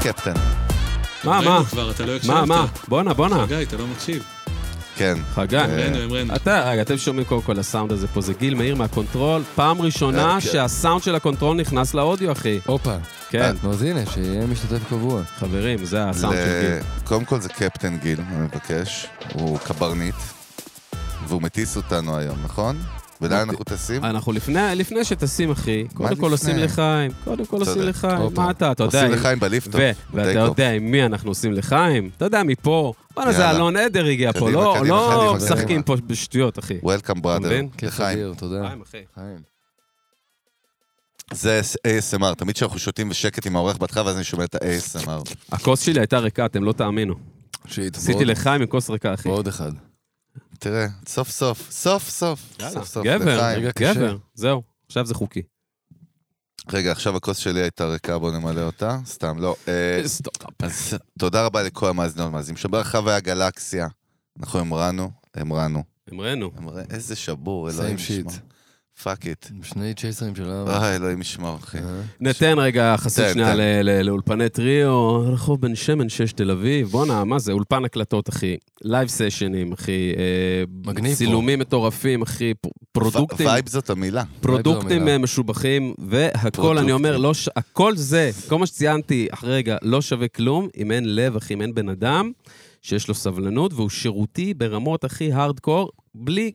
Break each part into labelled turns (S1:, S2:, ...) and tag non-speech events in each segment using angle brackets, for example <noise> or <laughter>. S1: קפטן.
S2: מה,
S3: ראינו
S2: אה, מה?
S3: כבר, אתה לא הקשבת.
S2: מה, מה? בואנה, בואנה.
S3: גיא, אתה לא מקשיב.
S1: כן.
S2: חגי.
S3: אמרנו, אמרנו.
S2: אתה, רגע, אתם שומעים קודם כל הסאונד הזה פה, זה גיל מאיר מהקונטרול. פעם ראשונה
S1: אה, כן. אה,
S2: שהסאונד של הקונטרול נכנס לאודיו, אחי.
S4: הופה.
S2: כן,
S4: נו, אז הנה, שיהיה משתתף קבוע.
S2: חברים, זה הסאונד של גיל.
S1: זה- קודם כל זה קפטן גיל, אני מבקש. הוא קברניט, והוא מטיס אותנו היום, נכון? ולאן אנחנו טסים?
S2: אנחנו לפני, לפני שטסים, אחי, קודם כל
S1: לפני?
S2: עושים לחיים. קודם כל עושים
S1: צודק.
S2: לחיים.
S4: הופה.
S2: מה אתה, אתה יודע...
S1: עושים
S2: אם-
S1: לחיים בליפטופ.
S2: ו- ואתה
S1: בטייק אוף.
S2: יודע עם מי אנחנו עושים לחיים? אתה יודע, מפה. בואנה, זה
S1: יאללה.
S2: אלון עדר הגיע פה,
S1: קדימה,
S2: לא-
S1: קדימה,
S2: לא
S1: קדימה,
S2: משחקים
S1: קדימה.
S2: פה בשטויות, אחי.
S1: Welcome
S2: מבין? כן,
S1: brother,
S4: כיף
S1: לחיים.
S4: אדיר, תודה.
S2: חיים, אחי.
S4: חיים.
S1: זה ASMR, תמיד כשאנחנו שותים בשקט עם האורח בהתחלה, ואז אני שומע את ה-ASMR.
S2: הכוס שלי הייתה ריקה, אתם לא תאמינו.
S4: שיט,
S2: עשיתי
S4: ועוד-
S2: לחיים עם כוס ריקה, אחי.
S4: ועוד אחד.
S1: תראה, סוף סוף, סוף סוף,
S2: יאללה,
S1: סוף סוף,
S2: גבר,
S1: לחיים.
S4: רגע. קשה.
S2: גבר, זהו, עכשיו זה חוקי.
S1: רגע, עכשיו הכוס שלי הייתה ריקה, בוא נמלא אותה. סתם, לא. אה, אז תודה רבה לכל המאזינות והמאזינים שברחבי הגלקסיה. אנחנו המרנו, המרנו.
S2: אמרנו.
S1: אמרה, איזה שבור, אלוהים
S4: Same shit.
S1: ישמור. פאק איט.
S4: עם שני צ'ייסרים של העם.
S1: אה, אלוהים ישמור, אחי.
S4: אה?
S2: ניתן רגע חסות
S1: תן,
S2: שנייה
S1: תן.
S2: ל- ל- לאולפני טריו, רחוב בן שמן 6 תל אביב, בואנה, מה זה, אולפן הקלטות, אחי. לייב סשנים, אחי. אה,
S4: מגניב פה.
S2: צילומים מטורפים, אחי. פ- פרודוקטים,
S1: ו- וייב זאת המילה.
S2: פרודוקטים
S4: המילה.
S2: אה, משובחים, והכל,
S1: פרודוקטים.
S2: אני אומר, לא ש- הכל זה, כל מה שציינתי אחרי רגע, לא שווה כלום, אם אין לב, אחי, אם אין בן אדם שיש לו סבלנות, והוא שירותי ברמות הכי הארדקור, בלי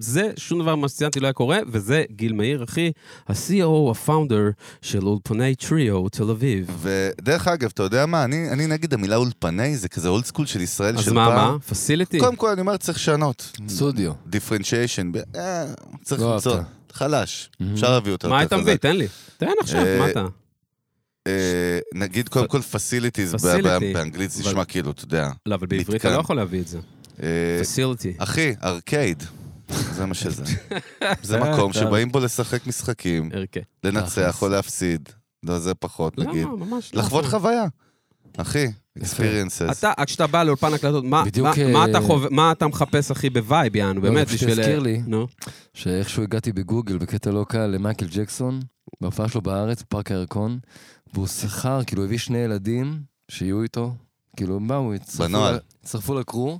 S2: זה, שום דבר ממה שציינתי לא היה קורה, וזה גיל מאיר, אחי, ה-CO, הפאונדר של אולפני טריו, תל אביב.
S1: ודרך אגב, אתה יודע מה? אני אני נגד המילה אולפני, זה כזה אולד סקול של ישראל של
S2: אז
S1: פעם.
S2: מה, מה? פסיליטי?
S1: קודם כל, אני אומר, צריך לשנות.
S4: סטודיו.
S1: דיפרנציאשן, ב- אה, צריך
S4: לא
S1: למצוא.
S4: אהבת.
S1: חלש, אפשר להביא אותו.
S2: Mhm. מה
S1: יותר
S2: היית
S1: חזק.
S2: מביא? תן לי. תן עכשיו,
S1: אה,
S2: מה אתה?
S1: אה, נגיד קודם כל פסיליטיז,
S2: Facility.
S1: באנגלית זה
S2: אבל-
S1: נשמע כאילו, אתה יודע.
S2: לא, אבל בעברית אתה
S1: מתקן.
S2: לא יכול להביא את זה.
S1: אה,
S2: פסיליטי.
S1: אחי, ארקייד. זה מה
S4: <laughs>
S1: שזה. זה מקום שבאים בו לשחק משחקים,
S2: ערכי.
S1: לנצח
S4: אה, תכלס.
S1: או להפסיד. לא, זה פחות,
S2: למה?
S1: נגיד.
S2: ממש לא.
S1: לחוות חוויה. אחי, experiences.
S2: אתה, כשאתה בא לאולפן הקלטות, מה,
S4: בדיוק,
S2: מה,
S4: אה,
S2: מה, אתה חוב... מה אתה מחפש, אחי, בווייב, יענו,
S4: לא,
S2: באמת,
S4: זה פשוט
S2: בשביל...
S4: הזכיר לי.
S2: נו,
S4: שאיכשהו הגעתי בגוגל בקטע לא קל למייקל ג'קסון, בהופעה שלו בארץ, בפארק הירקון, והוא שכר, כאילו הוא הביא שני ילדים שיהיו איתו, כאילו הם באו, הצטרפו
S1: בנוהל.
S4: ל- הצטרפו לקרו,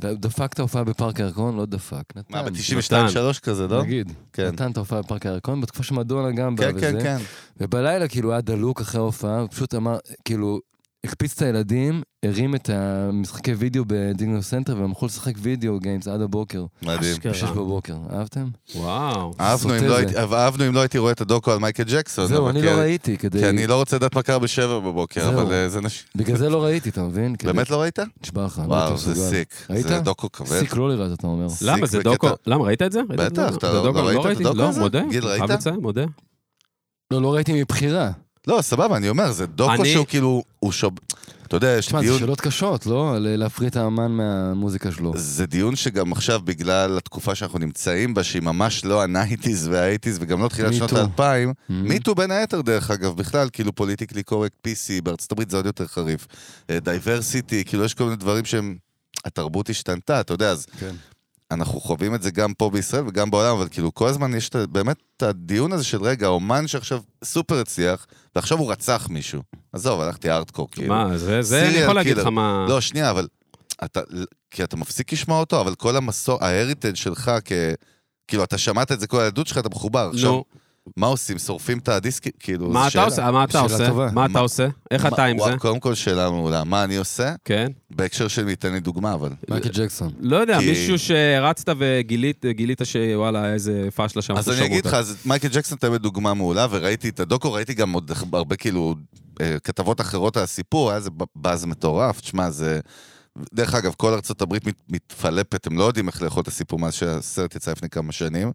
S4: דפק את ההופעה בפארק הירקון, לא דפק, נתן.
S1: מה,
S2: נתן.
S1: ב-92-3 כזה, לא?
S4: נגיד,
S1: כן.
S4: נתן את ההופעה בפארק הירקון, בתקופה שמדונה גם בא
S1: כן,
S4: וזה.
S1: כן, כן.
S4: ובלילה כאילו היה דלוק אחרי ההופעה, הוא פשוט אמר, כאילו, הקפיץ את הילדים, הרים את המשחקי וידאו בדינגו סנטר, והם הלכו לשחק וידאו גיימס עד הבוקר,
S1: מדהים.
S2: אשכרה.
S4: בשש בבוקר, אהבתם?
S2: וואו.
S1: אהבנו אם
S4: סוטה
S1: לא
S4: זה.
S1: הייתי- אבל אהבנו אם לא הייתי רואה את הדוקו על מייקל ג'קסון.
S4: זהו,
S1: אבל
S4: אני
S1: כי-
S4: לא ראיתי,
S1: כי
S4: כדי...
S1: אני לא רוצה לדעת מה קרה בשבע בבוקר,
S4: זהו.
S1: אבל אה, זה נש...
S4: בגלל זה לא ראיתי, אתה מבין? כדי-
S1: באמת לא ראית?
S4: נשבע לך, לא הייתי
S1: וואו, זה
S4: מסוגל.
S1: סיק.
S4: ראית?
S1: זה דוקו כבד.
S4: סיק לא לראות, אתה אומר.
S1: סיק
S2: למה, זה
S1: בקטע-
S2: דוקו? למה, ראית את זה? ראית את
S1: בטח,
S2: זה?
S1: אתה
S2: זה
S1: לא-
S2: דוקו,
S1: לא ראית את
S2: ראיתי.
S1: הדוקו
S2: לא,
S1: הזה?
S2: מודה.
S1: גיל,
S2: חייב
S1: ראית?
S2: לציין, מודה.
S4: לא, לא ראיתי מבחירה.
S1: לא, סבבה, אני אומר, זה דוקו
S2: אני-
S1: שהוא כאילו, הוא שוב... אתה יודע, יש
S4: תשמע, זה
S1: דיון...
S4: שאלות קשות, לא? ל- להפריד את האמן מהמוזיקה שלו.
S1: זה דיון שגם עכשיו, בגלל התקופה שאנחנו נמצאים בה, שהיא ממש לא הנייטיז והאייטיז, וגם לא תחילת
S4: Me
S1: שנות
S4: too.
S1: האלפיים,
S4: Mhm.
S1: מיטו בין היתר, דרך אגב, בכלל, כאילו פוליטיקלי קורקט PC, בארצות הברית זה עוד יותר חריף. דייברסיטי, כאילו יש כל מיני דברים שהם... התרבות השתנתה, אתה יודע, אז
S4: כן.
S1: אנחנו חווים את זה גם פה בישראל וגם בעולם, אבל כאילו כל הזמן יש את ה- באמת את הדיון הזה של רגע, האומן שעכשיו סופר הצליח, ועכשיו הוא רצח מישהו. עזוב, הלכתי ארטקור, כאילו.
S2: מה, זה, זה אני
S1: serial
S2: יכול להגיד
S1: killer.
S2: לך מה...
S1: לא, שנייה, אבל... אתה, כי אתה מפסיק לשמוע אותו, אבל כל המסור, ההריטג' שלך כ... כאילו, אתה שמעת את זה כל הילדות שלך, אתה מחובר. עכשיו,
S2: נו,
S1: מה עושים? שורפים את הדיסקים? כאילו,
S2: מה
S1: זו
S2: אתה
S1: שאלה.
S2: עושה? מה אתה
S4: שאלה
S2: עושה?
S4: טובה.
S2: מה אתה
S1: מה-
S2: עושה? איך אתה עם
S1: וואו,
S2: זה?
S1: קודם כל שאלה מעולה. מה אני עושה?
S2: כן.
S1: בהקשר של מי, תן לי דוגמה, אבל...
S4: מייקל ג'קסון.
S2: לא יודע,
S1: כי-
S2: מישהו שרצת וגילית גילית שוואלה, איזה פאשלה שם.
S1: אז אני אגיד לך, אז מייקל ג'קסון תמיד דוגמה מעולה, וראיתי את הדוקו, ראיתי גם עוד הרבה כאילו אה, כתבות אחרות על הסיפור, היה איזה ב- באז מטורף, תשמע, זה... דרך אגב, כל ארצות הברית מת, מתפלפת, הם לא יודעים איך לאכול את הסיפור מאז שהסרט יצא לפני כמה שנים,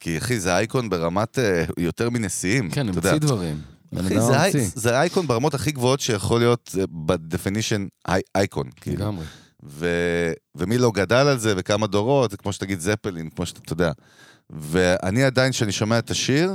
S1: כי אחי, זה אייקון ברמת אה, יותר מנשיאים.
S4: כן,
S1: אתה יודע.
S4: המציא דברים. בן
S1: אחי,
S4: אדם
S1: זה, אי,
S4: המציא.
S1: זה אייקון ברמות הכי גבוהות שיכול להיות אה, ב-definition אי, אייקון, כאילו.
S4: לגמרי.
S1: ו... ומי לא גדל על זה, וכמה דורות, זה כמו שתגיד זפלין, כמו שאתה אתה יודע. ואני עדיין, כשאני שומע את השיר,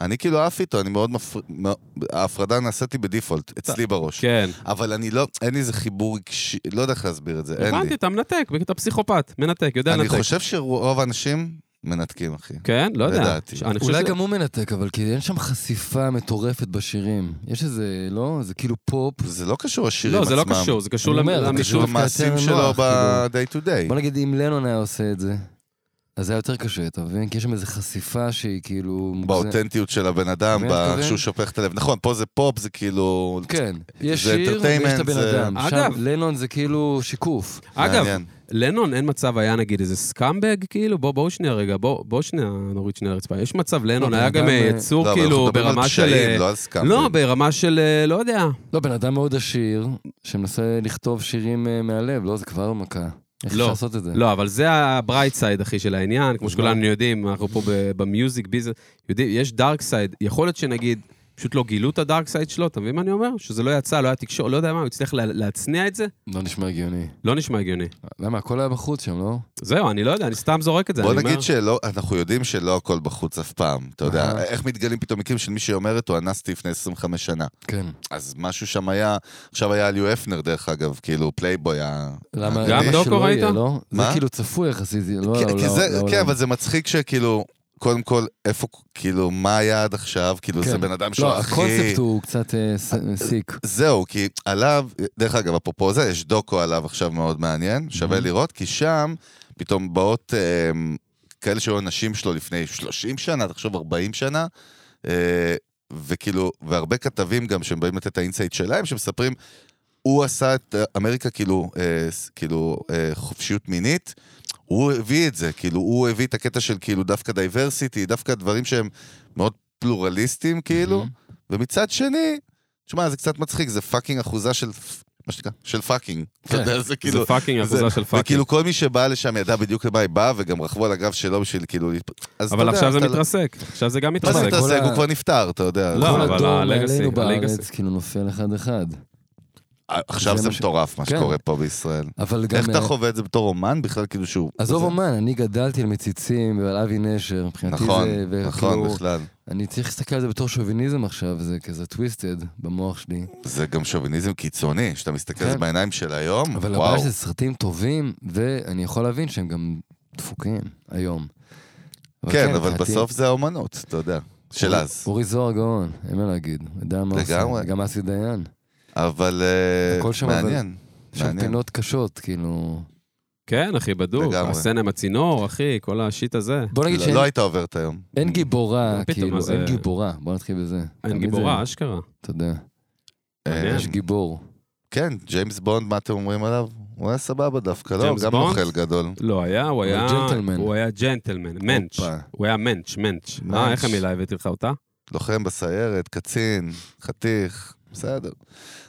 S1: אני כאילו עף איתו, אני מאוד מפר... מאוד- ההפרדה נעשית לי בדיפולט, אצלי בראש. כן.
S2: כן.
S1: אבל אני לא, אין לי איזה חיבור רגשי, לא יודע איך להסביר את זה, אין לי.
S2: הבנתי, אתה מנתק, אתה פסיכופת, מנתק, יודע
S1: אני
S2: לנתק.
S1: חושב שרוב האנשים מנתקים, אחי.
S2: כן? לא יודע.
S1: לדעתי.
S2: אני חושב
S4: אולי
S2: ש-
S4: גם הוא מנתק, אבל כי אין שם חשיפה מטורפת בשירים. יש איזה, לא? זה כאילו פופ.
S1: זה לא קשור לשירים
S2: לא,
S1: עצמם.
S2: זה לא קשור, זה קשור
S4: אני אומר,
S2: למ-
S4: זה
S1: זה
S2: למישהו.
S1: קשור
S4: דווקא
S1: למעשים
S4: יותר
S1: שלו
S4: נוח,
S1: ב-day to
S4: בוא
S1: day.
S4: נגיד, אם לנון היה עושה את זה, אז זה היה יותר קשה, אתה מבין? כי יש שם איזו חשיפה שהיא כאילו... מוגזמת.
S1: באותנטיות של הבן אדם,
S4: אתה
S1: ב-
S4: מבין מה אני
S1: שהוא שופך את הלב. נכון, פה זה פופ, זה כאילו...
S4: כן, יש
S1: זה
S4: שיר ויש את
S1: entertainment,
S4: הבן
S1: זה-
S4: אדם.
S2: אגב-
S4: שם לנון זה כאילו שיקוף.
S2: אגב,
S1: מעניין.
S2: לנון אין מצב היה נגיד איזה סקאמבג, כאילו? בוא, בואו שנייה רגע, בוא, בוא שנייה נוריד שנייה לרצפה. יש מצב לנון,
S4: לא,
S2: היה
S4: בן
S2: גם
S4: אדם,
S2: אה,
S4: אה,
S1: לא,
S2: יצור
S1: אבל אנחנו
S2: כאילו
S1: מדברים על
S2: ברמה של...
S1: פשעים,
S2: אה,
S1: לא על סקאפים.
S2: לא, ברמה של, אה, לא יודע.
S4: לא, בן אדם מאוד עשיר, שמנסה לכתוב שירים אה, מהלב, לא, זה כבר מכה. איך
S2: לא,
S4: אפשר לעשות את זה?
S2: לא, אבל זה הברייט סייד, אחי, של העניין. כמו
S4: אז
S1: לא-
S2: שכולנו יודעים, אנחנו פה ב- במיוזיק ביזנס, יודעים, יש דארק סייד. יכול להיות שנגיד, פשוט לא גילו את הדארק סייד שלו, אתה מבין מה אני אומר? שזה לא יצא, לא היה תקשורת, לא יודע מה, הוא הצליח לה- להצניע את זה?
S4: לא נשמע הגיוני.
S2: לא נשמע הגיוני.
S4: למה, הכל היה בחוץ שם, לא?
S2: זהו, אני לא יודע, אני סתם זורק את זה.
S1: בוא
S2: אני
S1: נגיד
S2: אומר-
S1: שאנחנו יודעים שלא הכל בחוץ אף פעם, אתה יודע.
S4: אהה.
S1: איך מתגלים פתאום מקרים של מישהי אומרת, הוא אנסתי לפני 25 שנה.
S4: כן.
S1: אז משהו שם היה, עכשיו היה ליו הפנר דרך אגב, כאילו פלייבוי ה...
S4: למה?
S2: גם
S4: למה
S2: דוקו
S4: שלא
S2: ראית?
S4: יהיה, לא? זה
S1: מה?
S4: כאילו צפוי יחסית, זה לא
S1: כי- כי זה-
S4: לעולם.
S1: כן, אבל זה מצחיק שכאילו, קודם כל, איפה, כאילו, מה היה עד עכשיו? כאילו,
S4: כן.
S1: זה בן אדם שהוא
S4: לא,
S1: הכי...
S4: הקונספט הוא קצת אה, ס- סיק.
S1: זהו, כי עליו, דרך אגב, אפרופו זה, יש דוקו עליו עכשיו מאוד מעניין, שווה
S4: מהמם.
S1: לראות, כי שם פתאום באות אה, כאלה שהיו הנשים שלו לפני 30 שנה, תחשוב 40 שנה, אה, וכאילו, והרבה כתבים גם שהם באים לתת את האינסייט שלהם, שמספרים, הוא עשה את אמריקה כאילו, אה, ס- כאילו אה, חופשיות מינית, הוא הביא את זה, כאילו, הוא הביא את הקטע של כאילו דווקא דייברסיטי, דווקא דברים שהם מאוד פלורליסטיים, כאילו, ומצד שני, תשמע, זה קצת מצחיק, זה פאקינג אחוזה של, מה שנקרא, של
S4: כן.
S1: פאקינג. אתה יודע, זה כאילו...
S2: זה פאקינג
S1: זה-
S2: אחוזה של פאקינג.
S1: וכאילו כל מי שבא לשם ידע בדיוק למה היא באה, וגם רכבו על הגב שלו בשביל כאילו... להתפ- אז
S2: אבל
S1: אתה יודע,
S2: עכשיו זה
S1: אתה- לא-
S2: מתרסק, עכשיו זה גם
S1: מה זה
S2: מתרסק.
S4: מתרסק?
S1: מתרסק?
S4: כל ה-
S1: הוא כבר נפטר, אתה יודע.
S2: לא,
S1: כל
S4: כל
S2: אבל
S4: הדור
S2: ה-legacy,
S4: מעלינו
S2: ה-legacy.
S4: בארץ כאילו נופל אחד-אחד.
S1: ה- עכשיו
S4: זה
S1: זה
S4: מה ש-
S1: מטורף מה
S4: כן.
S1: שקורה פה בישראל.
S4: אבל גם...
S1: איך אתה
S4: אה,
S1: חווה את זה בתור אומן בכלל, כאילו שהוא...
S4: עזוב
S1: זה-
S4: אומן, אני גדלתי על מציצים ועל אבי נשר, מבחינתי זה... כאילו-
S1: נכון,
S4: וכאילו,
S1: נכון בכלל.
S4: אני צריך להסתכל על זה בתור שוביניזם עכשיו, זה כזה טוויסטד במוח שלי.
S1: זה גם שוביניזם קיצוני, שאתה מסתכל על זה
S4: כן.
S1: בעיניים של היום,
S4: אבל
S1: וואו.
S4: הבעיה שזה סרטים טובים, ואני יכול להבין שהם גם דפוקים היום.
S1: כן, אבל
S4: מבחינתי-
S1: בסוף זה האומנות, אתה יודע. של
S4: אורי-
S1: אז.
S4: אורי זוהר גאון, אין מה להגיד, יודע מה עושה.
S1: לגמרי.
S4: גם אסי דיין.
S1: אבל אה,
S4: הכל שם, אבל-
S1: מעניין.
S4: יש שם
S1: מעניין.
S4: פינות קשות, כאילו...
S2: כן, אחי, בדוק.
S1: לגמרי.
S2: הסצנה עם הצינור, אחי, כל השיט הזה.
S4: בוא נגיד
S1: לא-
S4: שאין
S1: לא היית עוברת היום.
S4: אין גיבורה,
S2: פתאום,
S4: כאילו,
S2: אז
S4: אין
S2: זה-
S4: גיבורה, בוא נתחיל בזה.
S2: אין
S4: תמיד
S2: גיבורה,
S4: זה-
S2: אשכרה.
S4: אתה יודע,
S2: מעניין.
S4: יש גיבור.
S1: אה, כן, ג'יימס בונד, מה אתם אומרים עליו? הוא היה סבבה דווקא, לא?
S2: ג'יימס
S1: גם
S2: בונד?
S1: אוכל גדול.
S2: לא היה, הוא
S4: אבל
S2: היה...
S4: ג'נטלמן.
S2: הוא היה ג'נטלמן, מענץ'.
S4: הופה.
S2: הוא היה מענץ', מענץ'.
S1: מענץ'.
S2: אה, איך המילה הבאתי לך אותה?
S1: לוחם בסיירת, קצין, חתיך, בסדר.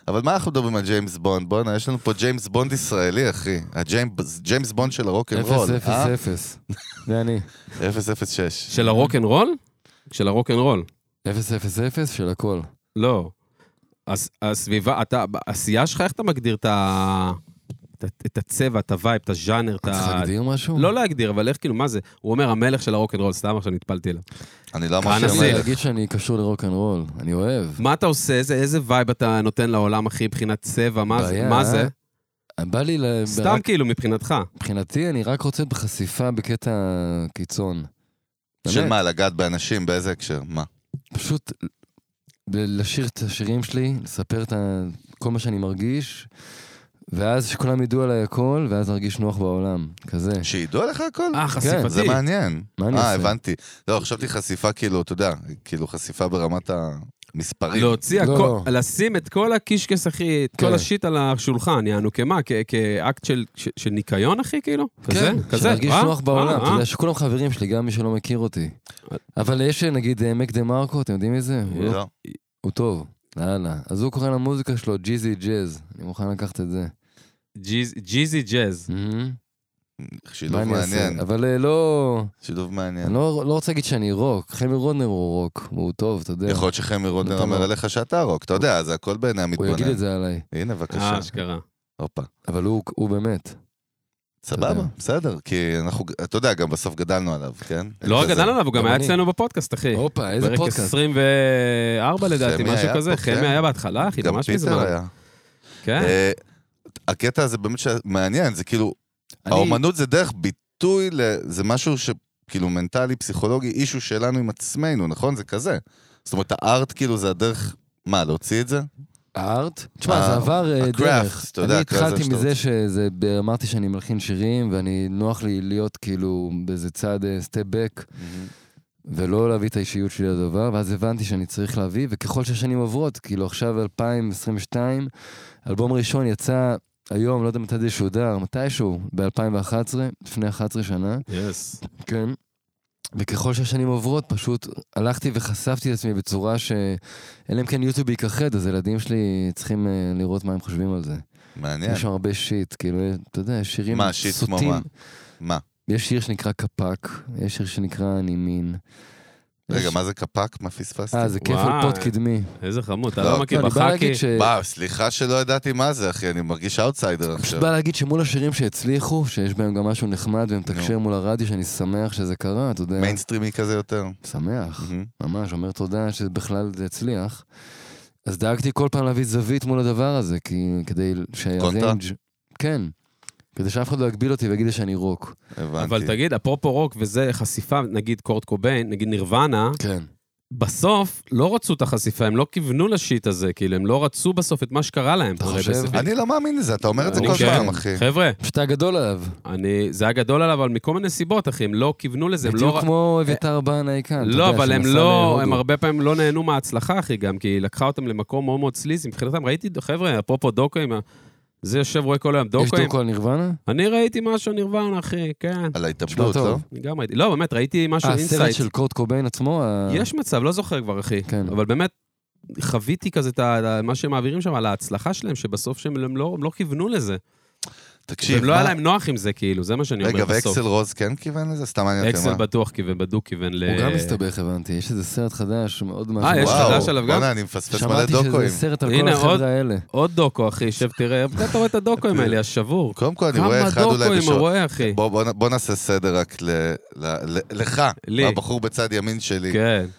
S1: אבל מה אנחנו מדברים על ג'יימס בונד? בואנה, יש לנו פה ג'יימס בונד ישראלי, אחי. הג'יימס ג'יימס בונד של הרוקנרול. אה?
S2: אה?
S4: 000. זה אני.
S1: 006.
S2: של הרוקנרול? של הרוקנרול.
S4: 000 של הכל.
S2: לא. הס- הסביבה, אתה, העשייה שלך, איך אתה מגדיר את ה... את ה- את הצבע, את הווייב, את הז'אנר, את
S4: צריך
S2: ה...
S4: להגדיר משהו?
S2: לא להגדיר, אבל איך כאילו, מה זה? הוא אומר המלך של הרוקנרול, סתם עכשיו נטפלתי אליו.
S1: אני לא
S2: כהנא
S1: אמרתי
S2: הנסיך.
S4: אני
S1: המלך.
S4: להגיד שאני קשור לרוקנרול, אני אוהב.
S2: מה אתה עושה? איזה, איזה וייב אתה נותן לעולם, אחי, מבחינת צבע? מה, זה-
S4: בעיה,
S2: מה
S4: אה?
S2: זה?
S4: בא לי, ל-
S2: סתם
S4: רק-
S2: כאילו, מבחינתך.
S4: מבחינתי, אני רק רוצה בחשיפה בקטע קיצון.
S1: של
S4: באמת,
S1: מה, לגעת באנשים, באיזה הקשר? מה?
S4: פשוט ל- לשיר את השירים שלי, לספר את ה- כל מה שאני מרגיש, ואז שכולם ידעו עליי הכל, ואז ארגיש נוח בעולם. כזה.
S1: שידעו לך הכל?
S2: אה,
S1: זה
S2: חשיפתי.
S1: מעניין.
S4: כן, מה אני
S1: אה,
S4: עושה?
S1: הבנתי. לא, חשבתי חשיפה כאילו, אתה יודע, כאילו חשיפה ברמת המספרים.
S2: להוציא
S4: לא,
S2: הכל,
S4: לא.
S2: לשים את כל הקישקס, אחי, את כל
S4: כן.
S2: השיט על השולחן, יענו, כמה? כ- כאקט של- ש- של ניקיון, אחי, כאילו? כזה? כזה?
S4: שנרגיש
S2: אה?
S4: כן, נוח בעולם,
S2: אה,
S4: אתה
S2: אה.
S4: יודע שכולם חברים שלי, גם מי שלא מכיר אותי. אבל יש נגיד אה, מק דה מרקו, אתם יודעים מי זה? הוא לא-
S1: לא.
S4: הוא טוב, לאללה. אז הוא קורא למוזיקה שלו ג'יזי ג'אז, אני מוכן לקחת את זה.
S2: ג'יז- ג'יזי ג'אז.
S4: מהמם.
S1: שילוב
S4: מה אני
S1: Mm-hmm. מעניין. כן.
S4: אעשה? אבל אה, לא...
S1: שילוב מעניין.
S4: אני לא לא רוצה להגיד שאני רוק, חמי רודנר הוא רוק, הוא טוב, אתה יודע.
S1: יכול להיות שחמי רודנר
S4: אתה
S1: אומר
S4: לא.
S1: עליך שאתה רוק, אתה יודע, זה הכל בעיני
S4: הוא
S1: המתבונן.
S4: יגיד את זה עליי,
S1: הנה, בבקשה.
S2: אה, אשכרה.
S1: הופה.
S4: אבל הוא הוא באמת.
S1: סבבה,
S4: יודע.
S1: בסדר, כי אנחנו, אתה יודע, גם בסוף גדלנו עליו, כן?
S2: לא רק
S1: כזה.
S2: גדלנו עליו, הוא גם
S4: גם
S2: היה
S4: אני.
S2: אצלנו בפודקאסט, אחי.
S4: הופה, איזה
S2: פרק
S4: פודקאסט.
S2: 24 לדעתי,
S1: חמי
S2: משהו
S1: היה
S2: כזה.
S1: פה, כן.
S2: חמי היה בהתחלה, אחי,
S1: גם
S2: ממש
S1: פיטר
S2: מזמן.
S1: היה.
S2: כן.
S1: אה, הקטע הזה באמת מעניין, זה כאילו,
S4: אני-
S1: האומנות זה דרך ביטוי, ל- זה משהו ש... כאילו מנטלי, פסיכולוגי, אישו שלנו עם עצמנו, נכון? זה כזה. זאת אומרת, הארט כאילו זה הדרך, מה, להוציא את זה?
S4: הארט? תשמע,
S1: ה-
S4: זה עבר אה,
S1: ה-craft,
S4: דרך.
S1: אתה יודע,
S4: אני
S1: הקרא זה
S4: התחלתי
S1: שאתה
S4: מזה
S1: רוצה.
S4: שזה, אמרתי שאני מלחין שירים, ואני, נוח לי להיות כאילו באיזה צעד סטי בק, ולא להביא את האישיות שלי לדבר, ואז הבנתי שאני צריך להביא, וככל שהשנים עוברות, כאילו עכשיו 2022, אלבום ראשון יצא היום, לא יודע מתי זה שודר, מתישהו, ב-2011, לפני 11 שנה.
S2: יס.
S4: כן. וככל שהשנים עוברות, פשוט הלכתי וחשפתי את עצמי בצורה ש... אלא אם כן יוטיוב ייכחד, אז הילדים שלי צריכים אה, לראות מה הם חושבים על זה.
S1: מעניין.
S4: יש שם הרבה שיט, כאילו, אתה יודע, יש שירים
S1: מה, שיט כמו
S4: סוטים.
S1: מה? מה?
S4: יש שיר שנקרא קפק, יש שיר שנקרא אני מין.
S1: רגע,
S4: יש-
S1: מה זה קפק? מה פספסתי?
S4: אה, זה כיף על
S2: וואי.
S4: פוד קדמי.
S2: איזה חמוד, אתה
S1: לא,
S2: לא מכיר
S4: לא, אני בא
S2: בחאקי.
S4: להגיד ש...
S1: וואו, סליחה שלא ידעתי מה זה, אחי, אני מרגיש אאוטסיידר
S4: פשוט
S1: עכשיו.
S4: בא להגיד שמול השירים שהצליחו, שיש בהם גם משהו נחמד ומתקשר מול הרדיו, שאני שמח שזה קרה, אתה יודע.
S1: מיינסטרימי כזה יותר.
S4: שמח.
S1: מהמם.
S4: ממש, אומר תודה שבכלל זה הצליח. אז דאגתי כל פעם להביא זווית מול הדבר הזה, כי כדי
S1: קונטרה?
S4: שהריינג'... כן. כדי שאף אחד לא יגביל אותי ויגיד לי שאני רוק.
S2: אבל
S1: הבנתי.
S2: תגיד, אפרופו רוק וזה, חשיפה, נגיד קורט קוביין, נגיד נירוונה,
S4: כן.
S2: בסוף לא רצו את החשיפה, הם לא כיוונו לשיט הזה, כאילו, הם לא רצו בסוף את מה שקרה להם.
S4: אתה
S2: הרי
S4: חושב?
S2: בסוף-
S1: אני לא מאמין לזה, אתה אומר את זה
S2: אני
S1: כל
S2: כן.
S1: פעם, אחי.
S2: חבר'ה,
S4: פשוט היה גדול עליו.
S2: אני, זה היה גדול עליו, אבל מכל מיני סיבות, אחי, הם לא כיוונו לזה, הם
S4: בדיוק
S2: לא...
S4: כמו אביתר בנאי כאן. אתה
S2: לא,
S4: יודע,
S2: אבל הם
S4: שנסע
S2: לא,
S4: להודו.
S2: הם הרבה פעמים לא נהנו מההצלחה, אחי, גם, כי היא לקחה אותם למקום מאוד מאוד סליזי. מבחינתם, ראיתי, חבר'ה, אפרופו דוקואים, ה- זה יושב, רואה כל היום
S4: יש
S2: דוקואים.
S4: דוקו על נירוונה?
S2: אני ראיתי משהו נירוונה, אחי, כן.
S1: על
S4: תשמע
S1: ההתאבדות, לא?
S4: טוב.
S2: אני גם ראיתי, לא, באמת, ראיתי משהו
S4: אה, הסרט
S2: אינסייט.
S4: של קורט קוביין עצמו? ה-
S2: יש מצב, לא זוכר כבר, אחי.
S4: אה. כן.
S2: אבל באמת, חוויתי כזה את ה- מה שהם מעבירים שם, על ההצלחה שלהם, שבסוף שהם הם לא, הם לא כיוונו לזה.
S1: תקשיב,
S2: הם לא
S1: מה-
S2: היה להם נוח עם זה, כאילו, זה מה שאני אומר
S1: רגע,
S2: בסוף.
S1: ואקסל רוז כן כיוון לזה? סתם מעניין אותי
S2: אקסל
S1: מה.
S2: בטוח כיוון, בדוק כיוון ל...
S4: הוא גם מסתבך, הבנתי. יש איזה סרט חדש, מאוד משהו.
S2: אה, יש
S1: וואו,
S2: חדש עליו גם?
S1: בוא'נה, אני מפספס מלא
S4: שמעתי שזה
S1: דוקואים.
S4: סרט על כל
S2: הנה, עוד-
S4: החבר'ה האלה.
S2: עוד דוקו, אחי, שב תראה, <laughs> אתה רואה את הדוקוים האלה, השבור.
S1: קודם כל, אני רואה
S2: כמה
S1: אחד אולי
S2: דוקוים הוא
S1: בשעות.
S2: רואה, אחי.
S1: בוא, בוא, נ- בוא נעשה סדר רק ל, ל, ל, לך,
S2: לי.
S1: הבחור בצד ימין שלי. כן.
S2: כן.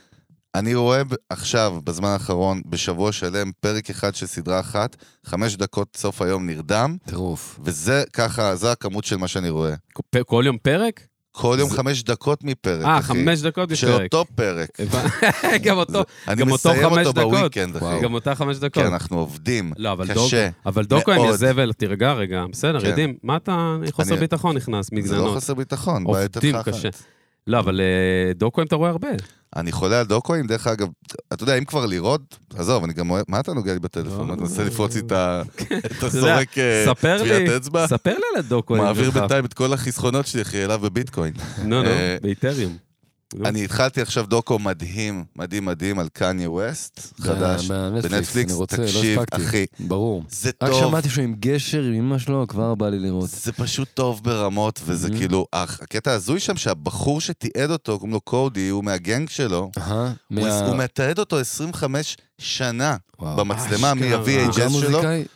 S1: אני רואה ב- עכשיו, בזמן האחרון, בשבוע שלם, פרק אחד של סדרה אחת, חמש דקות סוף היום נרדם,
S4: טירוף.
S1: וזה ככה, זו הכמות של מה שאני רואה.
S2: פ- כל יום פרק?
S1: כל יום
S2: זה-
S1: חמש דקות מפרק,
S2: אה,
S1: אחי.
S2: חמש דקות
S1: של
S2: בפרק.
S1: אותו פרק.
S2: הבנ- גם אותו,
S1: זה- אני
S2: <laughs> גם אותו
S1: מסיים
S2: חמש
S1: אותו
S2: דקות.
S1: בוויקנד, אחי.
S4: וואו.
S2: גם אותה חמש דקות.
S1: כן, אנחנו עובדים.
S2: לא, אבל דוקו,
S1: קשה.
S2: אבל דוקו הם
S1: מאוד.
S2: יזבל, תירגע רגע, בסדר,
S1: כן.
S2: יודעים, מה אתה, חוסר
S1: אני-
S2: ביטחון נכנס,
S1: זה לא
S2: מגזנות.
S1: חוסר ביטחון, בעיה יותר
S2: עובדים
S1: אחת.
S2: קשה. לא, אבל אה, דוקוים אתה רואה הרבה.
S1: אני חולה על דוקואים, דרך אגב, אתה יודע, אם כבר לראות, עזוב, אני גם אוהב, מה אתה נוגע לי בטלפון?
S2: לא.
S1: אתה מנסה לפרוץ לי את
S2: <laughs>
S1: ה- את
S2: אתה יודע,
S1: הסורק אה,
S2: ספר
S1: טביעת
S2: לי,
S1: אצבע?
S2: ספר לי על הדוקוים
S1: מעביר
S2: שלך.
S1: בינתיים את כל החסכונות שלי, אחי, אליו בביטקוין.
S2: נו, נו,
S1: אה,
S2: לא, באיתריום. נו.
S1: אני התחלתי עכשיו דוקו מדהים, מדהים מדהים, על קניה ווסט, חדש,
S4: אה, בנטפליקס,
S1: בנטפליקס,
S4: אני רוצה,
S1: תקשיב,
S4: לא הספקתי.
S1: אחי,
S4: ברור.
S1: זה
S4: רק
S1: טוב,
S4: שמעתי שהוא עם גשר, עם אמא שלו, כבר בא לי לראות.
S1: זה פשוט טוב ברמות, וזה
S4: Mhm.
S1: כאילו, הח- הקטע ההזוי שם, שהבחור שתיעד אותו, קוראים לו קודי, הוא מהגנג שלו,
S4: אהה,
S1: הוא-
S4: מה-
S1: הוא מתעד אותו 25 שנה
S4: וואו.
S1: במצלמה
S2: אשכרה.
S4: הוא גם
S1: מ-VHS שלו.
S4: מוזיקאי? Mm.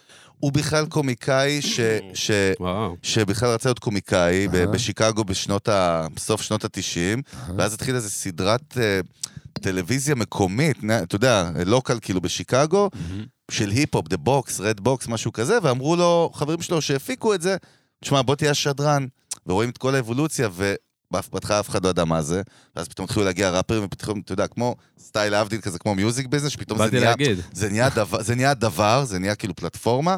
S1: הוא בכלל קומיקאי ש... ש...
S2: וואו.
S1: שבכלל רצה להיות קומיקאי ב-
S4: אהה.
S1: בשיקגו בשנות ה... בסוף שנות ה-90,
S4: אהה.
S1: ואז התחילה איזו סדרת אה, טלוויזיה מקומית, נה- אתה יודע, לוקל כאילו בשיקגו, של היפ-הופ, דה בוקס, רד בוקס, משהו כזה, ואמרו לו, חברים שלו שהפיקו את זה, תשמע, בוא תהיה השדרן. ורואים את כל האבולוציה, ובהתחלה אף אחד לא ידע מה זה, ואז פתאום התחילו להגיע ראפרים, ופתאום, אתה יודע, כמו סטייל אבדיל כזה, כמו מיוזיק ביזנס, שפתאום זה
S2: באתי
S1: נהיה...
S2: להגיד.
S1: זה נהיה, דבר, זה נהיה דבר, זה נהיה כאילו פלטפורמה,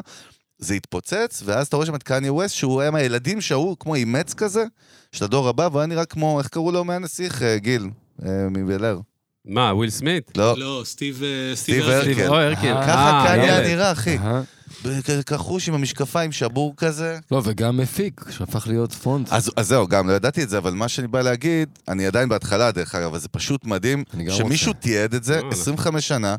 S1: זה התפוצץ, ואז אתה רואה שם את קניה ווסט, שהוא היה מהילדים שההוא כמו אימץ כזה, של הדור הבא, והוא היה נראה כמו, איך קראו לו מהנסיך, אה, גיל, אה, מבלר.
S2: מה, וויל סמית?
S1: לא,
S3: לא, סטיב... אה,
S1: סטיב הרקל.
S2: או, הרקל.
S4: אה,
S1: ככה
S2: אה,
S1: קניה
S2: יאללה.
S1: היה נראה, אחי.
S4: אהה.
S1: כזה כחוש עם המשקפיים, שבור כזה.
S4: לא, וגם מפיק, שהפך להיות פונט.
S1: אז, אז זהו, גם לא ידעתי את זה, אבל מה שאני בא להגיד, אני עדיין בהתחלה, דרך אגב, אבל זה פשוט מדהים,
S4: אני גם
S1: שמישהו תיעד את זה
S2: וואלה.
S1: 25 שנה,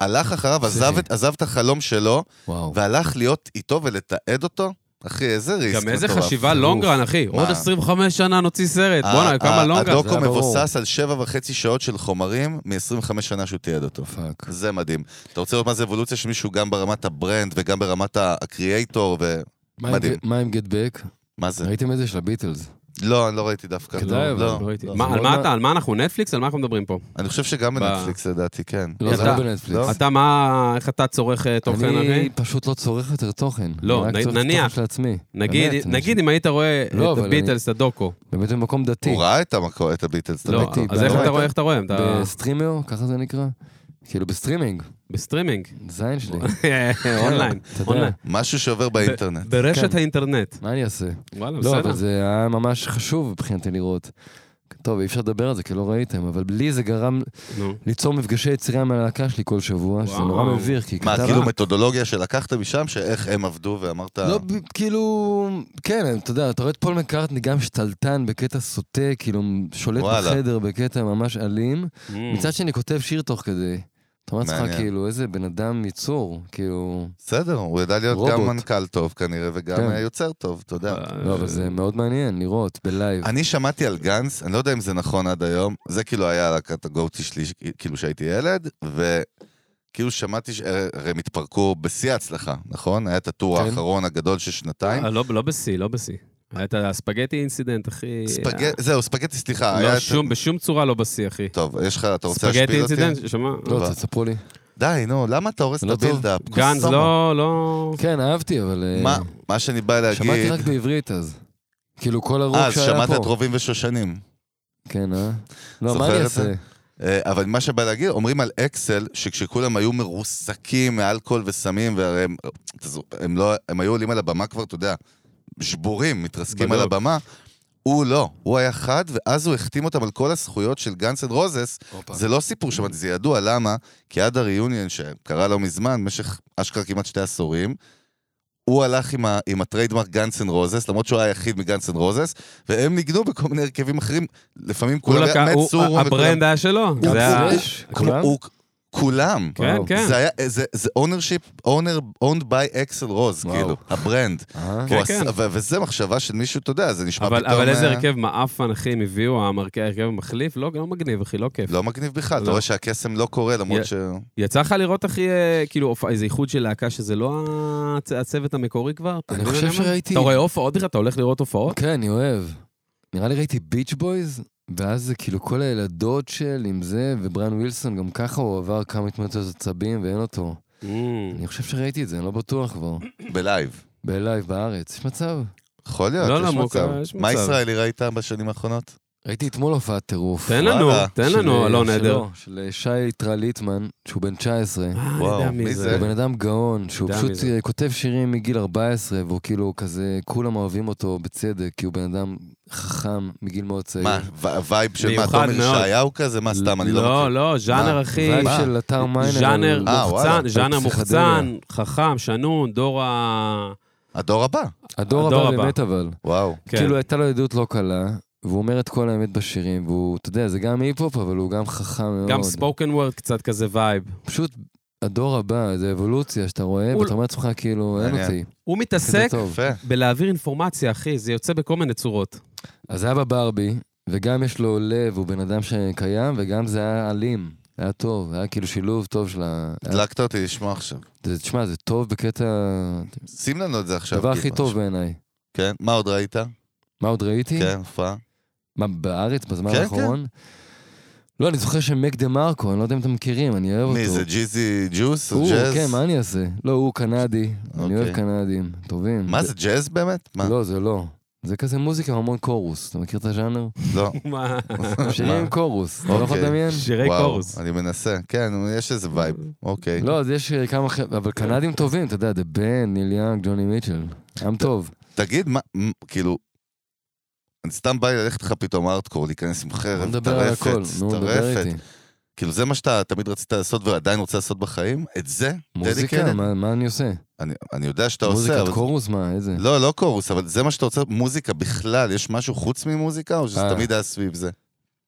S1: הלך <laughs> אחריו, עזב,
S4: זה.
S1: את- עזב את החלום שלו,
S4: וואו.
S1: והלך להיות איתו ולתעד אותו. אחי, איזה לא ריסק
S2: גם איזה
S1: מטורף.
S2: חשיבה
S4: טירוף.
S2: לונגרן, אחי. עוד 25 שנה נוציא סרט. בואנה,
S1: ה-
S2: כמה
S1: ה-
S2: לונגרן.
S1: אה, הדוקו
S4: זה היה ברור.
S1: מבוסס על שבע וחצי שעות של חומרים מ-25 שנה שהוא תיעד אותו.
S4: פאק.
S1: זה מדהים. אתה רוצה לראות מה זה אבולוציה של מישהו גם ברמת הברנד וגם ברמת ה- הקריאייטור ו...
S4: מה עם
S1: מדהים.
S4: ג- מה עם גט בק?
S1: מה זה?
S4: ראיתם את זה של הביטלס?
S1: לא, אני לא ראיתי דווקא.
S4: כדאי,
S1: לא,
S4: אבל
S1: לא,
S4: לא ראיתי.
S1: לא.
S2: מה,
S4: זה
S2: על
S4: לא
S2: מה
S4: מה-
S2: אתה, על מה אנחנו, נטפליקס? על מה אנחנו מדברים פה?
S1: אני חושב שגם
S2: ב-
S1: בנטפליקס לדעתי, כן.
S4: לא, זה
S2: אתה-
S4: לא בנטפליקס.
S1: לא?
S2: אתה מה, איך אתה צורך אה, תוכן,
S4: אני
S2: הרי?
S4: פשוט לא צורך יותר תוכן.
S2: לא,
S4: אני
S2: נ-
S4: רק צורך
S2: נניח.
S4: תוכן של עצמי.
S2: נגיד,
S4: באמת,
S2: נגיד אם היית רואה
S4: לא,
S2: את
S4: אבל
S2: הביטלס, את הדוקו.
S4: באמת במקום דתי.
S1: הוא ראה את המקור, את הביטלס. אתה
S2: לא,
S1: יודע.
S4: הייתי
S2: אז איך
S1: לא
S2: אתה
S1: ראית?
S2: רואה, איך אתה רואה? אתה
S4: בסטרימר, ככה זה נקרא? כאילו בסטרימינג,
S2: בסטרימינג.
S1: כן.
S4: זין שלי.
S2: <laughs> אונליין,
S4: אתה יודע.
S2: אונליין.
S1: משהו שעובר באינטרנט.
S2: ברשת
S4: כן.
S2: האינטרנט.
S4: מה אני אעשה?
S2: וואלה,
S4: לא,
S2: בסדר.
S4: אבל זה היה ממש חשוב מבחינתי לראות. טוב, אי אפשר לדבר על זה כי לא ראיתם, אבל לי זה גרם
S2: נו.
S4: ליצור מפגשי יצירה מהלהקה שלי כל שבוע, שזה
S2: וואו.
S4: נורא מביך, כי
S1: מה,
S4: כתב-
S1: כאילו מתודולוגיה שלקחת משם, שאיך הם עבדו ואמרת...
S4: לא, ב- כאילו, כן, אתה יודע, אתה רואה את פול מקארטני גם שתלטן בקטע סוטה, כאילו שולט
S1: וואלה.
S4: בחדר בקטע ממש אלים.
S2: Mm.
S4: מצד שני כותב שיר תוך כדי. אתה אומר לעצמך,
S1: מעניין.
S4: כאילו, איזה בן אדם יצור, כאילו...
S1: בסדר, הוא ידע להיות
S4: רובוט.
S1: גם מנכ"ל טוב כנראה, וגם
S4: כן.
S1: אה, יוצר טוב, אתה יודע.
S2: אה.
S4: לא, אבל זה מאוד מעניין לראות בלייב.
S1: אני שמעתי על גנץ, אני לא יודע אם זה נכון עד היום, זה כאילו היה להקת הגוטי שלי, ש- כאילו שהייתי ילד, וכאילו שמעתי שהם התפרקו בשיא ההצלחה, נכון? היה את הטור
S4: כן.
S1: האחרון הגדול של שנתיים.
S2: אה, לא, לא בשיא, לא בשיא. היה את הספגטי אינסידנט,
S4: אה,
S2: אחי.
S1: ספג- זהו, ספגטי, סליחה. היה
S2: לא,
S1: את-
S2: שום, בשום צורה לא בשיא, אחי.
S1: טוב, יש לך, אתה רוצה
S2: ספגטי
S1: להשפיל אותי?
S2: אינסידנט, שמע.
S4: לא, תספרו לי.
S1: די, נו, למה אתה הורס את
S4: לא טוב.
S1: הבילדאפ?
S2: גנז
S1: קוסומו.
S2: לא, לא...
S4: כן, אהבתי, אבל... אה,
S1: מה- מה שאני בא
S4: שמעתי
S1: להגיד...
S4: רק בעברית אז. כאילו, כל הרוק
S1: אה, אז
S4: שהיה פה.
S1: שמעת את רובים ושושנים.
S4: כן, אה? לא,
S1: זוכר
S4: מה אני
S1: את זה?
S4: אעשה?
S1: אה, אבל מה שבא להגיד, אומרים על אקסל, שכשכולם היו מרוסקים מאלכוהול וסמים, והרי הם, תזו- הם, לא, הם היו עולים על הבמה כבר, אתה יודע, שבורים, מתרסקים
S2: בדיוק.
S1: על הבמה. הוא לא, הוא היה חד, ואז הוא החתים אותם על כל הזכויות של גאנס אנד רוזס. זה לא סיפור שמעתי, זה ידוע, למה? כי עד הריוניון שקרה לא מזמן, במשך אשכרה כמעט שתי עשורים, הוא הלך עם, ה, עם הטריידמרק גאנס אנד רוזס, למרות שהוא היה היחיד מגאנס אנד רוזס, והם ניגנו בכל מיני הרכבים אחרים, לפעמים
S2: הוא
S1: כולם,
S2: לקח-
S1: היה-
S2: הוא-
S1: מאט סורו וכולם-
S2: הברנד היה שלו.
S1: הוא-
S2: זה היה-
S1: הוא-
S4: יש?
S1: כמו-
S4: כולם?
S1: הוא- כולם.
S2: כן,
S4: וואו.
S2: כן.
S1: זה היה, זה, זה ownership, owner, owned by אקסל רוז,
S4: וואו.
S1: כאילו, הברנד.
S4: אה?
S2: כן,
S1: הוא
S2: כן.
S1: עשה- ו- וזה מחשבה של מישהו, אתה יודע, זה נשמע
S2: אבל
S1: פתאום...
S2: אבל איזה
S1: אה,
S2: הרכב מעפן, אחי, הם הביאו, המרכ- ההרכב המחליף, לא לא מגניב, אחי, לא כיף.
S1: לא מגניב בכלל, אתה
S2: לא.
S1: רואה שהקסם לא קורה,
S2: יא-
S1: למרות ש...
S2: יצא לך לראות, אחי, אה, כאילו, הופעה- איזה איחוד של להקה שזה לא הצ- הצוות המקורי כבר? אתה
S4: אני
S2: מבין
S4: חושב
S2: מה אומר?
S4: שראיתי...
S2: אתה רואה הופעות בכלל? אתה הולך לראות הופעות?
S4: כן, אני אוהב. נראה לי ראיתי ביץ' בויז, ואז זה כאילו כל הילדות של עם זה, ובריאן ווילסון, גם ככה הוא עבר כמה התמודדות עצבים ואין אותו.
S2: Mm.
S1: Mm.
S4: אני חושב שראיתי את זה, אני לא בטוח כבר.
S1: בלייב.
S4: בלייב בארץ, יש מצב.
S1: יכול להיות,
S2: לא,
S1: יש
S2: לא,
S1: מצב.
S2: מוקר, יש
S1: מה
S2: מצב.
S1: ישראלי ראית בשנים האחרונות?
S4: ראיתי אתמול הופעת טירוף.
S2: תן לנו,
S1: וואלה, אה,
S2: תן
S4: של- אה,
S2: לנו, אלון
S4: שלו,
S2: עדר.
S4: של אה, שי יתרה ליטמן, שהוא בן 19.
S2: אה, אני
S1: וואו,
S2: יודע מי
S1: מי
S2: זה.
S1: זה?
S4: הוא בן אדם גאון, שהוא
S2: יודע
S4: פשוט
S2: מי זה.
S4: אה, כותב שירים מגיל 14, והוא כאילו כזה, כולם אוהבים אותו בצדק, כי הוא בן אדם חכם מגיל מאוד צעיר.
S1: מה, ו- וייב של מה,
S2: מיוחד
S1: תומר
S2: מאוד.
S1: ישעיהו כזה? מה, סתם, אני לא
S2: לא,
S1: מכיר.
S2: לא, ז'אנר,
S1: מה?
S2: אחי.
S4: וייב
S1: מה?
S4: של אתר מיינר. לא
S2: ז'אנר
S4: על-
S1: אה, וואלה.
S2: מוחצן, ז'אנר
S4: על
S2: מוחצן, חכם, שנון, דור ה...
S1: הדור הבא.
S4: הדור
S2: הדור
S4: הבא
S2: הבא.
S4: באמת אבל.
S1: וואו.
S2: כן.
S4: כאילו הייתה לו עדות לא קלה, והוא אומר את כל האמת בשירים, והוא, אתה יודע, זה גם היפ-הופ, אבל הוא גם חכם מאוד.
S2: גם ספוקן וורד קצת כזה וייב.
S4: פשוט הדור הבא, זה אבולוציה שאתה רואה,
S2: הוא-
S4: ואתה אומר לעצמך, כאילו, אין
S1: מעניין.
S4: אותי.
S2: הוא
S4: כזה
S2: מתעסק
S4: טוב.
S1: יפה.
S2: בלהעביר אינפורמציה, אחי, זה יוצא בכל מיני
S1: <laughs>
S2: צורות.
S4: אז זה היה בברבי, וגם יש לו לב, הוא בן אדם שקיים, וגם זה היה אלים. היה טוב, היה כאילו שילוב טוב של ה... היה-
S1: הדלקת אותי לשמוע עכשיו.
S4: זה- תשמע, זה טוב בקטע...
S1: שים לנו את זה עכשיו. כאילו
S4: הדבר הכי
S1: טיפה.
S4: טוב בעיניי.
S1: כן, מה עוד ראית?
S4: מה עוד ראיתי?
S1: כן, הופעה.
S4: מה, בארץ, בזמן
S1: כן,
S4: האחרון? לא, אני זוכר שמק דה מרקו, אני לא יודע אם אתם מכירים, אני אוהב אותו.
S1: מי זה, ג'יזי ג'וס?
S4: הוא,
S1: ג'אז?
S4: כן, מה אני אעשה? לא, הוא קנדי, אני
S1: אוקיי.
S4: אוהב קנדים, טובים.
S1: מה זה, ג'אז באמת? מה?
S4: לא, זה לא. זה כזה מוזיקה עם המון קורוס, אתה מכיר את
S1: <laughs>
S4: הז'אנר?
S1: לא.
S4: <laughs>
S2: מה?
S4: שירים עם קורוס, אתה לא יכול
S1: אוקיי.
S4: לדמיין?
S2: שירי
S1: וואו,
S2: קורוס.
S1: אני מנסה, כן, יש איזה וייב, אוקיי.
S4: לא, אז יש אה, כמה חבר'ה, אבל קנדים טובים, אתה יודע, דה בן, ניל יאנג, ג'וני מיטשל, עם טוב.
S1: תגיד, מה, מ- כאילו, אני סתם בא לי ללכת לך פתאום ארטקור, להיכנס עם
S4: בוא
S1: חרב,
S4: נדבר על
S1: טרפת,
S4: הכל, נו, דבר
S1: טרפת.
S4: איתי.
S1: כאילו, זה מה שאתה תמיד רצית לעשות ועדיין רוצה לעשות בחיים? את זה?
S4: מוזיקה,
S1: Dedicated?
S4: מה- מה אני עושה?
S1: אני- אני יודע שאתה עושה,
S4: מוזיקת
S1: אבל...
S4: קורוס, מה, איזה?
S1: לא, לא קורוס, אבל זה מה שאתה רוצה, מוזיקה בכלל, יש משהו חוץ ממוזיקה, או שזה
S4: אה.
S1: תמיד היה סביב זה?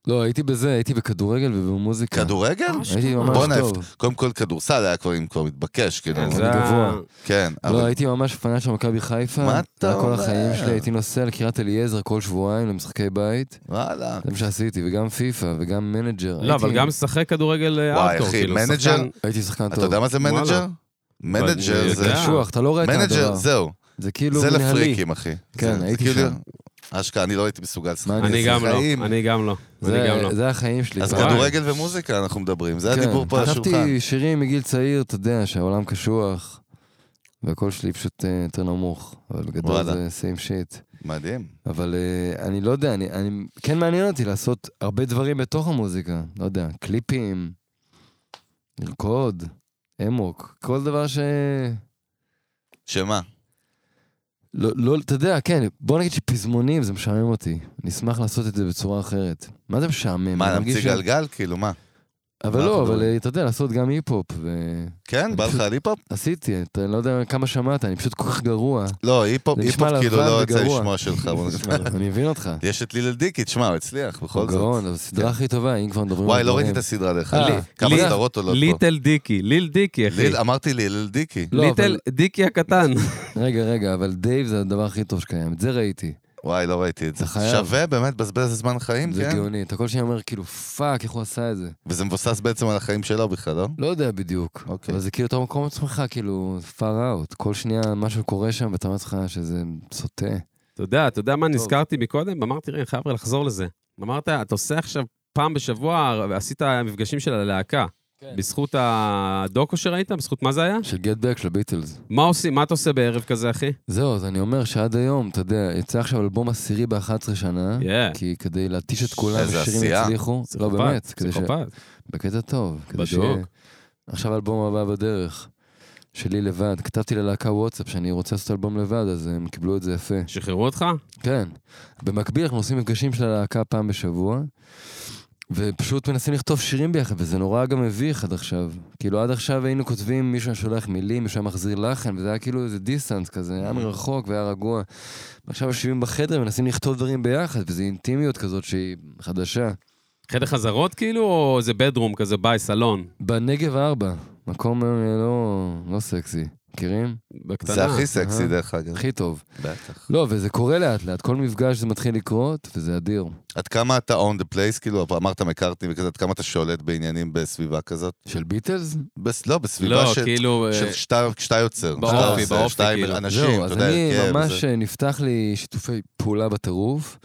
S4: לא, הייתי בזה, הייתי בכדורגל ובמוזיקה.
S1: כדורגל?
S4: הייתי ממש
S1: בואנה,
S4: טוב.
S1: קודם כל כדורסל היה כבר אם כבר מתבקש, כאילו.
S2: כן,
S4: אני
S2: זה ה-
S4: גבוה.
S1: כן,
S4: לא,
S1: אבל...
S4: הייתי ממש פנאט של מכבי חיפה.
S1: מה אתה
S4: כל
S1: אומר?
S4: החיים שלי הייתי נוסע לקריית אליעזר כל שבועיים למשחקי בית.
S1: וואלה.
S4: זה לא מה שעשיתי, וגם פיפא, וגם מנג'ר.
S2: לא,
S4: הייתי-
S2: אבל גם שחק כדורגל אה,
S1: וואי,
S2: ארטקור,
S1: אחי,
S2: כאילו,
S1: מנג'ר?
S2: שחקן-
S4: הייתי שחקן
S1: אתה
S4: טוב.
S1: יודע מה זה מנג'ר?
S2: וואלה.
S1: מנג'ר
S2: אני
S1: זה...
S2: יודע.
S4: קשוח, אתה לא רואה את הדבר.
S1: מנג'ר, זהו.
S4: זה כאילו
S1: זה
S4: מנהלי.
S1: לפריקים, אחי.
S4: כן,
S1: זה- זה
S4: הייתי
S1: כאילו-
S4: שם.
S1: אשכרה, אני לא הייתי מסוגל לשחק.
S4: מה
S2: אני
S4: אני
S2: גם
S1: חיים.
S2: לא, אני גם לא. אני גם לא.
S4: זה, זה החיים שלי.
S1: אז
S4: פעם.
S1: כדורגל ומוזיקה אנחנו מדברים, זה
S4: כן,
S1: הדיבור פה על השולחן.
S4: כתבתי שירים מגיל צעיר, אתה יודע, שהעולם קשוח, והקול שלי פשוט אה, יותר נמוך, אבל גדול
S1: וואלה.
S4: זה same shit.
S1: מדהים.
S4: אבל אה, אני לא יודע, אני, אני, כן מעניין אותי לעשות הרבה דברים בתוך המוזיקה. לא יודע, קליפים, לרקוד, אמוק, כל דבר ש...
S1: שמה?
S4: לא, לא, אתה יודע, כן, בוא נגיד שפזמונים זה משעמם אותי. אני אשמח לעשות את זה בצורה אחרת. מה זה משעמם?
S1: מה,
S4: אני מרגיש
S1: להמציא
S4: ש-
S1: גלגל? כאילו, מה?
S4: אבל
S1: מה
S4: לא,
S1: אנחנו
S4: אבל
S1: מדברים?
S4: אה, אתה יודע, לעשות גם היפ-הופ, ו...
S1: כן, בא לך על היפ-הופ?
S4: עשיתי, אתה לא יודע כמה שמעת, אני פשוט כל כך גרוע.
S1: לא, היפ-הופ
S4: זה נשמע
S1: היפ-הופ כאילו
S4: לבן
S1: לא יצא
S4: וגרוע.
S1: לשמוע שלך. בוא נשמע.
S4: <laughs> אני מבין אותך.
S1: <laughs> יש את לילל דיקי, תשמע, הוא הצליח,
S4: הוא
S1: בכל זאת. כן.
S4: גאון, זו הסדרה הכי טובה, אם כבר מדברים
S1: וואי,
S4: על
S1: לא ראיתי
S4: דברים.
S1: את הסדרה דרך
S4: אה,
S1: אגב. כמה
S2: לי-
S1: סדרות עולות פה.
S2: ליטל דיקי, ליל דיקי, אחי.
S1: לא ליל- אמרתי לילל דיקי.
S4: לא,
S2: ליטל
S4: אבל-
S2: דיקי הקטן. <laughs>
S4: רגע, רגע, אבל דייב זה הדבר הכי טוב שקיים, את זה ראיתי.
S1: וואי, לא ראיתי את זה.
S4: אתה חייב.
S1: שווה באמת בזבז זמן חיים,
S4: זה
S1: כן?
S4: גאוני. אתה כל שניה אומר, כאילו, פאק, איך הוא עשה את זה?
S1: וזה מבוסס בעצם על החיים שלו בכלל, לא?
S4: לא יודע בדיוק.
S1: אוקיי.
S4: אבל זה כאילו אותו מקום עצמך, כאילו, far out. כל שנייה משהו קורה שם, ואתה אומר לך שזה סוטה.
S2: אתה יודע, אתה יודע מה
S4: טוב.
S2: נזכרתי מקודם? אמרתי, תראה, אני חייב לחזור לזה. אמרת, אתה עושה עכשיו פעם בשבוע, עשית מפגשים של הלהקה.
S4: כן.
S2: בזכות הדוקו שראית? בזכות מה זה היה?
S4: של גט בק של הביטלס.
S2: מה עושים? מה אתה עושה בערב כזה, אחי?
S4: זהו, אז אני אומר שעד היום, אתה יודע, יצא עכשיו אלבום עשירי ב-11 שנה,
S2: כן.
S4: כי כדי להתיש את כולם,
S1: איזה
S4: השירים
S1: עשייה.
S4: יצליחו. אה? לא,
S2: פסיכופת,
S4: באמת. כדי ש-
S2: פסיכופת.
S4: בקטע טוב. כדי
S2: בדוק.
S4: שיהיה- עכשיו האלבום הבא בדרך, שלי לבד. כתבתי ללהקה וואטסאפ שאני רוצה לעשות אלבום לבד, אז הם קיבלו את זה יפה.
S2: שחררו אותך?
S4: כן. במקביל אנחנו עושים מפגשים של הלהקה פעם בשבוע, ופשוט מנסים לכתוב שירים ביחד, וזה נורא גם מביך עד עכשיו. כאילו עד עכשיו היינו כותבים, מישהו היה שולח מילים, מישהו היה מחזיר לחן, וזה היה כאילו איזה דיסטנס כזה, היה מרחוק והיה רגוע. עכשיו יושבים בחדר ומנסים לכתוב דברים ביחד, וזו אינטימיות כזאת שהיא חדשה.
S2: חדר חזרות כאילו, או איזה בדרום כזה, ביי, סלון?
S4: בנגב ארבע, מקום אה, לא, לא סקסי, מכירים?
S2: בקטנה. לא,
S1: זה הכי סקסי,
S4: אהה.
S1: דרך אגב.
S4: הכי טוב.
S1: בטח.
S4: לא, וזה קורה לאט לאט, כל מפגש זה מתחיל לקרות, וזה אדיר.
S1: עד כמה אתה on the place, כאילו, אמרת מקארטני וכזה, עד כמה אתה שולט בעניינים בסביבה כזאת?
S4: של ביטלס?
S1: בס- לא, בסביבה
S2: לא,
S1: של...
S2: כאילו... אה,
S1: של שאתה כשאתה יוצר,
S2: באופי,
S1: כשאתה עושה,
S2: באופי,
S1: כשאתה עם
S2: כאילו.
S1: אנשים,
S4: אז
S1: אתה יודע, כן,
S4: אני
S1: הרכב,
S4: ממש,
S1: זה.
S4: זה... נפתח לי שיתופי פעולה בטירוף,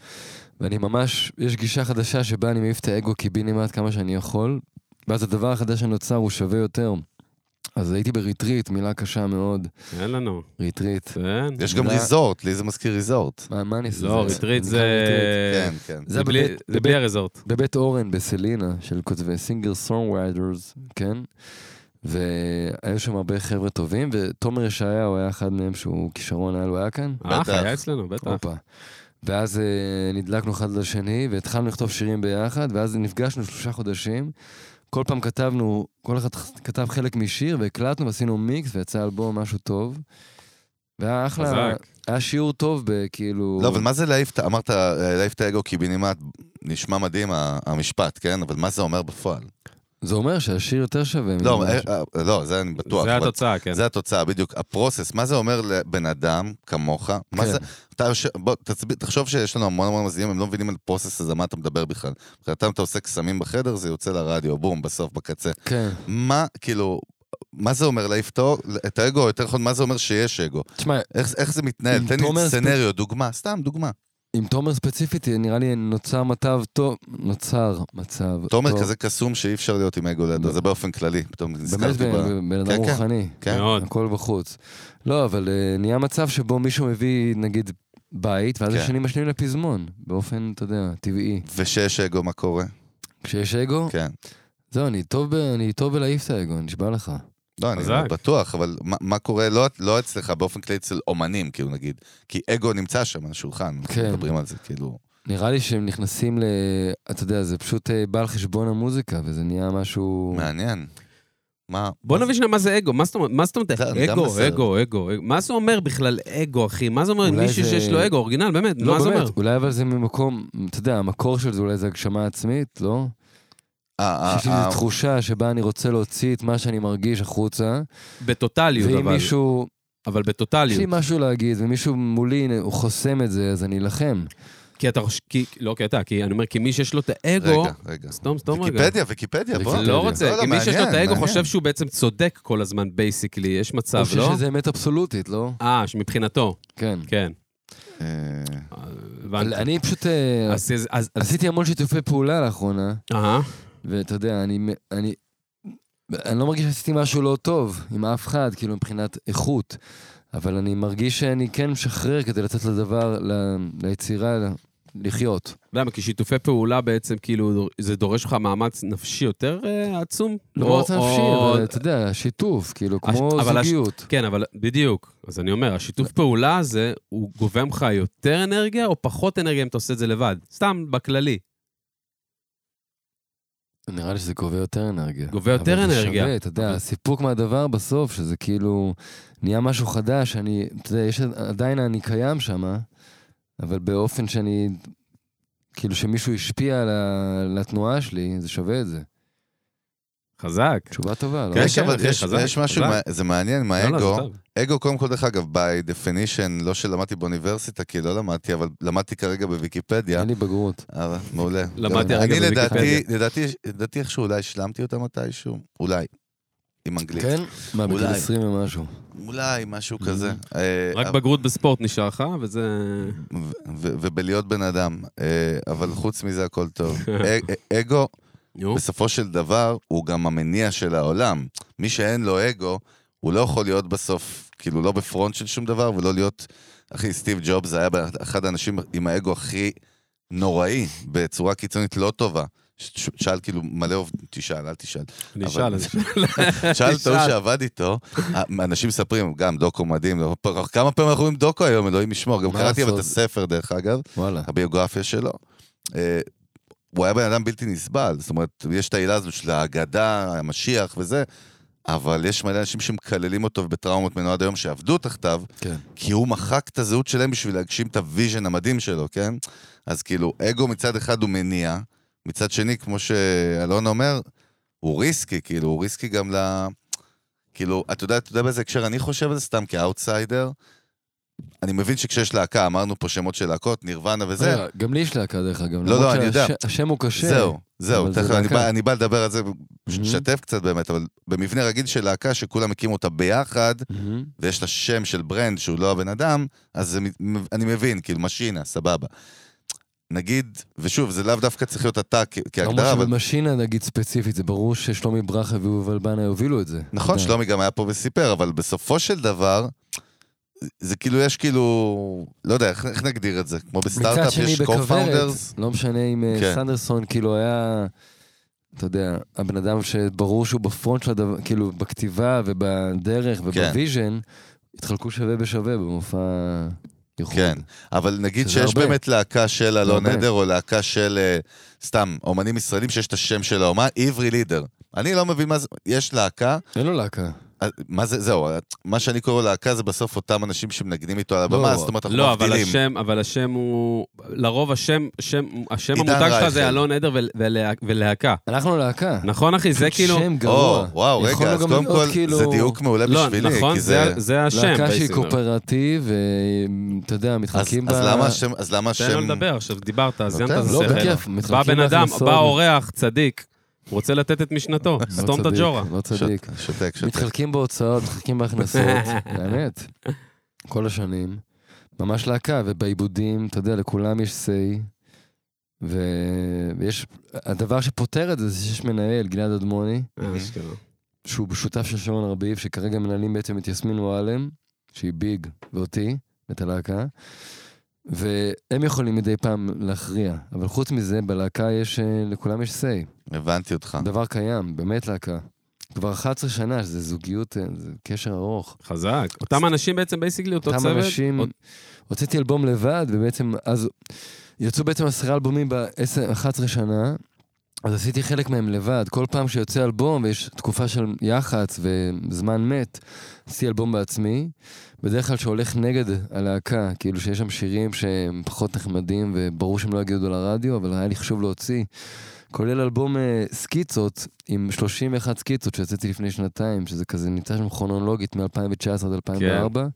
S4: ואני ממש, יש גישה חדשה שבה אני מעיף את האגו קיבינימט כמה שאני יכול, ואז הדבר החדש שנוצר הוא שווה יותר. אז הייתי בריטריט, מילה קשה מאוד,
S2: אין לנו,
S4: ריטריט.
S2: כן.
S1: יש גם
S4: אולי-
S1: ריזורט, לי זה מזכיר ריזורט.
S4: מה, מה אני אעשה?
S2: לא,
S4: זה-
S2: ריטריט
S4: נקרא
S2: זה...
S1: כן, כן.
S4: זה
S2: אה, זה בלי-
S4: בבית-
S2: זה בלי הרזורט.
S4: בבית אורן בסלינה, של כותבי סינגר סונגרייטרס, כן? והיו שם הרבה חבר'ה טובים, ותומר ישעיהו היה אחד מהם שהוא כישרון על, הוא היה כאן?
S2: אה,
S1: בטח.
S2: היה אצלנו, בטח.
S4: הופה. ואז אה, נדלקנו אחד לשני, והתחלנו לכתוב שירים ביחד, ואז נפגשנו שלושה חודשים. כל פעם כתבנו, כל אחד כתב חלק משיר, והקלטנו ועשינו מיקס, ויצא אלבום משהו טוב. והיה אחלה,
S2: חזק.
S4: היה שיעור טוב כאילו, בכאילו...
S1: לא, אבל מה זה להעיף, את- אמרת אה, להעיף את האגו קיבינימט, נשמע מדהים ה- המשפט, כן? אבל מה זה אומר בפועל?
S4: זה אומר שהשיר יותר שווה.
S1: לא,
S4: ממה-
S1: אה, אה, לא, זה אני בטוח.
S2: זה
S1: אבל-
S2: התוצאה, כן.
S1: זה התוצאה, בדיוק. הפרוסס, מה זה אומר לבן אדם כמוך? מה
S4: כן.
S1: זה... אתה יושב- בוא, תצב- תחשוב שיש לנו המון המון מאזינים, הם לא מבינים על פרוסס, אז על מה אתה מדבר בכלל. מבחינתם אתה עושה קסמים בחדר, זה יוצא לרדיו, בום, בסוף, בקצה.
S4: כן.
S1: מה, כאילו, מה זה אומר להעיף את האו- את האגו, או יותר נכון, מה זה אומר שיש אגו?
S4: תשמע,
S1: איך, איך זה מתנהל?
S4: אם
S1: תן
S4: תומר
S1: לי
S4: ספי-
S1: סצנריו, דוגמה, סתם דוגמה.
S4: עם תומר ספציפית, נראה לי נוצר מצב טוב. נוצר מצב
S1: תומר
S4: טוב.
S1: כזה קסום שאי אפשר להיות עם אגו לידו,
S4: ב-
S1: זה באופן כללי, פתאום
S4: באמת
S1: נזכרתי ב...
S4: בן- בן
S1: כן,
S4: אדם
S1: כן.
S4: רוחני.
S1: כן?
S2: מאוד.
S4: הכל בחוץ. לא, אבל אה, נהיה מצב שבו מישהו מביא, נגיד, בית, ואז
S1: כן.
S4: השני משלים לפזמון, באופן, אתה יודע, טבעי.
S1: ושיש אגו, מה קורה?
S4: כשיש אגו,
S1: כן.
S4: זהו, אני טוב ב- אני טוב בלהעיף את האגו, נשבע לך.
S1: לא, אני
S2: חזק.
S1: בטוח, אבל מה- מה קורה, לא- לא אצלך, באופן כללי אצל אומנים, כאילו נגיד, כי אגו נמצא שם על השולחן, אנחנו
S4: כן.
S1: מדברים על זה, כאילו...
S4: נראה לי שהם נכנסים ל... אתה יודע, זה פשוט אה, בא על חשבון המוזיקה, וזה נהיה משהו...
S1: מעניין. מה...
S2: בוא
S1: מה
S2: נבין שנייה מה זה אגו, מה זאת אומרת, מה זאת אומרת,
S1: זה, אני גם
S2: אגו,
S1: בסדר.
S2: אגו, אגו, אגו. מה זה אומר בכלל אגו, אחי? מה זה אומר
S4: אולי
S2: מישהו
S4: זה-
S2: שיש לו אגו, אורגינל, באמת,
S4: לא,
S2: מה זה אומר?
S4: באמת, אולי אבל זה ממקום, אתה יודע, המקור של זה אולי זה הגשמה עצמית, לא?
S1: זה? אה,
S4: שיש לי
S1: אה,
S4: איזו תחושה שבה אני רוצה להוציא את מה שאני מרגיש החוצה,
S2: בטוטליות,
S4: ואם
S2: אבל,
S4: מישהו
S2: אבל
S4: יש לי
S2: בטוטליות.
S4: משהו להגיד, ומישהו מולי, הנה, הוא חוסם את זה, אז אני אלחם.
S2: כי אתה חושב, כי- לא, כי אתה, כי אני אומר, כי מי שיש לו את
S1: רגע,
S2: האגו,
S1: רגע.
S2: סתום, סתום רגע.
S1: ויקיפדיה, ויקיפדיה, בוא.
S2: לא רוצה,
S1: לא,
S2: כי מי שיש לו את
S1: מעניין,
S2: האגו
S1: מעניין.
S2: חושב שהוא בעצם צודק כל הזמן, בייסיקלי, יש מצב,
S4: אני חושב
S2: לא?
S4: שזה אמת אבסולוטית, לא?
S2: אה, שמבחינתו,
S4: כן.
S2: כן.
S1: אה,
S4: אבל
S2: הבנתי.
S4: אני פשוט אה,
S2: אז- אז- אז- אז-
S4: עשיתי המון שיתופי פעולה לאחרונה,
S2: אהה.
S4: ואתה יודע, אני... אני אני לא מרגיש שעשיתי משהו לא טוב עם אף אחד, כאילו מבחינת איכות, אבל אני מרגיש שאני כן משחרר כדי לתת לדבר, ל- ליצירה, לחיות.
S2: למה? כי שיתופי פעולה בעצם, כאילו, זה דורש לך מאמץ נפשי יותר אה, עצום?
S4: לא
S2: או-
S4: מאמץ נפשי,
S2: או-
S4: אבל אתה יודע, שיתוף, כאילו, כמו
S2: אבל הש-
S4: זוגיות.
S2: כן, אבל בדיוק. אז אני אומר, השיתוף פעולה הזה, הוא גובה ממך יותר אנרגיה או פחות אנרגיה אם אתה עושה את זה לבד? סתם, בכללי.
S4: נראה לי שזה גובה יותר אנרגיה.
S2: גובה יותר
S4: אבל זה
S2: אנרגיה.
S4: שווה, אתה יודע,
S2: אבל-
S4: הסיפוק מהדבר בסוף, שזה כאילו נהיה משהו חדש, אני, אתה יודע, יש עדיין אני קיים שם, אבל באופן שאני, כאילו שמישהו השפיע על ה- על התנועה שלי, זה שווה את זה.
S2: חזק.
S4: תשובה טובה, לא?
S2: כן,
S1: יש אבל-
S2: כן,
S1: יש-
S2: חזק,
S1: יש משהו,
S2: חזק.
S1: מה- זה מעניין, מה
S2: לא, לא,
S1: האגו,
S2: זה טוב.
S1: אגו קודם כל, דרך אגב, by definition, לא שלמדתי באוניברסיטה, כי לא למדתי, אבל למדתי כרגע בוויקיפדיה.
S4: אין לי בגרות.
S1: אבל מעולה.
S2: למדתי
S1: גם-
S2: הרגע
S1: אני לדעתי,
S2: בוויקיפדיה.
S1: לדעתי, לדעתי איכשהו אולי השלמתי אותה מתישהו, אולי, עם אנגלית.
S4: כן? מה, בגיל
S1: אולי.
S4: 20 ומשהו.
S1: אולי, משהו כזה. אה,
S2: Mm-hmm. רק
S1: אבל-
S2: בגרות בספורט נשאר לך, וזה...
S1: ו- ו- ובלהיות בן אדם, אה, אבל חוץ מזה הכל טוב.
S2: <laughs>
S1: א- א- אגו,
S2: נו,
S1: בסופו של דבר, הוא גם המניע של העולם. מי שאין לו אגו, הוא לא יכול להיות בסוף, כאילו, לא בפרונט של שום דבר, ולא להיות... אחי, סטיב ג'ובס היה אחד האנשים עם האגו הכי נוראי, בצורה קיצונית לא טובה. ש- ש- שאל כאילו מלא עובדים, תשאל, אל תשאל.
S2: אני
S1: אבל-
S2: אשאל, אני <laughs> אשאל.
S1: <laughs> שאל את ההוא
S2: תשאל.
S1: שעבד איתו, אנשים מספרים, גם דוקו מדהים, לא- כמה פעמים אנחנו רואים דוקו היום, אלוהים ישמור, גם
S4: מה
S1: קראתי אבל את
S4: לעשות?
S1: הספר דרך אגב,
S4: וואלה.
S1: הביוגרפיה שלו. אה, הוא היה בן אדם בלתי נסבל, זאת אומרת, יש את העילה הזו של האגדה, המשיח וזה, אבל יש מלא אנשים שמקללים אותו בטראומות ממנו עד היום שעבדו תחתיו,
S4: כן.
S1: כי הוא מחק את הזהות שלהם בשביל להגשים את הוויז'ן המדהים שלו, כן? אז כאילו, אגו מצד אחד הוא מניע, מצד שני, כמו שאלון אומר, הוא ריסקי, כאילו, הוא ריסקי גם ל... כאילו, אתה יודע, אתה יודע באיזה הקשר אני חושב על זה סתם כאוטסיידר? אני מבין שכשיש להקה, אמרנו פה שמות של להקות, נירוונה וזה,
S4: רגע, גם לי יש להקה דרך אגב.
S1: לא,
S4: למרות
S1: אני יודע.
S4: שהש- השם הוא אה, קשה.
S1: זהו, זהו,
S4: אבל זה
S1: תכף, אני
S4: להקה.
S1: בא- אני בא לדבר על זה,
S4: Mhm.
S1: לשתף קצת באמת, אבל במבנה רגיל של להקה, שכולם הקימו אותה ביחד,
S4: מהמם.
S1: ויש לה שם של ברנד שהוא לא הבן אדם, אז זה, מ- אני מבין, כאילו, משינה, סבבה. נגיד, ושוב, זה לאו דווקא צריך להיות אתה
S4: לא
S1: כ- כהגדרה, אבל...
S4: למרות שבמשינה, נגיד ספציפית, זה ברור ששלומי ברכה ויובל בנה יובילו את זה.
S1: נכון,
S4: אתה יודע.
S1: שלומי גם היה פה וסיפר, אבל בסופו של דבר, זה- זה כאילו, יש כאילו, לא יודע, איך, איך נגדיר את זה? כמו
S4: מצד
S1: בסטארט-אפ
S4: שני
S1: יש
S4: בכוורת,
S1: co-founders?
S4: לא משנה אם אה,
S1: כן.
S4: סנדרסון כאילו היה, אתה יודע, הבן אדם שברור שהוא בפרונט של הדבר, כאילו בכתיבה
S1: כן.
S4: ובדרך ובוויז'ן, התחלקו שווה בשווה במופע ייחוד.
S1: כן, אבל נגיד
S4: שזה
S1: שיש
S4: הרבה.
S1: באמת להקה של אלון
S4: הרבה.
S1: עדר, או להקה של, אה, סתם, אומנים ישראלים שיש את השם של האומה, עברי לידר. אני לא מבין מה זה, יש להקה,
S4: אין לו להקה.
S1: אז מה זה, זהו, מה שאני קורא להקה זה בסוף אותם אנשים שמנגנים איתו על הבמה,
S4: לא,
S1: זאת אומרת, אנחנו
S2: לא, אבל
S1: מבדילים.
S2: השם, אבל השם הוא... לרוב השם, שם- השם
S1: עידן
S2: המותג שלך
S1: רייכל.
S2: זה אלון עדר ול- ולה- ולהקה.
S4: אנחנו להקה.
S2: נכון, אחי? זה כאילו...
S4: שם
S1: או,
S4: גרוע.
S1: וואו, רגע,
S4: יכולנו
S1: אז
S4: גם
S1: קודם
S4: להיות
S1: כל,
S4: כאילו-
S1: זה דיוק מעולה
S2: לא,
S1: בשבילי,
S2: נכון,
S1: כי זה...
S2: זה- זה השם.
S4: להקה שהיא
S2: בעצם.
S4: קואופרטיב, ואתה יודע,
S1: אז
S4: מתחלקים
S1: אז למה השם, אז למה
S2: תן לו
S1: השם...
S2: לדבר עכשיו, דיברת, אז זיינת את
S1: נותן לו,
S4: לא,
S2: השכל.
S4: בכיף,
S2: בא
S4: מתחלקים
S2: בן אדם,
S4: בהכנסות.
S2: בא אורח, צדיק, הוא רוצה לתת את משנתו,
S4: לא
S2: סתום את
S4: צדיק,
S2: הג'ורה.
S4: לא צדיק.
S1: שותק, שותק, שותק.
S4: מתחלקים בהוצאות, מתחלקים בהכנסות, באמת. כל השנים. ממש להקה, ובעיבודים, אתה יודע, לכולם יש say. ו... ויש, הדבר שפותר את זה, זה שיש מנהל, גלעד אדמוני,
S2: אשכרה.
S4: שהוא שותף של שרון ארביב, שכרגע מנהלים בעצם את יסמין מועלם, שהיא ביג, ואותי, את הלהקה. והם יכולים מדי פעם להכריע, אבל חוץ מזה, בלהקה יש, אה, לכולם יש say.
S1: הבנתי אותך.
S4: דבר קיים, באמת להקה. כבר 11 שנה, שזה זוגיות, אה, זה קשר ארוך.
S2: חזק. אותם אנשים בעצם בייסיקלי אותו צוות.
S4: אותם אנשים,
S2: עוד-
S4: הוצאתי אלבום לבד, ובעצם אז יצאו בעצם עשרה אלבומים ב-11 שנה, אז עשיתי חלק מהם לבד. כל פעם שיוצא אלבום ויש תקופה של יח"צ וזמן מת, עשיתי אלבום בעצמי. בדרך כלל שהולך נגד הלהקה, כאילו שיש שם שירים שהם פחות נחמדים, וברור שהם לא יגידו לרדיו, אבל היה לי חשוב להוציא. כולל אלבום אה, סקיצות, עם 31 סקיצות שיצאתי לפני שנתיים, שזה כזה נמצא שם כרונולוגית מ-2019 עד 2004.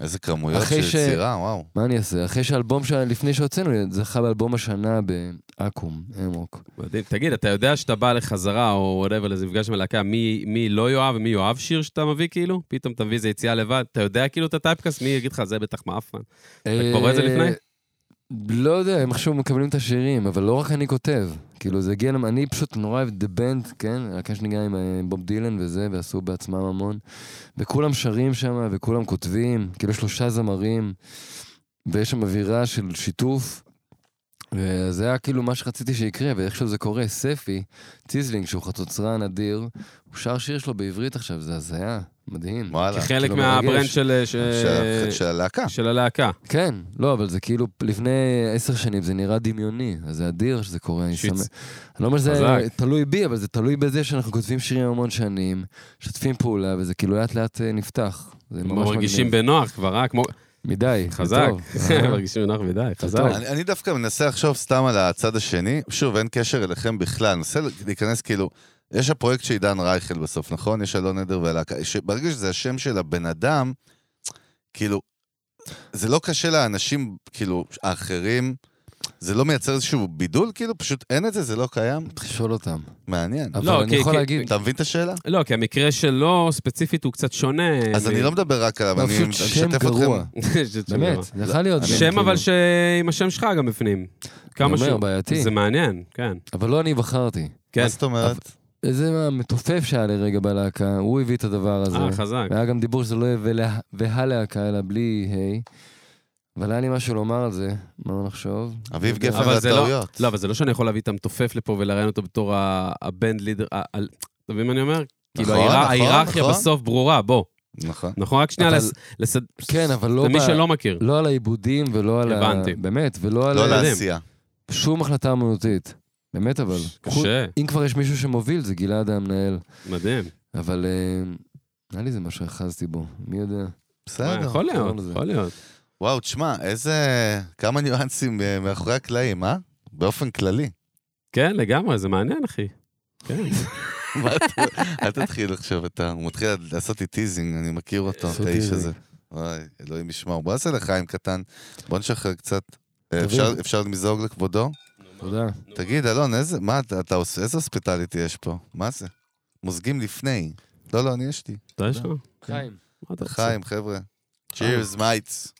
S1: איזה כמויות של
S4: אחרי ש-
S1: יצירה, וואו.
S4: מה אני אעשה? אחרי שהאלבום, ש... לפני שהוצאנו, זכה באלבום השנה באקו"ם, אמוק.
S2: מדהים. תגיד, אתה יודע שאתה בא לחזרה או whatever לאיזה מפגש עם הלהקה, מי מי לא יאהב ומי יאהב שיר שאתה מביא כאילו? פתאום אתה מביא איזה יציאה לבד, אתה יודע כאילו את הטייפקאסט, מי יגיד לך זה בטח מאפן. אתה קורא את זה לפני?
S4: אה, לא יודע, הם עכשיו מקבלים את השירים, אבל לא רק אני כותב. כאילו, זה הגיע למ... אני פשוט נורא אוהב דה בנד, כן? להקה שנגיעה עם אה, בוב דילן וזה, ועשו בעצמם המון. וכולם שרים שם, וכולם כותבים, כאילו שלושה זמרים, ויש שם אווירה של שיתוף. וזה היה כאילו מה שרציתי שיקרה, ואיכשהו זה קורה. ספי ציזלינג, שהוא חצוצרן אדיר, הוא שר שיר שלו בעברית עכשיו, זה הזיה, מדהים.
S1: וואלה.
S2: כחלק
S4: כאילו
S2: מהברנד
S4: מרגש.
S2: של, ש...
S1: של- של הלהקה.
S2: של הלהקה.
S4: כן, לא, אבל זה כאילו לפני עשר שנים, זה נראה דמיוני, אז זה אדיר שזה קורה, אני
S2: שיט.
S4: שמח. אני לא אומר שזה
S2: חזק.
S4: תלוי בי, אבל זה תלוי בזה שאנחנו כותבים שירים המון שנים, משתפים פעולה, וזה כאילו לאט לאט אה, נפתח. זה ממש
S2: מרגישים
S4: מגניב.
S2: בנוח כבר, אה? כמו...
S4: מדי, זה
S2: חזק.
S4: טוב.
S2: <laughs> מרגישים בנוח מדי, חזק.
S4: טוב.
S1: אני, אני דווקא מנסה לחשוב סתם על הצד השני, שוב, אין קשר אליכם בכלל, אני מנסה להיכנס כאילו, יש הפרויקט של עידן רייכל בסוף, נכון? יש אלון עדר והלהקה, ש- ברגע שזה השם של הבן אדם, כאילו, זה לא קשה לאנשים, כאילו, האחרים, זה לא מייצר איזשהו בידול, כאילו, פשוט אין את זה, זה לא קיים,
S4: צריך לשאול אותם.
S1: מעניין.
S2: לא,
S4: אבל אני
S2: כי-
S4: יכול
S2: כי-
S4: להגיד,
S1: אתה מבין את השאלה?
S2: לא, כי המקרה שלו ספציפית הוא קצת שונה.
S1: אז
S2: מ-
S1: אני לא מדבר רק עליו,
S4: לא,
S1: אני אני
S4: פשוט שם
S1: משתף
S4: גרוע.
S1: אתכם.
S2: <laughs> זה שם
S4: באמת,
S2: גרוע.
S4: זה יכול להיות. שם,
S2: שם אבל
S4: כאילו.
S2: שעם השם שלך גם בפנים. כמה
S4: אני
S2: ש...
S4: אומר, בעייתי.
S2: זה מעניין, כן.
S4: אבל לא אני בחרתי.
S2: כן.
S1: מה זאת אומרת?
S4: איזה מתופף שהיה לרגע בלהקה, הוא הביא את הדבר הזה.
S2: אה, חזק.
S4: והיה גם דיבור שזה לא יהיה ולה- והלהקה, אלא בלי ה', אבל היה לי משהו לומר על זה, מה נחשוב?
S1: אביב
S4: אבל
S1: גפן
S2: זה לא...
S1: לטעויות.
S2: לא, אבל זה לא שאני יכול להביא את המתופף לפה ולראיין אותו בתור ה- הבנד לידר. ה- ה- אתה מבין מה אני אומר? כאילו, ההירא-
S1: נכון,
S2: ההיררכיה
S1: נכון.
S2: בסוף ברורה, בוא.
S1: נכון.
S2: נכון? רק שנייה
S4: אבל-
S2: לס- לס...
S4: כן, אבל לא
S2: למי
S4: ב-
S2: שלא מכיר.
S4: לא על העיבודים ולא על ה...
S2: הבנתי.
S4: באמת, ולא על
S1: לא
S4: ה-
S2: יודע.
S1: לעשייה.
S4: שום החלטה אמנותית. באמת, אבל. חוץ-
S2: קשה,
S4: אם כבר יש מישהו שמוביל, זה גלעד המנהל.
S2: מדהים.
S4: אבל אה, היה לי איזה משהו שאחזתי בו, מי יודע.
S2: מה,
S1: בסדר.
S2: אה, יכול להיות,
S4: קראנו לזה.
S2: יכול להיות.
S1: וואו, תשמע, איזה... כמה ניואנסים אה, מאחורי הקלעים, אה? באופן כללי. <laughs>
S2: כן, לגמרי, זה מעניין, אחי. כן. <laughs>
S1: מה אתה- אל תתחיל עכשיו, אתה... הוא מתחיל לעשות לי טיזינג, אני מכיר אותו,
S4: עשו
S1: את האיש
S4: טיזינג.
S1: הזה. וואי, אלוהים ישמעו. בוא נעשה לחיים קטן, בוא נשחרר קצת. אה,
S4: תביא.
S1: אפשר- אפשר למזוג לכבודו?
S4: תודה.
S1: תגיד, אלון, איזה... מה אתה- אתה עושה? איזה הוספיטליטי יש פה? מה זה? מוזגים לפני. לא, לא, אני יש לי.
S2: אתה יש לך? מה
S4: חיים.
S2: אתה רוצה?
S1: לחיים, חבר'ה. צ'ירס, מייטס.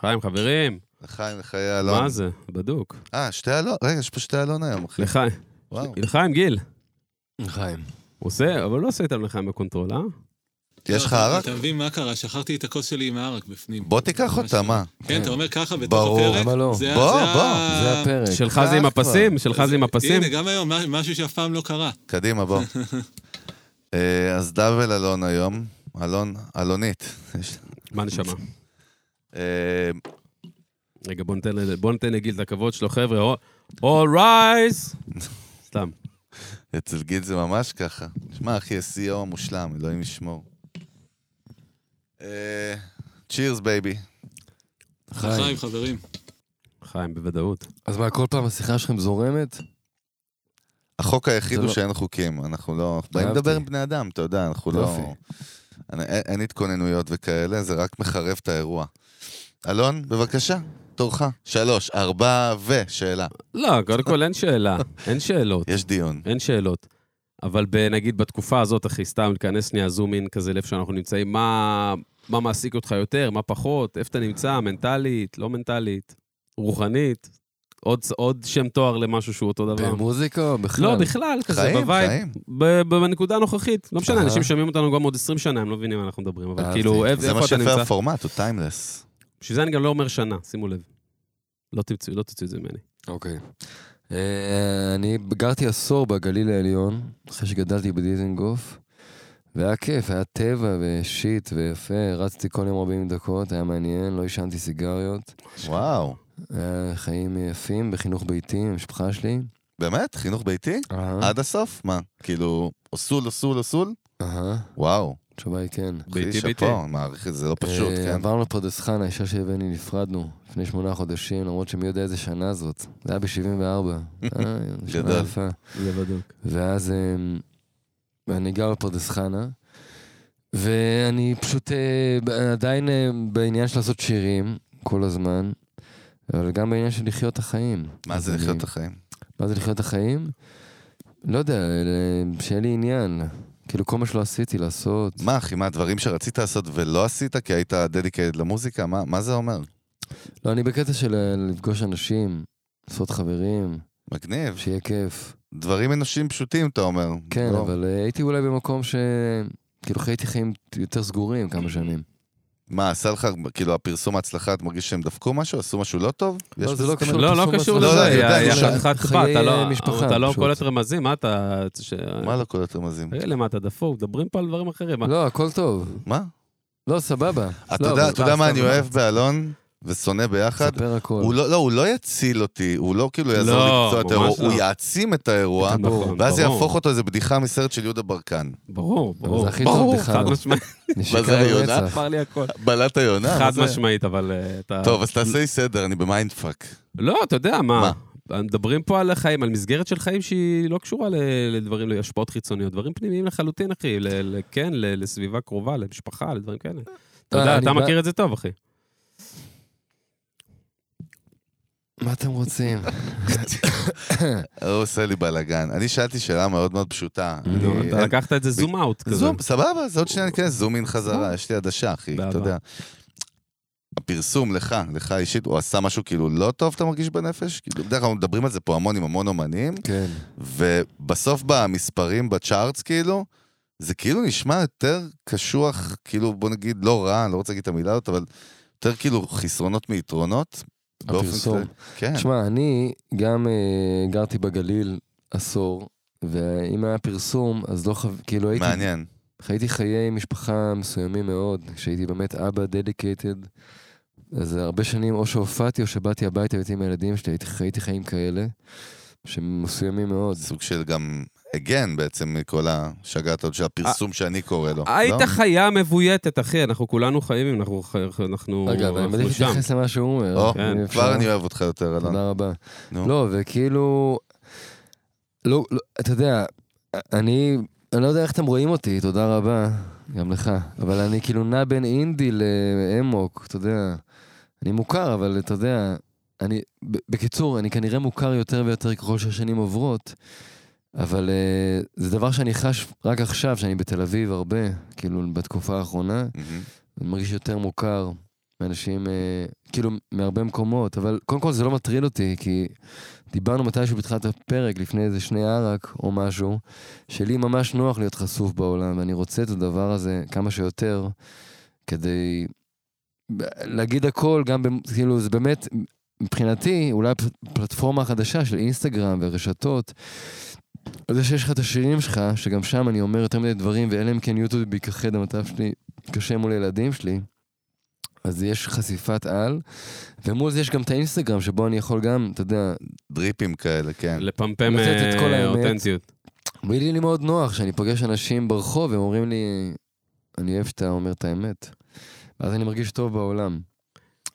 S2: חיים, חברים.
S1: לחיים, לחיי אלון.
S2: מה זה? בדוק.
S1: אה, שתי אלון? רגע, יש פה שתי אלון היום, אחי.
S2: לחיים.
S1: וואו.
S2: לחיים, גיל.
S4: חיים.
S2: הוא עושה, אבל לא עושה איתם לחיים בקונטרול, אה?
S1: יש לך
S3: לא,
S1: ערק?
S3: אתה מבין מה קרה? שכחתי את הכוס שלי עם הערק בפנים.
S1: בוא תיקח
S3: ממש
S1: אותה, מה?
S3: כן, אתה אומר ככה בתוך
S1: ברור.
S3: הפרק?
S4: למה לא?
S3: זה ה-
S1: בוא,
S3: זה ה-
S1: בוא,
S4: זה הפרק.
S2: שלך זה עם
S1: אה, כבר.
S2: הפסים? שלך זה עם הפסים?
S3: הנה, גם היום, מה- משהו שאף פעם לא קרה.
S1: קדימה,
S4: <laughs>
S1: בוא. אה, אז דאבל אלון היום, אלון, אלונית. יש-
S2: מה נשמע?
S1: אה,
S2: רגע, בוא ניתן ל- בוא ניתן לגיל את הכבוד שלו, חבר'ה. All
S1: <laughs>
S2: rise! סתם.
S1: אצל גיל זה ממש ככה. שמע, אחי, ה-CEO המושלם, אלוהים ישמור. אה, צ'ירס, בייבי.
S4: חיים.
S3: חיים, חברים.
S2: חיים, בוודאות.
S4: אז מה, כל פעם השיחה שלכם זורמת?
S1: החוק היחיד
S4: זה
S1: הוא
S4: לא-
S1: שאין חוקים, אנחנו לא... אנחנו באים
S4: אהבתי.
S1: לדבר עם בני אדם, אתה יודע, אנחנו לא...
S4: יופי.
S1: אני- אין- אין התכוננויות וכאלה, זה רק מחרב את האירוע. אלון, בבקשה, תורך. שלוש, ארבע ושאלה.
S2: לא, קודם כל אין שאלה. אין שאלות.
S1: יש דיון.
S2: אין שאלות. אבל ב- נגיד בתקופה הזאת, אחי, סתם, ניכנס שנייה זום אין כזה לאיפה שאנחנו נמצאים, מה, מה מעסיק אותך יותר, מה פחות, איפה אתה נמצא, מנטלית, לא מנטלית, רוחנית, עוד, עוד שם תואר למשהו שהוא אותו דבר.
S4: במוזיקה או בכלל?
S2: לא, בכלל, כזה,
S1: חיים,
S2: בווייב,
S1: חיים.
S2: ב- בנקודה הנוכחית. לא משנה,
S4: אהה.
S2: אנשים שומעים אותנו גם עוד 20 שנה, הם לא מבינים מה אנחנו מדברים, אבל
S4: אהבתי.
S2: כאילו, איפה
S1: זה
S2: איפה
S1: מה
S2: אתה
S1: שיפה
S2: נמצא?
S1: הפורמט, הוא טיימלס.
S2: בשביל זה אני גם לא אומר שנה, שימו לב. לא תמצאו לא תמצאו את זה ממני.
S4: אוקיי. אה, אני גרתי עשור בגליל העליון, אחרי שגדלתי בדיזנגוף, והיה כיף, היה טבע ושיט ויפה, רצתי כל יום 40 דקות, היה מעניין, לא עישנתי סיגריות.
S1: וואו.
S4: היה חיים יפים בחינוך ביתי עם המשפחה שלי.
S1: באמת? חינוך ביתי?
S4: אהה,
S1: עד הסוף? מה? כאילו, אוסול, אוסול, אוסול?
S4: אהה,
S1: וואו.
S4: התשובה היא כן.
S2: ביתי,
S1: אחי,
S2: ביתי.
S1: שאפו, אני מעריך את זה, זה לא פשוט,
S4: אה,
S1: כן?
S4: עברנו לפרדס חנה, האישה שהבאני נפרדנו לפני שמונה חודשים, למרות שמי יודע איזה שנה זאת. זה היה ב-74.
S1: <laughs> גדול.
S4: שנה יפה.
S2: זה בדוק.
S4: ואז אמ, אני גר בפרדס חנה, ואני פשוט אה, ב- עדיין אה, בעניין של לעשות שירים כל הזמן, אבל גם בעניין של לחיות את החיים.
S1: מה זה
S4: אז
S1: לחיות
S4: אני-
S1: את החיים?
S4: מה זה לחיות את החיים? לא יודע, אה, שיהיה לי עניין. כאילו, כל מה שלא עשיתי לעשות.
S1: מה, אחי, מה הדברים שרצית לעשות ולא עשית כי היית דדיקייד למוזיקה? מה מה זה אומר?
S4: לא, אני בקטע של אה, לפגוש אנשים, לעשות חברים,
S1: מגניב.
S4: שיהיה כיף.
S1: דברים אנושיים פשוטים, אתה אומר.
S4: כן,
S1: לא,
S4: אבל אה, הייתי אולי במקום ש... כאילו חייתי חיים יותר סגורים כמה שנים.
S1: מה, עשה לך, כאילו, הפרסום ההצלחה, אתה מרגיש שהם דפקו משהו? עשו משהו לא טוב? יש
S4: לא, זה
S1: בזה-
S4: לא קשור.
S2: לא, לא
S4: לפרסום
S2: קשור
S1: לא,
S2: לזה,
S1: לא, אני יודע,
S2: יא- יא
S1: יש לה
S2: חתיכת בת,
S4: חיי,
S2: אתה לא-
S4: אה, משפחה,
S2: אתה לא
S4: פשוט.
S2: קולט רמזים, מה אתה... ש-
S1: מה לא קולט רמזים?
S4: אה?
S2: תגיד למה אתה דפוק, מדברים פה על דברים אחרים. מה-
S4: לא, הכל טוב.
S1: מה?
S4: לא, סבבה.
S1: אתה
S4: לא,
S1: יודע-
S4: אבל
S1: אתה יודע מה
S4: סתם,
S1: אני
S4: אבל-
S1: אוהב באלון ושונא ביחד?
S4: ספר הכל.
S1: הוא לא, לא, הוא לא יציל אותי, הוא לא כאילו יעזור לי
S2: לא,
S1: למצוא את
S2: ממש
S1: האירוע,
S2: לא.
S1: הוא יעצים את האירוע,
S2: נכון, ברור.
S1: ואז יהפוך אותו איזה בדיחה מסרט של יהודה ברקן.
S2: ברור, ברור.
S4: זה הכי
S2: ברור,
S4: טוב בכלל.
S2: חד משמעית,
S4: נשיקה
S1: בזה היונה?
S4: לרצח.
S2: עבר לי הכל.
S1: בלט היונה? מה
S2: חד
S1: לא, זה?
S2: משמעית, אבל אה, אתה...
S1: טוב, אז תעשה לי סדר, אני במיינדפאק.
S2: לא, אתה יודע מה. מדברים פה על החיים, על מסגרת של חיים שהיא לא קשורה ל- לדברים, להשפעות חיצוניות, דברים פנימיים לחלוטין, אחי. ל- ל- כן, ל- לסביבה קרובה, למשפחה, לדברים כאלה. אתה
S4: אה,
S2: יודע,
S4: אני
S2: אתה
S4: בא-
S2: מכיר את זה טוב, אחי.
S4: מה אתם
S1: <laughs>
S4: רוצים?
S1: הוא עושה לי בלאגן. אני שאלתי שאלה מאוד מאוד פשוטה.
S4: נו,
S1: אני-
S2: לא- אתה
S1: אין-
S2: לקחת את זה זום אאוט כזה. אה,
S1: זום, סבבה, אז עוד שנייה ניכנס זום אין חזרה, יש לי עדשה, אחי,
S2: באהבה.
S1: אתה יודע. הפרסום לך, לך אישית, הוא עשה משהו כאילו לא טוב, אתה מרגיש בנפש? כאילו, בדרך כלל מדברים על זה פה המון עם המון אומנים,
S4: כן.
S1: ובסוף במספרים בצ'ארטס, כאילו, זה כאילו נשמע יותר קשוח, כאילו, בוא נגיד, לא רע, אני לא רוצה להגיד את המילה הזאת, אבל יותר כאילו חסרונות מיתרונות. באופן
S4: הפרסום.
S1: כללי. כן.
S4: תשמע, אני גם אה, גרתי בגליל עשור, ואם היה פרסום, אז לא חו... כאילו הייתי...
S1: מעניין.
S4: חייתי חיי משפחה מסוימים מאוד, כשהייתי באמת אבא דדיקייטד. אז הרבה שנים או שהופעתי או שבאתי הביתה והייתי עם הילדים שלי, הייתי, חייתי חיים כאלה, שמסוימים מאוד.
S1: סוג של גם הגן בעצם מכל השגעת עוד של
S4: אה,
S1: הפרסום שאני קורא לו.
S2: היית
S1: לא?
S2: חיה מבויתת, אחי, אנחנו כולנו חיים, אנחנו אנחנו-
S4: אגב, אני
S2: אנחנו
S4: מדהים
S2: שם.
S4: להתייחס למה שהוא אומר.
S1: או,
S2: כן,
S4: אם אפשר.
S1: כבר אני אוהב אותך יותר, אלון.
S4: תודה רבה.
S1: נו.
S4: לא, וכאילו... לא, לא, אתה יודע, אני... אני לא יודע איך אתם רואים אותי, תודה רבה, גם לך. אבל אני כאילו נע בין אינדי לאמוק, אתה יודע. אני מוכר, אבל אתה יודע, אני... ב- בקיצור, אני כנראה מוכר יותר ויותר ככל שהשנים עוברות, אבל אה, זה דבר שאני חש רק עכשיו, שאני בתל אביב הרבה, כאילו בתקופה האחרונה.
S1: מהמם.
S4: אני מרגיש יותר מוכר מאנשים, אה, כאילו, מהרבה מקומות, אבל קודם כל זה לא מטריד אותי, כי דיברנו מתישהו בתחילת הפרק, לפני איזה שני ערק או משהו, שלי ממש נוח להיות חשוף בעולם, ואני רוצה את הדבר הזה כמה שיותר, כדי להגיד הכל, גם, במ- כאילו, זה באמת, מבחינתי, אולי הפ- הפלטפורמה החדשה של אינסטגרם ורשתות, זה שיש לך את השירים שלך, שגם שם אני אומר יותר מדי דברים, ואלא אם כן יוטיוב ייכחד, המצב שלי קשה מול הילדים שלי, אז יש חשיפת על, ומול זה יש גם את האינסטגרם, שבו אני יכול גם, אתה יודע,
S1: דריפים כאלה, כן.
S4: לא,
S2: לפמפם
S4: לתת את כל
S2: אה,
S4: האמת.
S2: אותנטיות.
S4: בלי לי מאוד נוח שאני פוגש אנשים ברחוב, הם אומרים לי, אני אוהב שאתה אומר את האמת. ואז אני מרגיש טוב בעולם.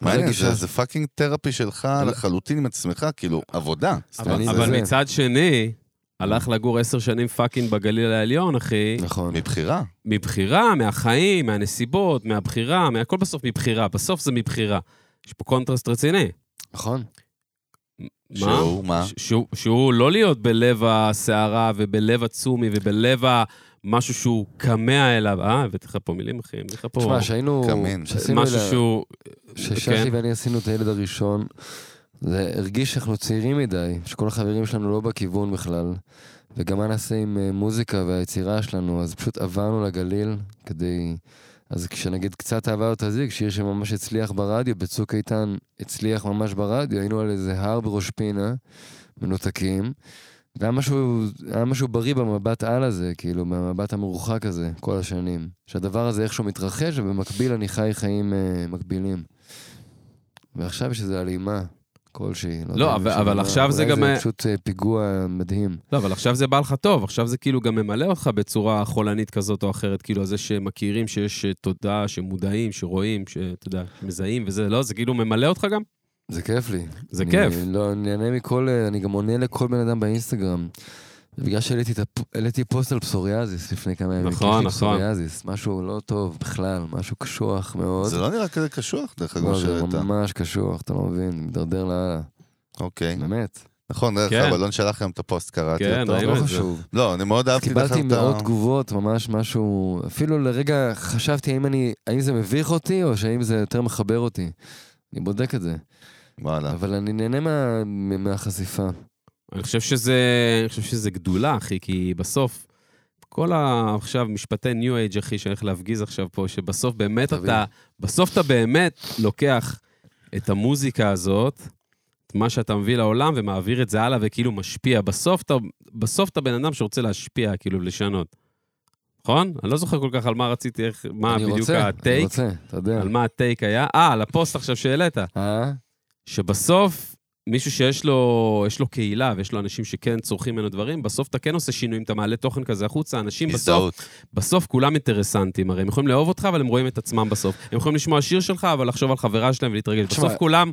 S1: מעניין,
S4: הגישה.
S1: זה- זה פאקינג תרפי שלך לחלוטין עם עצמך, כאילו, עבודה. זאת
S4: אבל-
S1: אומרת, זה-
S2: אבל
S4: זה.
S2: מצד שני, הלך לגור עשר שנים פאקינג בגליל העליון, אחי.
S4: נכון.
S1: מבחירה.
S2: מבחירה, מהחיים, מהנסיבות, מהבחירה, מהכל בסוף מבחירה. בסוף זה מבחירה. יש פה קונטרסט רציני.
S4: נכון.
S2: מה?
S1: שהוא, מה?
S2: ש- שהוא- שהוא לא להיות בלב הסערה ובלב הצומי ובלב ה... משהו שהוא כמה אליו. אה, הבאתי לך פה מילים, אחי. הבאתי לך פה
S4: תשמע, שהיינו...
S1: קמין.
S4: שעשינו
S2: משהו
S4: את ה-
S2: שהוא...
S4: ששחי
S2: כן.
S4: ואני עשינו את הילד הראשון, זה הרגיש שאנחנו צעירים מדי, שכל החברים שלנו לא בכיוון בכלל, וגם מה נעשה עם אה, מוזיקה והיצירה שלנו, אז פשוט עברנו לגליל כדי... אז כשנגיד קצת אהבה לא תזיק, שיר שממש הצליח ברדיו, בצוק איתן הצליח ממש ברדיו, היינו על איזה הר בראש פינה, מנותקים, והיה משהו, היה משהו בריא במבט על הזה, כאילו, במבט המרוחק הזה, כל השנים. שהדבר הזה איכשהו מתרחש, ובמקביל אני חי חיים אה, מקבילים. ועכשיו יש איזו הלימה כלשהי.
S2: לא,
S4: יודע,
S2: אבל-
S4: משהו
S2: אבל
S4: נורא.
S2: עכשיו זה
S4: אולי
S2: גם, אה,
S4: זה פשוט אה, פיגוע מדהים.
S2: לא, אבל עכשיו זה בא לך טוב, עכשיו זה כאילו גם ממלא אותך בצורה חולנית כזאת או אחרת, כאילו, על זה שמכירים שיש אה, תודה, שמודעים, שרואים, שאתה יודע, מזהים וזה, לא, זה כאילו ממלא אותך גם?
S4: זה כיף לי.
S2: זה
S4: אני,
S2: כיף.
S4: לא, אני נהנה מכל, אה, אני גם עונה לכל בן אדם באינסטגרם. בגלל שהעליתי את הפ- העליתי פוסט על פסוריאזיס לפני כמה ימים.
S2: נכון,
S4: יש לי
S2: נכון.
S4: פסוריאזיס, משהו לא טוב בכלל, משהו קשוח מאוד.
S1: זה לא נראה כזה קשוח, דרך אגב,
S4: לא, זה
S1: שהראית.
S4: ממש קשוח, אתה לא מבין, מידרדר לאללה.
S1: אוקיי.
S4: באמת.
S1: נכון, דרך
S2: כן.
S1: אגב, אלון שלח היום את הפוסט, קראתי
S2: כן,
S1: אותו.
S2: ראינו.
S4: לא
S2: את זה.
S4: חשוב.
S1: לא, אני מאוד אהבתי דרך
S4: קיבלתי
S1: אגב
S4: מאות
S1: את ה...
S4: תגובות, ממש משהו... אפילו לרגע חשבתי האם אני... האם זה מביך אותי, או שהאם זה יותר מחבר אותי. אני בודק את זה.
S1: וואלה.
S4: אבל אני נהנה מה- מ- מהחשיפה.
S2: אני חושב שזה, אני חושב שזה גדולה, אחי, כי בסוף, כל ה... עכשיו משפטי ניו אייג', אחי, שאני הולך להפגיז עכשיו פה, שבסוף באמת
S4: תבין.
S2: אתה, בסוף אתה באמת לוקח את המוזיקה הזאת, את מה שאתה מביא לעולם, ומעביר את זה הלאה, וכאילו משפיע. בסוף אתה, בסוף אתה בן אדם שרוצה להשפיע, כאילו, לשנות. נכון? אני לא זוכר כל כך על מה רציתי, איך, מה
S4: אני
S2: בדיוק
S4: רוצה, אני
S2: הטייק,
S4: רוצה, אתה יודע.
S2: על מה הטייק היה. אה, על הפוסט עכשיו שהעלית.
S4: אה?
S2: שבסוף, מישהו שיש לו, יש לו קהילה ויש לו אנשים שכן צורכים ממנו דברים, בסוף אתה כן עושה שינויים, אתה מעלה תוכן כזה החוצה, אנשים בסוף,
S1: הזדהות.
S2: בסוף כולם אינטרסנטים, הרי הם יכולים לאהוב אותך, אבל הם רואים את עצמם בסוף. הם יכולים לשמוע שיר שלך, אבל לחשוב על חברה שלהם ולהתרגל.
S4: תשמע,
S2: בסוף כולם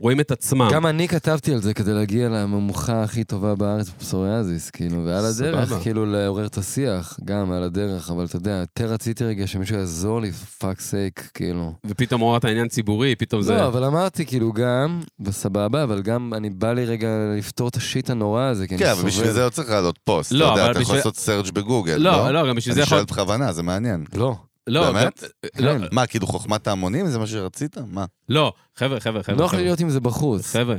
S2: רואים את עצמם.
S4: גם אני כתבתי על זה כדי להגיע לממוכה הכי טובה בארץ בפסוריאזיס, כאילו, ועל הדרך,
S2: סבבה.
S4: כאילו, לעורר את השיח, גם על הדרך, אבל אתה יודע, יותר רציתי רגע שמישהו יעזור לי, פאק סייק, כאילו.
S2: ופתאום עוררת עניין ציבורי, פתאום זה...
S4: לא, אבל אמרתי, כאילו, גם, וסבבה, אבל גם, אני בא לי רגע לפתור את השיט הנורא הזה, כי אני
S1: כן,
S4: סובל.
S1: אבל בשביל זה לא צריך לעלות פוסט.
S2: לא,
S1: לא, אתה
S2: אבל
S1: יודע, אתה יכול
S2: בשביל-
S1: לעשות סרג' בגוגל, לא?
S2: לא, לא, גם בשביל זה
S1: אני
S2: יכול...
S1: שואל בכוונה, זה מעניין.
S4: לא.
S2: לא,
S1: באמת?
S2: גם- לא,
S4: כן.
S1: מה, כאילו חוכמת ההמונים זה מה שרצית? מה?
S2: לא, חבר'ה, חבר'ה, חבר'ה.
S4: נוח לי
S2: חבר'ה.
S4: להיות עם זה בחוץ.
S2: חבר'ה,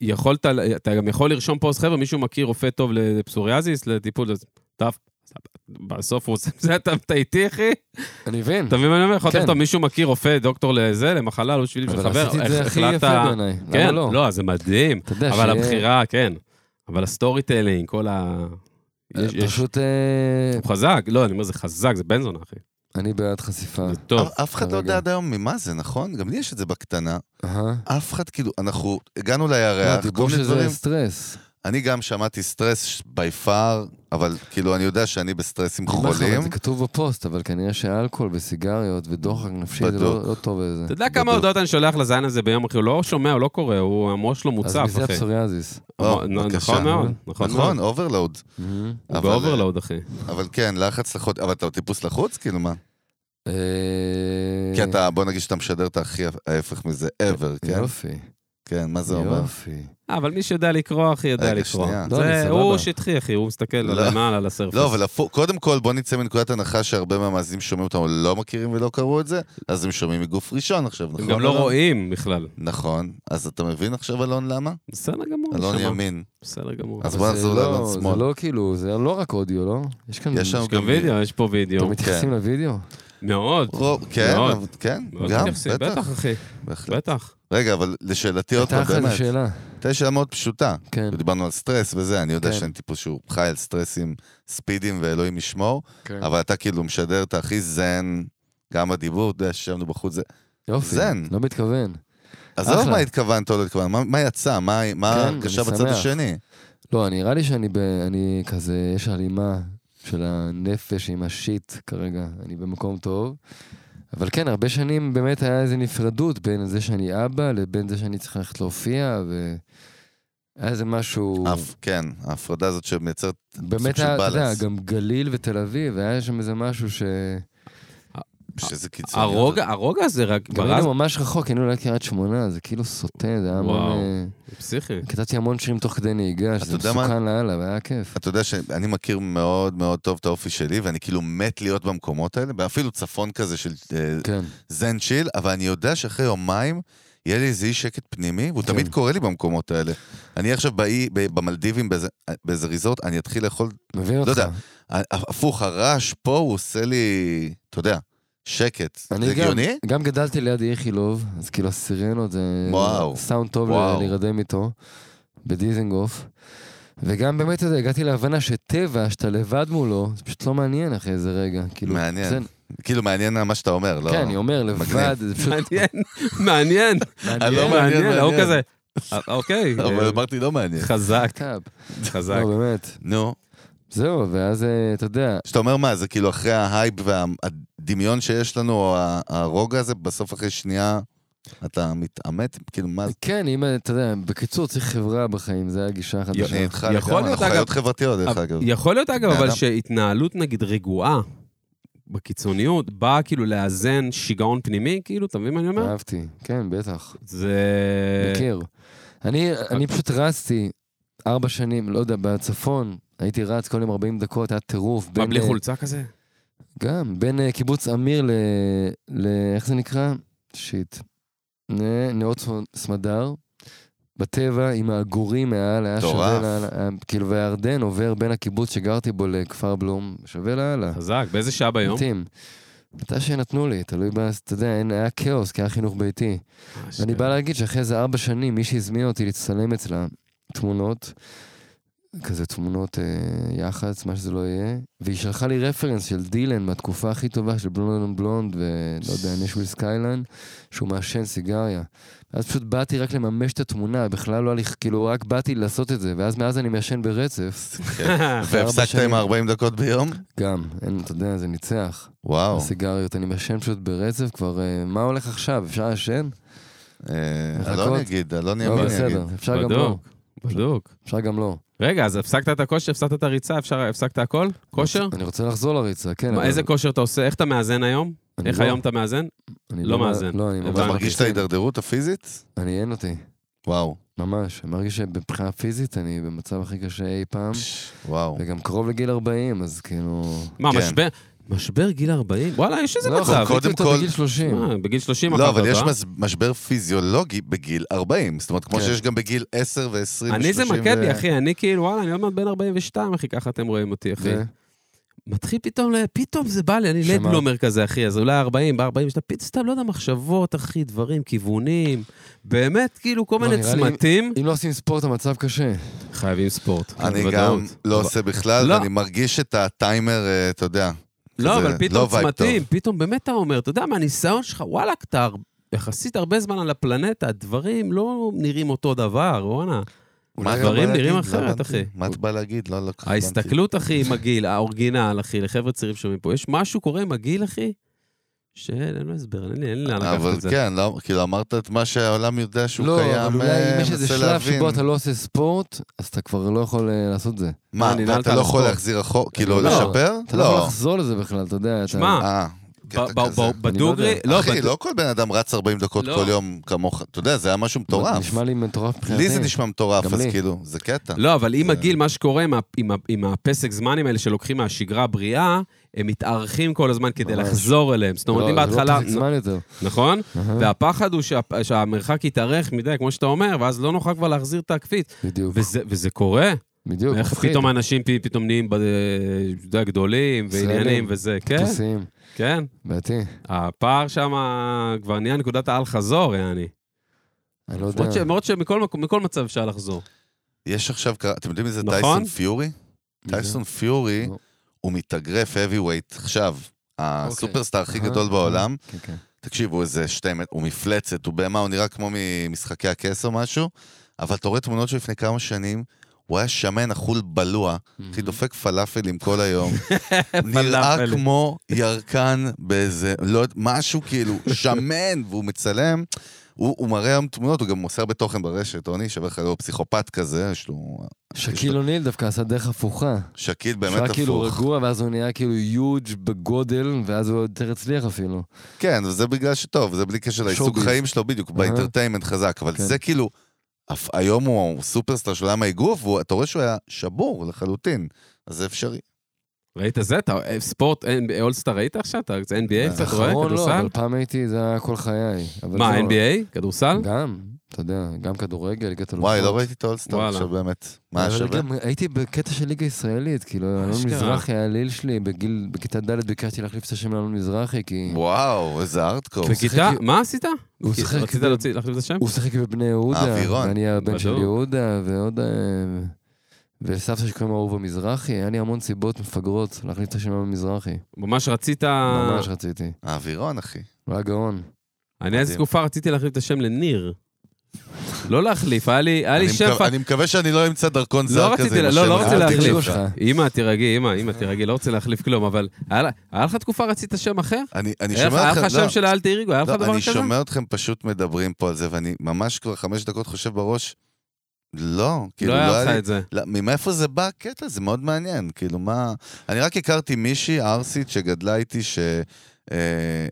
S2: יכולת, אתה גם יכול לרשום פוסט, חבר'ה, מישהו מכיר רופא טוב לפסוריאזיס, לטיפול, אז דף, בסוף הוא עושה זה, אתה אתה איתי, אחי?
S4: אני מבין.
S2: אתה מבין מה אני אומר? יכולת
S4: כן.
S2: לכתוב מישהו מכיר רופא, דוקטור לזה, למחלה, לא בשביל בשביל
S4: אבל
S2: חבר.
S4: עשיתי את זה
S2: הח-
S4: הכי
S2: החלטת-
S4: יפה בעיניי. למה
S2: כן,
S4: לא?
S2: לא, זה מדהים.
S4: אתה יודע
S2: אבל
S4: שיהיה-
S2: הבחירה, כן. אבל הסטורי טיילינג, כל ה...
S4: אה,
S2: יש- יש-
S4: פשוט אה,
S2: הוא חזק, לא, אני אומר, זה חזק, זה בן זונה, אחי.
S4: אני בעד חשיפה.
S2: זה טוב.
S1: אף- אף אחד לא
S4: כרגע.
S1: יודע עד היום ממה זה, נכון? גם לי יש את זה בקטנה.
S4: אהה.
S1: אף אחד, כאילו, אנחנו הגענו
S4: לא,
S1: לירח, כל
S4: דיברו
S1: מיני דברים.
S4: שזה סטרס.
S1: אני גם שמעתי סטרס by far, אבל כאילו, אני יודע שאני בסטרסים חולים.
S4: נכון, זה כתוב בפוסט, אבל כנראה שאלכוהול וסיגריות ודוחק נפשי זה
S1: בדוק.
S4: לא לא טוב לזה.
S2: אתה יודע כמה
S1: בדיוק.
S2: הודעות אני שולח לזין הזה ביום, אחי? הוא לא שומע, הוא לא קורא, הוא המוח שלו
S4: אז
S2: מוצף,
S4: מזה
S2: אחי.
S4: הפסוריאזיס.
S1: או,
S2: נ-
S1: בבקשה.
S2: נכון מאוד, נכון מאוד.
S1: נכון, אוברלואוד.
S4: מהמם.
S2: הוא
S1: אבל- אה,
S2: באוברלואוד, אחי.
S1: אבל כן, לחץ לחוץ, אבל אתה טיפוס לחוץ? כאילו מה?
S4: אה,
S1: כי אתה, בוא נגיד שאתה משדר את הכי ההפך מזה ever, כן?
S4: יופי,
S1: כן, מה זה אומר?
S4: יופי.
S2: אה, אבל מי שיודע לקרוא, אחי, יודע
S1: רגע,
S2: לקרוא.
S1: שנייה.
S4: לא, אני
S2: זה,
S4: סבבה.
S2: הוא שטחי, אחי, הוא מסתכל
S1: לא.
S2: למעלה על הסרפס.
S1: לא, אבל הפו- קודם כל בוא נצא מנקודת הנחה שהרבה מהמאזינים שומעים אותנו לא מכירים ולא קראו את זה, אז הם שומעים מגוף ראשון עכשיו, נכון?
S2: הם גם לא
S1: אלון?
S2: רואים בכלל.
S1: נכון, אז אתה מבין עכשיו, אלון, למה?
S2: בסדר גמור.
S1: אלון
S2: נשמה.
S1: ימין.
S2: בסדר גמור.
S1: אז
S4: אבל
S1: בוא
S4: זה
S1: נחזור
S4: לא-
S1: לאלון שמאל.
S4: זה לא כאילו, זה לא רק אודיו, לא? יש כאן...
S1: יש שם כן.
S2: יש גם וידאו, יש פה וידאו.
S4: אתם מתייחסים לוידאו?
S2: מאוד.
S1: רוב- כן,
S2: מאוד.
S1: אבל- כן,
S2: מאוד
S1: גם,
S2: מתייחסים,
S1: בטח,
S2: בטח, אחי.
S1: בהחלט.
S2: בטח.
S1: רגע, אבל לשאלתי עוד
S4: הייתה
S1: פעם,
S4: אחלה
S1: באמת,
S4: שאלה.
S1: הייתה לי שאלה מאוד פשוטה.
S4: כן.
S1: דיברנו על סטרס וזה, אני יודע
S4: כן.
S1: שאני טיפוס שהוא חי על סטרסים, ספידים ואלוהים ישמור,
S4: כן.
S1: אבל אתה כאילו משדר את הכי זן, גם בדיבור, אתה יודע, שישבנו בחוץ, זה...
S4: יופי,
S1: זן.
S4: לא מתכוון.
S1: עזוב
S4: אחלה.
S1: מה התכוונת או לא התכוונת, מה- מה יצא, מה- מה
S4: כן,
S1: ההרגשה
S4: אני
S1: בצד
S4: שמח.
S1: השני?
S4: לא, נראה לי שאני ב... אני כזה, יש הלימה של הנפש עם השיט כרגע, אני במקום טוב. אבל כן, הרבה שנים באמת היה איזו נפרדות בין זה שאני אבא לבין זה שאני צריך ללכת להופיע, ו... היה איזה משהו...
S1: אף, כן, ההפרדה הזאת שמייצרת... סוג
S4: באמת
S1: של
S4: היה, אתה יודע,
S1: balance.
S4: גם גליל ותל אביב, היה שם איזה משהו ש...
S1: שזה קיצוני.
S2: הרוגע, הרוגע זה רק
S4: גם היינו
S2: ברז,
S4: ממש רחוק, היינו ליד קריית שמונה, זה כאילו סוטה, זה היה המון...
S2: וואו.
S4: אה,
S1: <laughs>
S2: פסיכי.
S4: כתבתי המון שירים תוך כדי נהיגה, שזה
S1: יודע מה?
S4: מסוכן לאללה, והיה כיף.
S1: אתה יודע שאני מכיר מאוד מאוד טוב את האופי שלי, ואני כאילו מת להיות במקומות האלה, ואפילו צפון כזה של אה,
S4: כן.
S1: זן צ'יל, אבל אני יודע שאחרי יומיים יהיה לי איזה אי שקט פנימי, והוא
S4: כן.
S1: תמיד קורא לי במקומות האלה. אני עכשיו באי, ב- במלדיבים, באיזה- באיזה ריזורט, אני אתחיל לאכול...
S4: מבין אותך.
S1: יודע, ה- הפוך, הרעש פה הוא עושה לי, אתה יודע, שקט.
S4: אני
S1: זה
S4: גם-
S1: הגיוני?
S4: גם גדלתי ליד איכילוב, אז כאילו הסירנות זה
S1: וואו.
S4: סאונד טוב
S1: וואו.
S4: להירדם איתו, בדיזנגוף. וגם באמת, אתה יודע, הגעתי להבנה שטבע, שאתה לבד מולו, זה פשוט לא מעניין אחרי איזה רגע. כאילו,
S1: מעניין.
S4: זה-
S1: כאילו, מעניין מה שאתה אומר, לא?
S4: כן, אני אומר, לבד, זה פשוט...
S2: מעניין, מעניין.
S1: לא מעניין,
S2: מעניין, מעניין, ההוא
S1: מעניין.
S2: כזה. אה,
S1: <laughs>
S2: אוקיי.
S1: אבל
S2: אה,
S1: אמרתי, לא מעניין.
S2: חזק,
S4: טאב.
S2: חזק.
S4: לא, באמת.
S1: נו,
S4: זהו, ואז אה, אתה יודע,
S1: שאתה אומר מה, זה כאילו אחרי ההייפ והדמיון שיש לנו, או ה- הרוגע הזה, בסוף אחרי שנייה אתה מתעמת? כאילו, מה זה?
S4: כן, אם אתה יודע, בקיצור, צריך חברה בחיים, זה הגישה החדשה.
S1: אני איתך
S2: יכול
S1: לגמרי,
S2: להיות,
S1: אנחנו
S2: אגב- אה,
S1: חיות חברתיות, דרך אגב.
S2: יכול להיות, אגב,
S1: בני
S2: אבל
S1: אדם.
S2: שהתנהלות, נגיד, רגועה בקיצוניות, באה כאילו לאזן שיגעון פנימי, כאילו, אתה מבין מה אני אומר?
S4: אהבתי, כן, בטח.
S2: זה... אה.
S4: מכיר. אני, אני פשוט רצתי ארבע שנים, לא יודע, בצפון, הייתי רץ כל יום 40 דקות, היה טירוף.
S2: מה,
S4: בין,
S2: בלי
S4: אה,
S2: חולצה כזה?
S4: גם, בין אה, קיבוץ אמיר ל... ל... איך זה נקרא? שיט. נ- נאות סמדר, בטבע עם העגורים מעל, היה שווה
S1: מטורף.
S4: לאללה, היה- כאילו, והירדן עובר בין הקיבוץ שגרתי בו לכפר בלום, שווה לאללה.
S2: חזק, באיזה שעה ביום?
S4: מתאים. מתי שנתנו לי, תלוי ב... אתה יודע, אין- היה כאוס, כי היה חינוך ביתי.
S2: אה,
S4: אני בא להגיד שאחרי איזה ארבע שנים, מישהי הזמינה אותי להצטלם אצלה תמונות, כזה תמונות אה, יח"צ, מה שזה לא יהיה, והיא שלחה לי רפרנס של דילן מהתקופה הכי טובה של בלונד און בלונד, ולא יודע, נשוויל סקייליין, שהוא מעשן סיגריה. אז פשוט באתי רק לממש את התמונה, בכלל לא היה לי, כאילו, רק באתי לעשות את זה, ואז מאז אני מעשן ברצף. אחרי ארבע
S1: והפסקת עם
S4: שנים.
S1: ה-40 דקות ביום?
S4: גם, אין, אתה יודע, זה ניצח.
S1: וואו.
S4: הסיגריות, אני מעשן פשוט ברצף כבר, אה, מה הולך עכשיו? אפשר לעשן?
S1: אה,
S4: לחכות?
S1: אלון יגיד, אלון
S4: לא,
S1: ימין יגיד.
S4: בסדר, אפשר גם לא.
S2: בדוק, <laughs> בדוק.
S4: אפשר גם לא.
S2: רגע, אז הפסקת את הכושר, הפסקת את הריצה, אפשר, הפסקת הכל? כושר?
S4: אני רוצה לחזור לריצה, אה, כן.
S2: מה,
S4: אבל
S2: איזה כושר אתה עושה? איך אתה מאזן היום?
S4: אני
S2: איך
S4: לא-
S2: היום אתה מאזן?
S4: אני
S2: לא מאזן.
S4: לא, אני
S2: אתה
S4: ממש...
S1: אתה מרגיש את ההידרדרות הפיזית?
S4: אני אין אותי,
S1: וואו.
S4: ממש. אני מרגיש שמבחינה פיזית אני במצב הכי קשה אי פעם,
S1: וואו.
S4: וגם קרוב לגיל 40, אז כאילו...
S2: מה,
S1: כן.
S2: משבר? משבר גיל 40? וואלה, יש איזה
S4: לא,
S2: מצב.
S1: קודם
S4: חוויתי אותו
S1: כל-
S4: בגיל 30.
S2: מה, בגיל 30
S1: לא,
S2: אכלת
S1: אבל יש
S2: אותה.
S1: מס- משבר פיזיולוגי בגיל 40. זאת אומרת, כמו
S4: כן.
S1: שיש גם בגיל 10 ו-20 ו-30.
S2: אני זה מכה בי, אחי, אני כאילו, וואלה, אני עוד מעט בן 42, אחי, ככה אתם רואים אותי, אחי.
S4: ו-
S2: מתחיל פתאום, ל- פתאום זה בא לי, אני
S4: שמה?
S2: לדבלומר כזה, אחי, אז אולי 40, בא 40, שאתה פתאום, סתם, לא יודע, מחשבות, אחי, דברים, כיוונים, באמת, כאילו, כל
S4: לא,
S2: מיני
S4: נראה לי-
S2: צמתים.
S4: אם לא עושים ספורט המצב קשה.
S2: חייבים ספורט.
S4: כאילו,
S1: אני
S2: בוודאות.
S1: גם לא עושה בכלל,
S2: לא.
S1: ואני מרגיש את הטיימר, אה, אתה יודע.
S2: לא,
S1: כזה,
S2: אבל פתאום
S1: לא וייב
S2: צמתים, פתאום באמת אתה אומר, אתה יודע, מהניסיון שלך, וואלכ, אתה הר- יחסית הרבה זמן על הפלנטה, הדברים לא נראים אותו דבר, וואנה.
S1: מה אתה
S2: הדברים
S1: בא להגיד?
S2: נראים
S1: לא
S2: אחרת,
S1: הבנתי.
S2: אחי.
S1: מה אתה בא להגיד? לא,
S4: אה,
S1: לא כל כך הבנתי.
S2: ההסתכלות, אחי, עם הגיל, האורגינל, אחי, לחבר'ה צעירים שומעים פה, יש משהו קורה עם הגיל, אחי, שאין, אין לו הסבר, אין לי- אין לי לאן לקחת
S1: אבל
S2: את זה.
S1: כן, לא, כאילו אמרת את מה שהעולם יודע שהוא
S4: לא,
S1: קיים,
S4: אבל אולי אם
S1: אה,
S4: יש איזה
S1: מנסה
S4: שלב
S1: להבין.
S4: שבו אתה לא עושה ספורט, אז אתה כבר לא יכול אה, לעשות זה.
S1: מה,
S2: אני נעלת
S1: ואתה
S2: על
S1: לא יכול
S2: הספורט.
S1: להחזיר אחורה? כאילו,
S4: לא.
S1: לשפר?
S4: אתה לא יכול
S1: לא.
S4: לחזור לזה בכלל, אתה יודע. אתה-
S2: שמע,
S1: אה, קטע
S2: ב- ב-
S1: כזה.
S2: ב- בדוגרי,
S4: אני
S2: לא,
S1: אחי,
S2: בד-
S1: לא כל בן אדם רץ 40 דקות
S2: לא.
S1: כל יום כמוך, אתה יודע, זה היה משהו מטורף.
S4: נשמע לי מטורף מבחינתי.
S1: לי זה נשמע מטורף,
S4: גם
S1: אז
S4: לי.
S1: כאילו, זה קטע.
S2: לא, אבל עם הגיל, מה שקורה עם ה- עם ה- עם הפסק זמנים האלה שלוקחים מהשגרה הבריאה, הם מתארכים כל הזמן כדי
S4: ממש.
S2: לחזור אליהם. זאת אומרת, אם
S4: לא, זה לא
S2: בהתחלה...
S4: פסק זמן אה. יותר.
S2: נכון?
S4: אהה.
S2: והפחד הוא שה, שהמרחק יתארך מדי, כמו שאתה אומר, ואז לא נוכל כבר להחזיר את הקפיץ.
S4: בדיוק,
S2: וזה, וזה קורה.
S4: בדיוק.
S2: איך
S4: מפחיד.
S2: פתאום האנשים פ- פתאום נהיים ב- אה, אתה יודע, גדולים
S4: ישראלים.
S2: ועניינים וזה. כן,
S4: טיפוסיים,
S2: כן.
S4: בעייתי.
S2: הפער שם כבר נהיה נקודת האל-חזור, יעני.
S4: אני לא יודע.
S2: למרות ש- למרות שמכל מקום- מכל מצב אפשר לחזור.
S1: יש עכשיו, קרא- אתם יודעים מי זה
S2: נכון?
S1: טייסון פיורי?
S4: מי זה?
S1: טייסון פיורי
S4: לא.
S1: הוא מתאגרף heavyweight עכשיו. הסופרסטאר הכי גדול בעולם.
S4: כן, כן.
S1: תקשיבו, איזה שתי מטר, הוא מפלצת, הוא בהמה, הוא נראה כמו ממשחקי הכס או משהו, אבל אתה רואה תמונות שלו לפני כמה שנים, הוא היה שמן, אכול בלוע, אחי, דופק פלאפלים כל
S4: <laughs>
S1: היום. נראה
S2: פלאפלים.
S1: כמו ירקן באיזה, לא יודע, משהו כאילו, שמן, והוא מצלם. הוא, הוא מראה היום תמונות, הוא גם מוסר בתוכן ברשת, עוני, שווה לך, הוא פסיכופת כזה, יש לו... יש
S4: שקיל
S1: לו-
S4: אוניל דווקא עשה דרך הפוכה.
S1: שקיל
S4: הוא
S1: באמת
S4: היה כאילו
S1: הפוך.
S4: רגוע, ואז הוא נהיה כאילו יוג' בגודל, ואז הוא עוד יותר הצליח אפילו.
S1: כן, וזה בגלל שטוב, זה בלי קשר לעיסוק
S4: showbiz.
S1: חיים שלו, בדיוק, באינטרטיימנט חזק, אבל
S4: כן.
S1: זה כאילו, אף- היום הוא סופרסטאר של עם האגרוף, ואתה רואה שהוא היה שבור לחלוטין, אז זה אפשרי.
S2: ראית זה? אתה- אה, ספורט, אולסטאר ראית עכשיו? אתה זה NBA קצת רואה?
S4: אחרון לא,
S2: כדורסל?
S4: אבל פעם הייתי, זה היה כל חיי. אבל
S2: מה,
S4: זה לא-
S2: NBA? כדורסל?
S4: גם, אתה יודע, גם כדורגל, ליגת אלופות.
S1: וואי, לא ראיתי את האולסטאר
S2: וואלה.
S1: עכשיו באמת. מה
S4: אבל
S1: שווה?
S4: גם הייתי בקטע של ליגה ישראלית, כאילו, אלון
S2: אשכרה.
S4: מזרחי היה ליל שלי, בגיל, בכיתה ד' ביקשתי להחליף את השם לאלון מזרחי,
S2: כן.
S4: כי...
S1: וואו, איזה ארטקור.
S4: הוא
S2: בכיתה?
S4: שיחק-
S2: מה עשית?
S4: הוא
S2: כי-
S4: שיחק
S2: רצית
S4: ב-
S2: להוציא- להחליף את השם?
S4: הוא שיחק בבני יהודה,
S1: האווירון.
S4: ואני הבן של
S2: בדיוק.
S4: יהודה, ועוד... אה, וסבתא שקוראים לה אהובה מזרחי, היה לי המון סיבות מפגרות להחליף את השם אהובה מזרחי.
S2: ממש רצית...
S4: ממש רציתי.
S1: האווירון, אחי.
S4: הוא היה גאון.
S2: אני איזה
S1: מדהים.
S2: תקופה רציתי להחליף את השם לניר. לא להחליף, היה לי היה לי
S1: אני
S2: שם
S1: מקו-
S2: פ...
S1: אני מקווה שאני לא אמצא דרכון זר
S2: רציתי
S1: כזה עם
S2: לה-
S1: השם.
S2: לא, לא
S1: הזה.
S2: רציתי
S1: אל
S2: להחליף.
S1: תגלוש.
S4: שלך.
S2: אמא, תירגעי, אמא, אמא, תירגעי, לא רוצה להחליף כלום, אבל היה לה- היה לך תקופה רצית שם אחר?
S1: אני אני
S2: היה לך-
S1: שומע
S2: היה לך
S1: אתכם, לא,
S2: שם של אל תירגעו, היה לך
S1: לא,
S2: דבר
S1: אני
S2: כזה?
S1: שומע אתכם פשוט מדברים פה על זה, ואני ממש כבר חמש דקות חושב בראש, לא, כאילו,
S2: לא היה לך
S1: לי-
S2: את זה.
S1: לא, מאיפה זה בא הקטע? זה מאוד מעניין, כאילו מה... אני רק הכרתי מישהי ערסית שגדלה איתי ש... אה,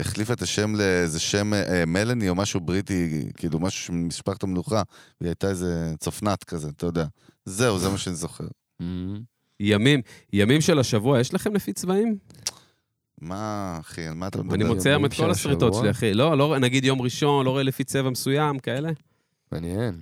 S1: החליפה את השם לאיזה שם אה, מלני או משהו בריטי, כאילו משהו ממשפחת המלוכה, והיא הייתה איזה צפנת כזה, אתה יודע. זהו, זה מה שאני זוכר.
S4: אמ,
S2: ימים, ימים של השבוע, יש לכם לפי צבעים?
S1: מה, אחי, על מה אתה
S2: אני
S1: מדבר?
S4: מוצא-
S2: מוצא היום את
S4: של
S2: כל הסריטות
S4: השבוע.
S2: שלי, אחי. לא, לא, נגיד יום ראשון, לא רואה לפי צבע מסוים, כאלה.
S4: מעניין.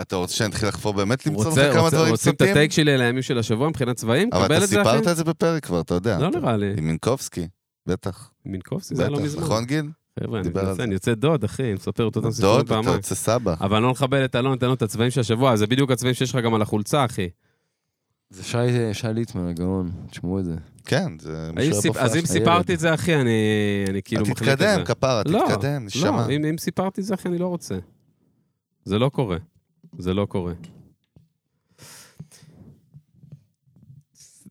S1: אתה רוצה שאני אתחיל לחפור באמת למצוא לך
S2: רוצה-
S1: כמה
S2: רוצה-
S1: דברים
S2: רוצים את
S1: פסוטים?
S2: הטייק שלי על הימים של השבוע מבחינת צבעים?
S1: אבל
S2: קבל
S1: אתה
S2: את זה, אחי.
S1: סיפרת את זה בפרק כבר, אתה יודע.
S2: לא
S1: אתה-
S2: נראה לי.
S1: עם מינקובסקי, בטח.
S2: מינקובסקי זה היה לא
S1: בטח,
S2: מזמן.
S1: נכון גיל?
S2: חבר'ה, אני
S1: דיבר על
S2: מנסה,
S1: זה.
S2: אני יוצא דוד, אחי, מספר את אותם סיפורים
S1: דוד, אתה
S2: פעמיים.
S1: רוצה סבא.
S2: אבל לא נכבד את אלון, תן לו את הצבעים של השבוע, זה בדיוק הצבעים שיש לך גם על החולצה, אחי.
S4: זה שי, אה, שי ליטמן, הגאון, תשמעו את זה.
S1: כן, זה
S2: האם
S1: משוער
S2: סיפ-
S1: בהופעה
S2: אז אם
S1: שלך.
S2: סיפרתי את זה, אחי, אני אני כאילו
S1: אז
S2: מחליט את זה.
S1: תתקדם, כפרה,
S2: לא,
S1: תתקדם, נשמה.
S2: <laughs> לא, אם, אם סיפרתי זה, אחי, אני לא רוצה. זה לא קורה. זה לא קורה.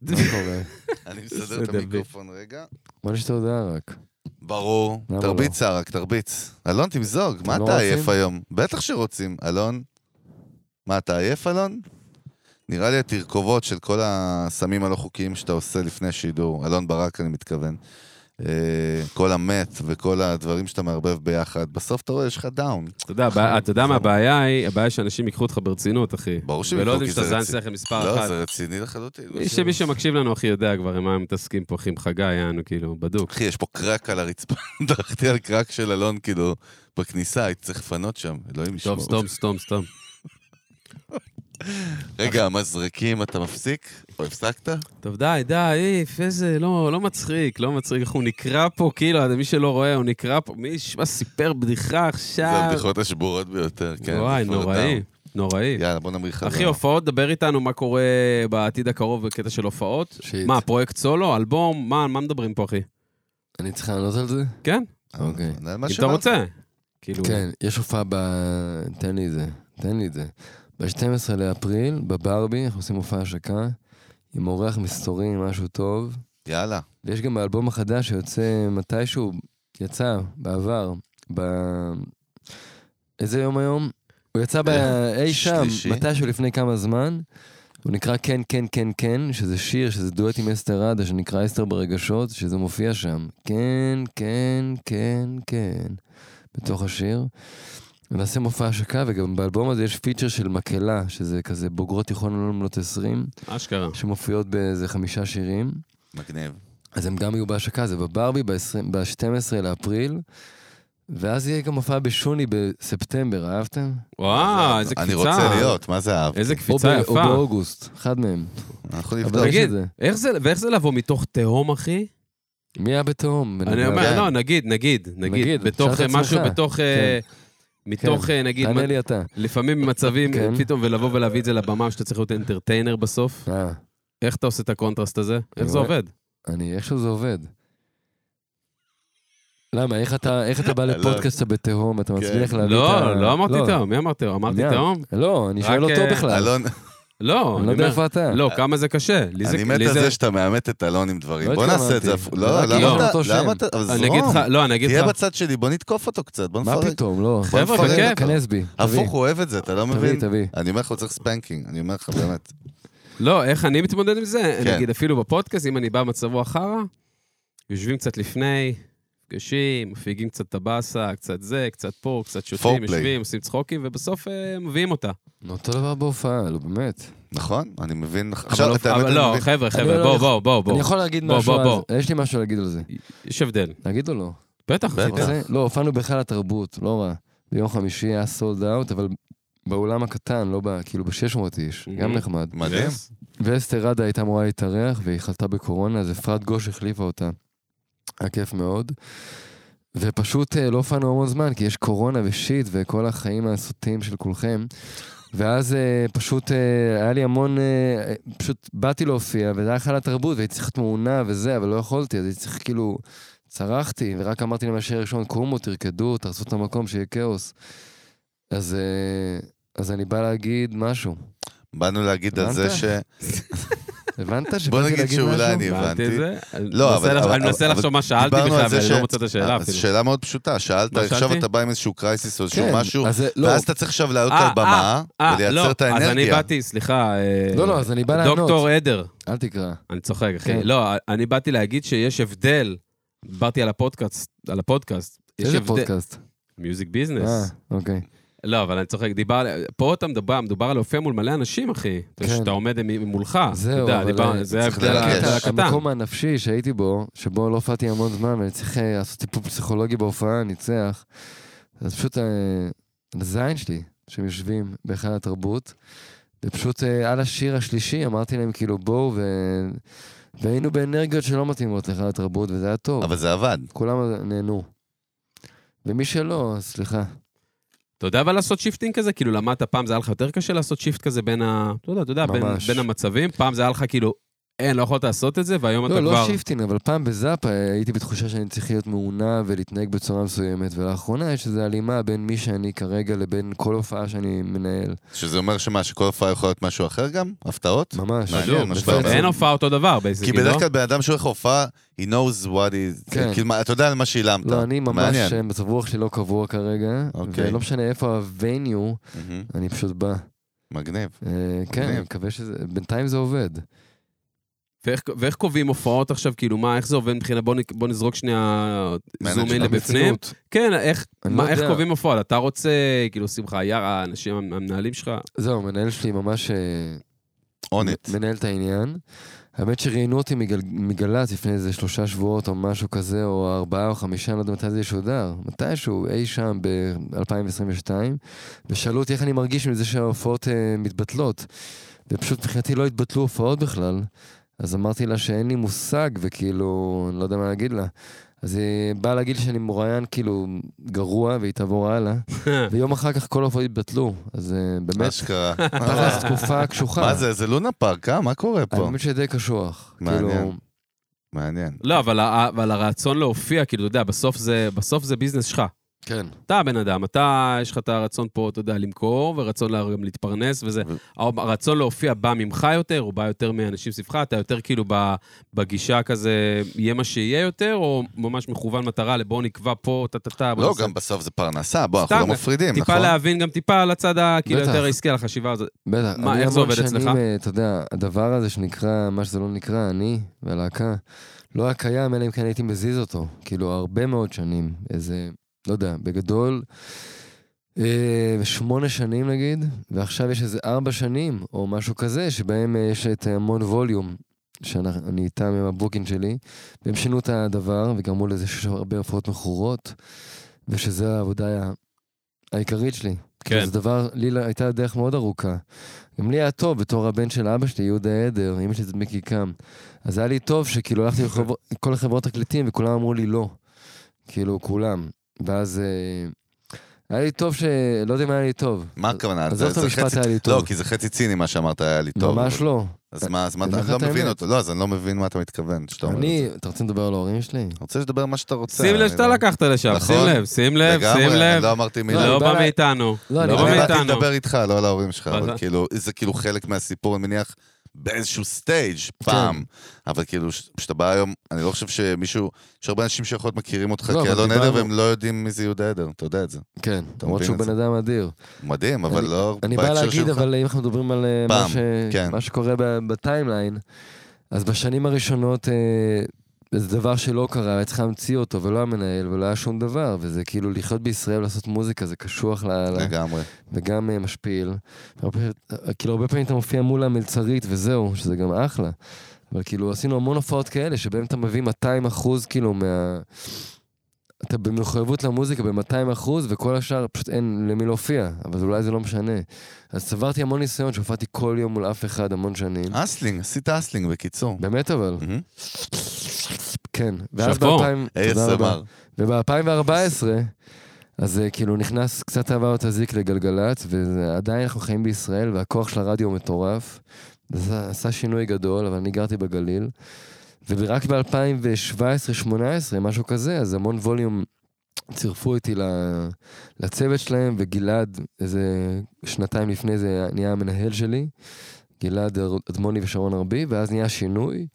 S1: לא
S4: מה קורה?
S1: אני מסדר את
S2: בסדר,
S1: המיקרופון רגע.
S4: בוא נשתה הודעה אה, רק.
S1: ברור.
S4: למה
S1: תרביץ, רק תרביץ. אלון, תמזוג, מה
S4: לא
S1: אתה עייף
S4: רוצים?
S1: היום? בטח שרוצים. אלון, מה, אתה עייף, אלון? נראה לי התרכובות של כל הסמים הלא חוקיים שאתה עושה לפני שידור, אלון ברק, אני מתכוון. אה, כל המת וכל הדברים שאתה מערבב ביחד, בסוף אתה רואה, יש לך דאון.
S2: <laughs> אתה יודע, הבע- אתה יודע מה הבעיה היא? הבעיה היא שאנשים ייקחו אותך ברצינות, אחי.
S1: ברור שהם
S2: ולא
S1: ייקחו,
S2: יודעים
S1: כי
S2: שאתה
S1: זה
S2: זן
S1: רציני.
S2: שכל מספר
S1: לא,
S2: אחת.
S1: זה רציני לחלוטין.
S2: מי ש- מי שמקשיב לנו, אחי, יודע כבר עם מה הם מתעסקים פה, אחי, עם חגי, יענו, כאילו, בדוק.
S1: אחי, יש פה קרק על הרצפה, <laughs> דרכתי על קרק של אלון, כאילו, בכניסה, הייתי צריך לפנות שם, אלוהים ישמור.
S2: טוב, סתום, סתום, סתום.
S1: רגע, המזרקים, אתה מפסיק? או הפסקת?
S2: טוב, די, די, איף, איזה, לא, לא מצחיק, לא מצחיק. אנחנו נקרא פה, כאילו, מי שלא רואה, הוא נקרא פה, מי שמע, סיפר בדיחה
S1: זה
S2: עכשיו.
S1: הבדיחות השבורות ביותר, כן.
S2: וואי,
S1: זה כבר
S2: נוראי,
S1: אדם.
S2: נוראי.
S1: יאללה, בוא נמריא חזרה.
S2: אחי, הופעות, דבר איתנו מה קורה בעתיד הקרוב בקטע של הופעות.
S4: שיט.
S2: מה, פרויקט סולו, אלבום, מה, על מה מדברים פה, אחי?
S4: אני צריך לענות על זה?
S2: כן,
S4: אוקיי.
S1: אני- על מה
S2: אם אתה
S1: שאמרת.
S2: רוצה. כאילו,
S4: כן, יש הופעה ב... תן לי את זה, תן לי את זה. ב-12 לאפריל, בברבי, אנחנו עושים הופעה השקה, עם אורח מסתורי, משהו טוב.
S1: יאללה.
S4: ויש גם האלבום החדש שיוצא מתישהו, יצא בעבר, ב... איזה יום היום? הוא יצא ב... אי שם,
S1: שלישי.
S4: מתישהו לפני כמה זמן. הוא נקרא כן, כן, כן, כן, שזה שיר, שזה דואט עם אסתר ראדה, שנקרא אסתר ברגשות, שזה מופיע שם. כן, כן, כן, כן, בתוך השיר. ונעשה מופע השקה, וגם באלבום הזה יש פיצ'ר של מקהלה, שזה כזה בוגרות תיכון עולם בנות 20,
S2: אשכרה.
S4: שמופיעות באיזה חמישה שירים.
S1: מגניב.
S4: אז הם גם יהיו בהשקה, זה בברבי ב-12 לאפריל, ואז יהיה גם הופעה בשוני בספטמבר, אהבתם?
S1: אז
S2: וואו, אה, איזה קפיצה.
S1: אני רוצה להיות, מה זה אהב?
S2: איזה
S4: או,
S2: קפיצה
S4: ב- או
S2: יפה.
S4: באוגוסט, אחד מהם.
S1: אנחנו
S4: אבל
S1: נבדוק.
S4: יש
S2: תגיד,
S4: את זה.
S2: איך זה- ואיך זה לבוא מתוך תהום, אחי?
S4: מי היה בתהום?
S2: אני
S1: כן.
S2: אומר, לא, נגיד, נגיד, נגיד,
S4: נגיד,
S2: בתוך
S4: תשאל
S2: אה,
S4: את
S2: משהו,
S4: עצמך. כן.
S2: בתוך, אה, מתוך, אה, נגיד,
S4: תענה לי אתה.
S2: לפעמים במצבים,
S4: כן.
S2: פתאום, ולבוא ולהביא את זה לבמה, שאתה צריך להיות אנטרטיינר בסוף,
S4: אה,
S2: איך אתה עושה את הקונטרסט הזה? איך
S4: אני
S2: זה
S4: כן, רואה-
S2: עובד?
S4: אני, איכשהו זה עובד. למה, איך אתה, איך אתה
S2: <laughs>
S4: בא לפודקאסט שאתה בתהום, אתה מצליח
S1: כן.
S4: להביא את ה...
S2: לא, לא אמרתי תהום, מי אמר תהום? אמרתי
S4: מי?
S2: תהום?
S4: לא, אני שואל
S2: רק,
S4: אותו
S2: אה,
S4: בכלל.
S1: אלון,
S2: לא,
S4: אני לא יודע איפה אתה.
S2: לא, כמה זה קשה. לי זה-
S1: אני מת
S2: לי
S1: על
S2: זה-
S1: זה שאתה מאמת את אלון עם דברים.
S4: לא
S1: בוא נעשה את זה.
S4: התכוונתי.
S1: אפ- לא,
S4: רק
S1: למה
S2: עם
S1: אתה...
S4: אותו שם.
S1: למה אתה... אבל
S2: אני אגיד
S1: זרום.
S2: לך, לא, אני אגיד
S1: תהיה
S2: לך,
S1: בצד שלי, בוא נתקוף אותו קצת, בוא
S4: מה
S1: נפרק.
S4: פתאום, לא.
S1: בוא
S2: חבר'ה,
S1: נפרק.
S2: בכיף.
S4: כנס בי.
S1: הפוך, הוא אוהב את זה, אתה לא מבין?
S4: תביא, תביא.
S1: אני אומר לך, הוא צריך ספנקינג, אני אומר לך באמת.
S2: לא, איך אני מתמודד עם זה?
S1: כן.
S2: נגיד, אפילו בפודקאסט, אם אני בא במצבו אחרא, יושבים קצת לפני, נפגשים, מפיגים קצת טבאסה, קצת זה, קצת פה, קצת שותים,
S1: Foreplay.
S2: יושבים, עושים צחוקים, ובסוף אה, מביאים אותה.
S4: נו, אותו דבר בהופעה, לא, באמת.
S1: נכון, אני מבין.
S2: אבל
S1: עכשיו,
S2: לא-
S1: את האמת,
S2: אבל
S1: אני
S2: לא,
S1: מבין.
S2: חבר'ה,
S4: אני
S2: חבר'ה,
S4: לא
S2: בואו,
S4: הולך-
S2: בואו, בואו,
S4: אני
S2: בואו.
S4: יכול להגיד
S2: בוא,
S4: משהו
S2: בוא,
S4: על
S2: בוא. כן.
S4: זה. יש לי משהו להגיד על זה.
S2: יש הבדל.
S4: להגיד או לא?
S2: בטח,
S1: בטח.
S2: רצית.
S4: רוצה? לא, הופענו בהיכל התרבות, לא רע. ביום חמישי היה סולד אאוט, אבל באולם הקטן, לא ב... כאילו ב-600 איש, גם
S2: Mhm.
S4: נחמד.
S1: מדהים.
S4: ואסתר ראדה הייתה אמורה להתארח, והיא חלתה בקורונה, אז אפרת גוש החליפה אותה. היה כיף מאוד. ופשוט אה, לא הופענו המון זמן, כי יש קורונה ושיט, וכל החיים הסוטים של כולכם. ואז אה, פשוט אה, היה לי המון, אה, אה, פשוט באתי להופיע, וזה היה חלל התרבות, והייתי צריך להיות מעונה וזה, אבל לא יכולתי, אז הייתי צריך כאילו, צרחתי, ורק אמרתי להם מהשיר הראשון, קומו, תרקדו, תעשו את המקום, שיהיה כאוס. אז, אה, אז אני בא להגיד משהו.
S1: באנו להגיד על זה
S4: הבנת?
S1: ש...
S4: הבנת
S1: בוא
S4: שבאתי
S1: נגיד
S4: להגיד משהו?
S1: שאולי אני
S2: הבנתי את
S1: הבנתי.
S2: זה? אני
S1: לא,
S2: מנסה
S1: אבל-
S2: לח-
S1: אבל-
S2: אני מנסה
S1: אבל-
S2: לחשוב מה שאלתי
S1: דיברנו על
S2: בכלל,
S1: זה
S2: ואני
S1: ש-
S2: לא מוצא את השאלה
S1: אה, אז
S2: אפילו.
S1: שאלה מאוד פשוטה, שאלת,
S2: מה
S1: עכשיו
S2: שאלתי?
S1: אתה בא עם איזשהו קרייסיס או איזשהו
S4: כן,
S1: משהו,
S4: אז זה- לא,
S1: ואז אתה צריך עכשיו לעלות
S2: אה,
S1: על במה
S2: אה, לא,
S1: ולייצר את
S2: אז אני
S1: האנרגיה.
S2: באתי, סליחה, אה,
S4: לא, לא, אז אני בא לענות.
S2: דוקטור אה, עדר.
S4: אל תקרא.
S2: אני צוחק, אחי.
S4: כן.
S2: לא, אני באתי להגיד שיש הבדל. דיברתי על הפודקאסט, על הפודקאסט. יש
S4: איזה
S2: הבדל-
S4: פודקאסט?
S2: מיוזיק
S4: אה,
S2: ביזנס.
S4: אוקיי.
S2: לא, אבל אני צוחק, דיבר, על- פה אתה מדבר, מדובר על הופיע מול מלא אנשים, אחי.
S4: כן.
S2: שאתה עומד מ- מולך.
S4: זהו,
S2: אתה יודע,
S4: אבל,
S2: דיבר-
S4: אה,
S2: זה
S1: צריך
S2: ההבדל
S1: ללכת.
S2: הקטן.
S4: המקום הנפשי שהייתי בו, שבו לא הופעתי המון זמן ואני צריך אה, לעשות טיפול פסיכולוגי בהופעה, ניצח, אז פשוט אה, הזין שלי, שהם יושבים בהיכל התרבות, ופשוט אה, על השיר השלישי אמרתי להם כאילו בואו ו... והיינו באנרגיות שלא מתאימות להיכל התרבות וזה היה טוב,
S1: אבל זה עבד.
S4: כולם נהנו. ומי שלא, אז סליחה.
S2: אתה יודע אבל לעשות שיפטינג כזה? כאילו למדת, פעם זה היה לך יותר קשה לעשות שיפט כזה בין ה... אתה יודע, אתה יודע, בין,
S4: ממש.
S2: בין המצבים. פעם זה היה לך כאילו, אין, לא יכולת לעשות את זה, והיום
S4: לא,
S2: אתה
S4: לא
S2: כבר...
S4: שיפטין, אבל פעם בזאפה הייתי בתחושה שאני צריך להיות מעונע ולהתנהג בצורה מסוימת, ולאחרונה יש איזו הלימה בין מי שאני כרגע לבין כל הופעה שאני מנהל.
S1: שזה אומר שמה, שכל הופעה יכולה להיות משהו אחר גם? הפתעות?
S4: ממש.
S1: מעניין,
S4: לא,
S1: מה שאתה
S4: בפרק.
S1: אומר.
S2: אין הופעה אותו דבר,
S1: כי
S2: בעצם, לא?
S1: בדרך כלל בן אדם שהולך להופעה, he knows what he...
S4: כן.
S1: כאילו, מה- אתה יודע על מה שילמת.
S4: לא, אני ממש,
S1: מעניין.
S4: אה, מצב רוח שלי לא קבוע כרגע,
S1: אוקיי.
S4: ולא משנה איפה הווניו,
S1: מהמם.
S4: אני פשוט בא.
S1: מגניב.
S4: אה, כן,
S1: מגניב.
S4: אני מקווה שזה, בינתיים זה עובד.
S2: ואיך, ואיך קובעים הופעות עכשיו, כאילו, מה, איך זה עובד מבחינת, בוא, נ- בוא נזרוק שנייה זום אין
S1: מנג'מנט.
S2: לבפנים.
S4: ברצינות.
S2: כן, איך,
S4: אני
S2: מה,
S4: לא
S2: איך
S4: יודע.
S2: קובעים הופעות? אתה רוצה, כאילו, שמחה, יארה, האנשים, המנהלים <laughs> שלך?
S4: זהו, המנהל שלי ממש... אה,
S1: אונט.
S4: מנהל את העניין. האמת שראיינו אותי מגל... מגל"צ לפני איזה שלושה שבועות או משהו כזה, או ארבעה או חמישה, אני לא יודע מתי זה ישודר. מתישהו, אי שם ב-2022, ושאלו אותי איך אני מרגיש עם זה שההופעות אה, מתבטלות. ופשוט מבחינתי לא התבטלו הופעות בכלל. אז אמרתי לה שאין לי מושג, וכאילו, אני לא יודע מה להגיד לה. אז היא באה להגיד לי שאני מוראיין כאילו גרוע, והיא תעבור הלאה. ויום אחר כך כל ההופעות התבטלו. אז אה, באמת,
S2: <laughs>
S1: אשכרה.
S4: פרס תקופה קשוחה.
S1: מה זה, זה לונה פארק, אה? מה קורה פה?
S4: האמת שדי קשוח.
S1: מעניין.
S4: כאילו,
S1: מעניין.
S2: לא, אבל, ה- אבל הרצון להופיע, כאילו, אתה יודע, בסוף זה, בסוף זה ביזנס שלך.
S4: כן.
S2: אתה הבן אדם, אתה, יש לך את הרצון פה, אתה יודע, למכור, ורצון לה- גם להתפרנס וזה.
S1: ו-
S2: הרצון להופיע בא ממך יותר, הוא בא יותר מאנשים סביבך, אתה יותר כאילו ב- בגישה כזה, יהיה מה שיהיה יותר, או ממש מכוון מטרה לבוא נקבע פה, טה-טה-טה. בוא
S1: לא,
S2: נעשה-
S1: גם בסוף זה פרנסה, בוא, אנחנו
S2: סתם,
S1: לא מפרידים,
S2: טיפה
S1: נכון?
S2: להבין גם טיפה על הצד הכאילו
S4: בטח.
S2: יותר העסקי, על החשיבה הזאת.
S4: בטח.
S2: מה,
S4: אני
S2: איך זה
S4: המון
S2: עובד
S4: שנים,
S2: אצלך?
S4: אה, אתה יודע, הדבר הזה שנקרא, מה שזה לא נקרא, אני והלהקה, לא היה קיים, אלא אם כן הייתי מזיז אותו. כאילו, הרבה מאוד שנים. איזה, לא יודע, בגדול, אה, שמונה שנים נגיד, ועכשיו יש איזה ארבע שנים, או משהו כזה, שבהם אה, יש את המון ווליום. שאני איתם עם הבוקינג שלי, והם שינו את הדבר וגרמו לזה שיש הרבה הופעות מכורות, ושזו העבודה העיקרית שלי. כן. זה דבר, לי לא- הייתה דרך מאוד ארוכה. גם לי היה טוב בתור הבן של אבא שלי, יהודה עדר, אמא שלי זה מיקי קם. אז היה לי טוב שכאילו הלכתי לחבר... כל החברות תקליטים וכולם אמרו לי לא. כאילו, כולם. ואז אה, היה לי טוב ש... לא יודע אם היה לי טוב.
S1: מה הכוונה?
S4: עזוב
S1: זה-
S4: את
S1: זה
S4: המשפט,
S1: חצי-
S4: היה לי
S1: לא,
S4: טוב.
S1: כי זה חצי ציני מה שאמרת, היה לי טוב.
S4: ממש לא.
S1: אז מה, אז מה,
S4: אני
S1: אתה
S4: אומר
S1: לא
S4: לך את
S1: מבין
S4: האמת.
S1: אותו. לא, אז אני לא מבין מה אתה מתכוון כשאתה אומר את זה.
S4: אני... אתה רוצה לדבר על ההורים שלי?
S1: אני רוצה שתדבר מה שאתה רוצה.
S2: שים לב שאתה
S1: אני לא-
S2: לקחת לשם,
S1: נכון.
S2: שים לב, שים לב,
S1: לגמרי,
S2: שים
S1: אני
S2: לב.
S1: לא אמרתי מילה.
S2: לא
S4: אני
S2: בא
S4: בא-
S2: מאיתנו.
S4: לא,
S2: אני
S4: אני
S1: לא,
S2: לא
S1: אני
S2: מאיתנו.
S1: באתי לדבר איתך, לא על ההורים שלך,
S2: אבל-
S1: אבל כאילו, זה כאילו חלק מהסיפור, אני מניח, באיזשהו סטייג' פעם. אבל כאילו, ש- כשאתה בא היום, אני לא חושב שמישהו, יש הרבה אנשים שיכול להיות מכירים אותך
S4: לא, אבל
S1: כאלון עדר,
S4: דיברנו-
S1: והם לא יודעים מי זה יהודה עדר, אתה יודע את זה.
S4: כן, למרות
S1: מבין
S4: שהוא
S1: את
S4: בן אדם אדיר.
S1: מדהים, אבל
S4: אני-
S1: לא
S4: אני בא
S1: בהקשר
S4: להגיד,
S1: שלך.
S4: אבל אם אנחנו מדברים על אה,
S1: פעם,
S4: מה, ש...
S1: כן.
S4: מה שקורה ב- בטיימליין, אז בשנים הראשונות אה, זה דבר שלא קרה, היה צריך להמציא אותו, ולא המנהל, ולא היה שום דבר, וזה כאילו לחיות בישראל, לעשות מוזיקה, זה קשוח ל... ל...
S1: לגמרי.
S4: וגם אה, משפיל. הרבה, כאילו הרבה פעמים אתה מופיע מול המלצרית וזהו, שזה גם אחלה. אבל כאילו עשינו המון הופעות כאלה, שבהן אתה מביא 200 אחוז כאילו מה... אתה במחויבות למוזיקה ב-200 אחוז, וכל השאר פשוט אין למי להופיע, אבל אולי זה לא משנה. אז צברתי המון ניסיון שהופעתי כל יום מול אף אחד המון שנים.
S1: אסלינג, עשית אסלינג בקיצור. <laughs>
S4: באמת אבל,
S1: מהמם.
S4: כן. ואז
S2: שאפו.
S4: ב-2000... תודה רבה.
S1: ASMR.
S4: וב-2014, אז אה, כאילו נכנס קצת עבר את הזיק לגלגלצ, ועדיין אנחנו חיים בישראל, והכוח של הרדיו הוא מטורף. זה עשה שינוי גדול, אבל אני גרתי בגליל. ורק ב-2017-2018, משהו כזה, אז המון ווליום צירפו אותי ל- לצוות שלהם, וגלעד, איזה שנתיים לפני זה, נהיה המנהל שלי. גלעד אדמוני ושרון ארבי, ואז נהיה שינוי.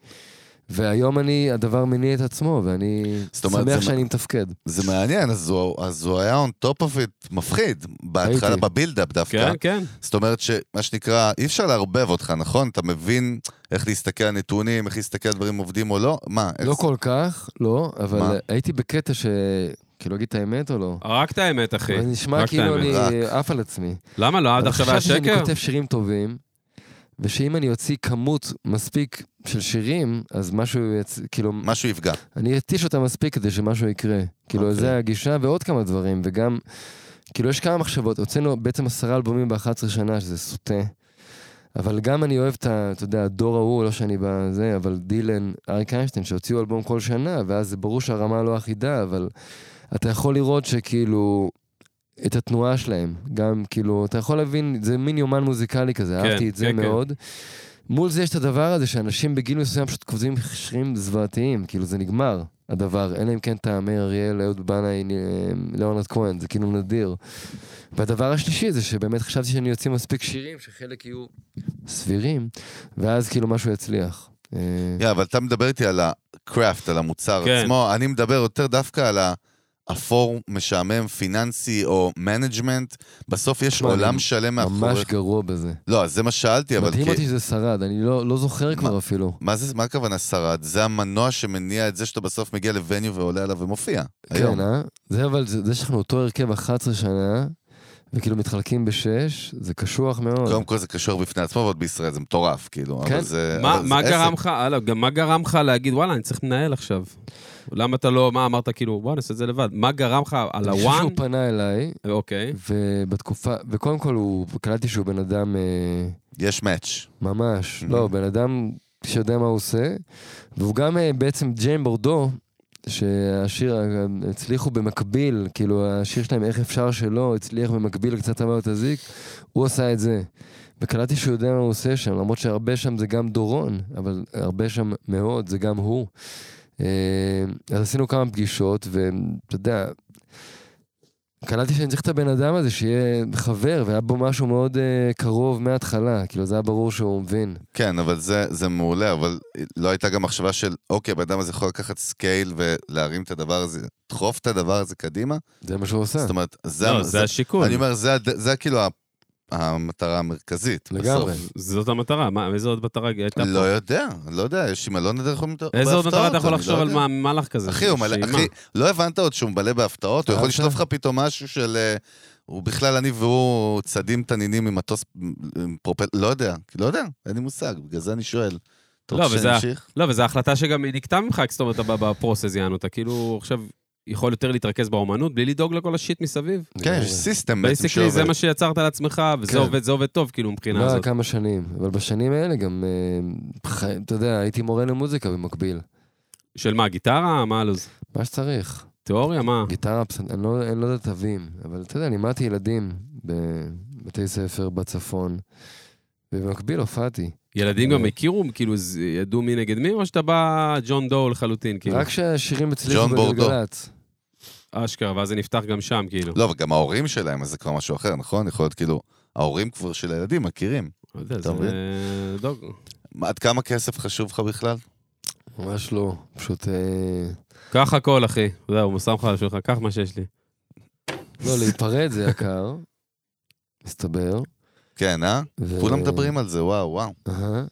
S4: והיום אני, הדבר מניע את עצמו, ואני
S1: זאת אומרת,
S4: שמח
S1: זה-
S4: שאני מתפקד.
S1: זה מעניין, אז הוא- אז הוא היה on top of it מפחיד, בהתחלה,
S4: הייתי.
S1: בבילדאפ דווקא.
S2: כן, כן.
S1: זאת אומרת שמה שנקרא, אי אפשר לערבב אותך, נכון? אתה מבין איך להסתכל על נתונים, איך להסתכל על דברים עובדים או לא? מה? איך
S4: לא
S1: זה-
S4: כל כך, לא, אבל
S1: מה?
S4: הייתי בקטע ש... כאילו, אגיד את האמת או לא?
S2: רק את האמת, אחי.
S4: אבל נשמע
S2: רק את
S4: כאילו
S2: האמת.
S4: אני
S1: רק.
S4: עף על עצמי.
S2: למה לא? עד
S4: אבל
S2: עכשיו היה
S4: חשבתי שאני
S2: שקר?
S4: כותב שירים טובים, ושאם אני אוציא כמות מספיק של שירים, אז משהו, יצ... כאילו,
S1: משהו יפגע.
S4: אני אתיש אותם מספיק כדי שמשהו יקרה. כאילו,
S1: אוקיי.
S4: זה הגישה ועוד כמה דברים, וגם, כאילו, יש כמה מחשבות. הוצאנו בעצם עשרה אלבומים ב-11 שנה, שזה סוטה. אבל גם אני אוהב את ה... אתה יודע, הדור ההוא, לא שאני בזה, אבל דילן, אריק איינשטיין, שהוציאו אלבום כל שנה, ואז זה ברור שהרמה לא אחידה, אבל אתה יכול לראות שכאילו... את התנועה שלהם, גם כאילו, אתה יכול להבין, זה מין יומן מוזיקלי כזה,
S2: כן,
S4: אהבתי את זה
S2: כן, כן.
S4: מאוד. מול זה יש את הדבר הזה שאנשים בגיל מסוים פשוט כותבים שירים זוועתיים, כאילו זה נגמר, הדבר. אלא אם כן אתה מאיר אריאל, אהוד בנאי, אה, ליאונרד כהן, זה כאילו נדיר. והדבר השלישי זה שבאמת חשבתי שאני יוציא מספיק שירים, שחלק יהיו סבירים, ואז כאילו משהו יצליח. אה,
S1: יא, אבל אתה מדבר איתי על הקראפט, על המוצר
S2: כן.
S1: עצמו, אני מדבר יותר דווקא על האפור, משעמם, פיננסי או מנג'מנט. בסוף יש
S4: תשמע,
S1: עולם
S4: אני
S1: שלם מאחורי...
S4: ממש גרוע בזה.
S1: לא, אז זה מה שאלתי, אבל...
S4: מדהים
S1: כי-
S4: אותי שזה שרד, אני לא לא זוכר כבר אפילו.
S1: מה זה, מה הכוונה שרד? זה המנוע שמניע את זה שאתה בסוף מגיע לווניו ועולה עליו ומופיע. היום.
S4: כן, אה? זה אבל, זה זה שאנחנו אותו הרכב 11 שנה, וכאילו מתחלקים בשש, זה קשוח מאוד.
S1: קודם כל זה קשור בפני עצמו, ועוד בישראל זה מטורף, כאילו.
S4: כן.
S1: אבל זה...
S2: מה-
S1: אבל זה
S2: מה
S1: עסק.
S2: גרם לך, הלו, גם מה גרם לך להגיד, וואלה, אני צריך לנהל עכשיו? למה אתה לא, מה אמרת, כאילו, בוא נעשה את זה לבד. מה גרם לך, על
S4: אני חושב
S2: הוואן?
S4: שהוא פנה אליי,
S2: אוקיי.
S4: ובתקופה, וקודם כל הוא, קלטתי שהוא בן אדם אה,
S1: יש מאץ'.
S4: ממש,
S1: Mhm.
S4: לא, בן אדם שיודע מה הוא עושה, והוא גם אה, בעצם ג'יין בורדו, שהשיר, אה, הצליחו במקביל, כאילו השיר שלהם איך אפשר שלא, הצליח במקביל קצת אמר תזיק, הוא עשה את זה. וקלטתי שהוא יודע מה הוא עושה שם, למרות שהרבה שם זה גם דורון, אבל הרבה שם מאוד, זה גם הוא. אה, אז עשינו כמה פגישות, ואתה יודע, קלטתי שאני צריך את הבן אדם הזה, שיהיה חבר, והיה בו משהו מאוד אה, קרוב מההתחלה, כאילו זה היה ברור שהוא מבין.
S1: כן, אבל זה, זה מעולה, אבל לא הייתה גם מחשבה של, אוקיי, הבן אדם הזה יכול לקחת סקייל ולהרים את הדבר הזה, דחוף את הדבר הזה קדימה?
S4: זה מה שהוא עושה.
S1: זאת אומרת, זה...
S2: לא,
S1: זה-
S2: זה השיקול.
S1: אני אומר, זה, הד- זה כאילו ה- המטרה המרכזית.
S4: לגמרי.
S1: בסוף.
S2: זאת המטרה, מה- איזה עוד מטרה הייתה
S1: לא
S2: פה?
S1: יודע, לא יודע, יש עם אלון נדר יכולים... להיות
S2: איזה עוד מטרה
S1: בהפתעות,
S2: אתה יכול
S1: אני
S2: לחשוב
S1: לא
S2: על
S1: יודע.
S2: מה- מהלך כזה?
S1: אחי, הוא מלא,
S2: שאימה.
S1: אחי, לא הבנת עוד שהוא מבלה בהפתעות, הוא יכול
S2: אה,
S4: אהבת?
S2: כן.
S1: לשלוף לך פתאום משהו של... אה, הוא בכלל, אני והוא צדים תנינים עם מטוס עם פרופל... לא יודע, לא יודע, אין לי מושג, בגלל זה אני שואל. אתה
S2: לא,
S1: רוצה
S2: וזה-
S1: שאני אמשיך?
S2: לא, וזו החלטה שגם היא נקטעה ממך, זאת אומרת, אתה בפרוסס, יענו, אתה כאילו עכשיו יכול יותר להתרכז באומנות בלי לדאוג לכל השיט מסביב.
S1: כן,
S4: לגמרי. לא
S1: יש סיסטם בעצם
S2: בייסיקלי
S1: שעובד.
S2: זה מה שיצרת לעצמך, וזה
S4: כן.
S2: עובד, זה עובד טוב, כאילו, מבחינה
S4: לא,
S2: הזאת.
S4: כמה שנים. אבל בשנים האלה גם, אה, חי- אתה יודע, הייתי מורה למוזיקה במקביל.
S1: כן.
S2: של מה, גיטרה? מה הלו"ז?
S4: מה שצריך.
S2: תיאוריה? מה?
S4: גיטרה, פסנ- אני לא, אני לא יודע תווים, אבל אתה יודע, לימדתי ילדים בבתי ספר בצפון, ובמקביל הופעתי.
S2: ילדים גם
S4: אה.
S2: הכירו, כאילו, ז- ידעו מי נגד מי, או שאתה בא ג'ון דו לחלוטין, כאילו?
S4: רק שהשירים הצליחו
S1: ג'ון בורדו.
S4: בגלגלצ.
S2: אשכרה, ואז זה נפתח גם שם, כאילו.
S1: לא, וגם ההורים שלהם, אז זה כבר משהו אחר, נכון? יכול להיות כאילו, ההורים כבר של הילדים מכירים.
S2: לא יודע,
S1: אתה
S2: זה...
S1: מבין?
S2: דוג.
S1: מה, עד כמה כסף חשוב לך בכלל?
S4: ממש לא, פשוט... אה,
S2: קח הכל, אחי. אתה יודע, הוא שם לך על השולחן, קח מה שיש לי.
S4: לא, להיפרד זה יקר, מסתבר.
S1: כן, אה?
S4: ו-
S1: כולם מדברים על זה, וואו, וואו.
S4: אהה.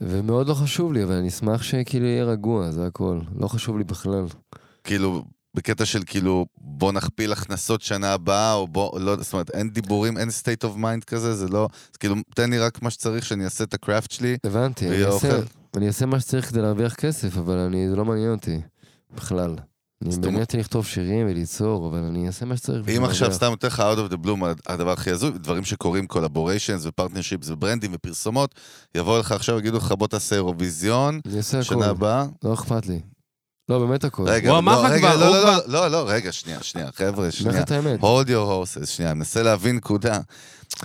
S4: ומאוד לא חשוב לי, אבל אני אשמח שכאילו יהיה רגוע, זה הכל. לא חשוב לי בכלל.
S1: כאילו, בקטע של כאילו, בוא נכפיל הכנסות שנה הבאה, או בוא, לא, זאת אומרת, אין דיבורים, אין state of mind כזה, זה לא, זה כאילו, תן לי רק מה שצריך, שאני אעשה את הקראפט שלי.
S4: הבנתי, אני
S1: ויהיה
S4: אעשה,
S1: אוכל.
S4: אני אעשה מה שצריך כדי להרוויח כסף, אבל אני, זה לא מעניין אותי בכלל. אני
S1: זאת
S4: מעניין
S1: אומרת-
S4: אותי לכתוב שירים וליצור, אבל אני אעשה מה שצריך. בשביל
S1: אם עכשיו
S4: להרוויח.
S1: סתם נותן לך out of the bloom הדבר הכי הזוי, דברים שקורים, קולבוריישנס ופרטנרשיפס וברנדים ופרסומות, יבואו לך עכשיו, יגידו לך, בוא תעשה אירוויזיון,
S4: אני עושה
S1: שנה
S4: הכל,
S1: הבאה.
S4: לא אכפת לי. לא, באמת הכל.
S1: רגע,
S2: הוא
S1: לא,
S2: אמר לך
S1: רגע,
S2: כבר,
S1: לא,
S2: הוא
S1: לא,
S2: כבר-
S1: לא, לא, לא, רגע, שנייה, שנייה, חבר'ה,
S4: אני אומר
S1: שנייה.
S4: לך את האמת.
S1: hold your horses, שנייה, אני מנסה להבין נקודה.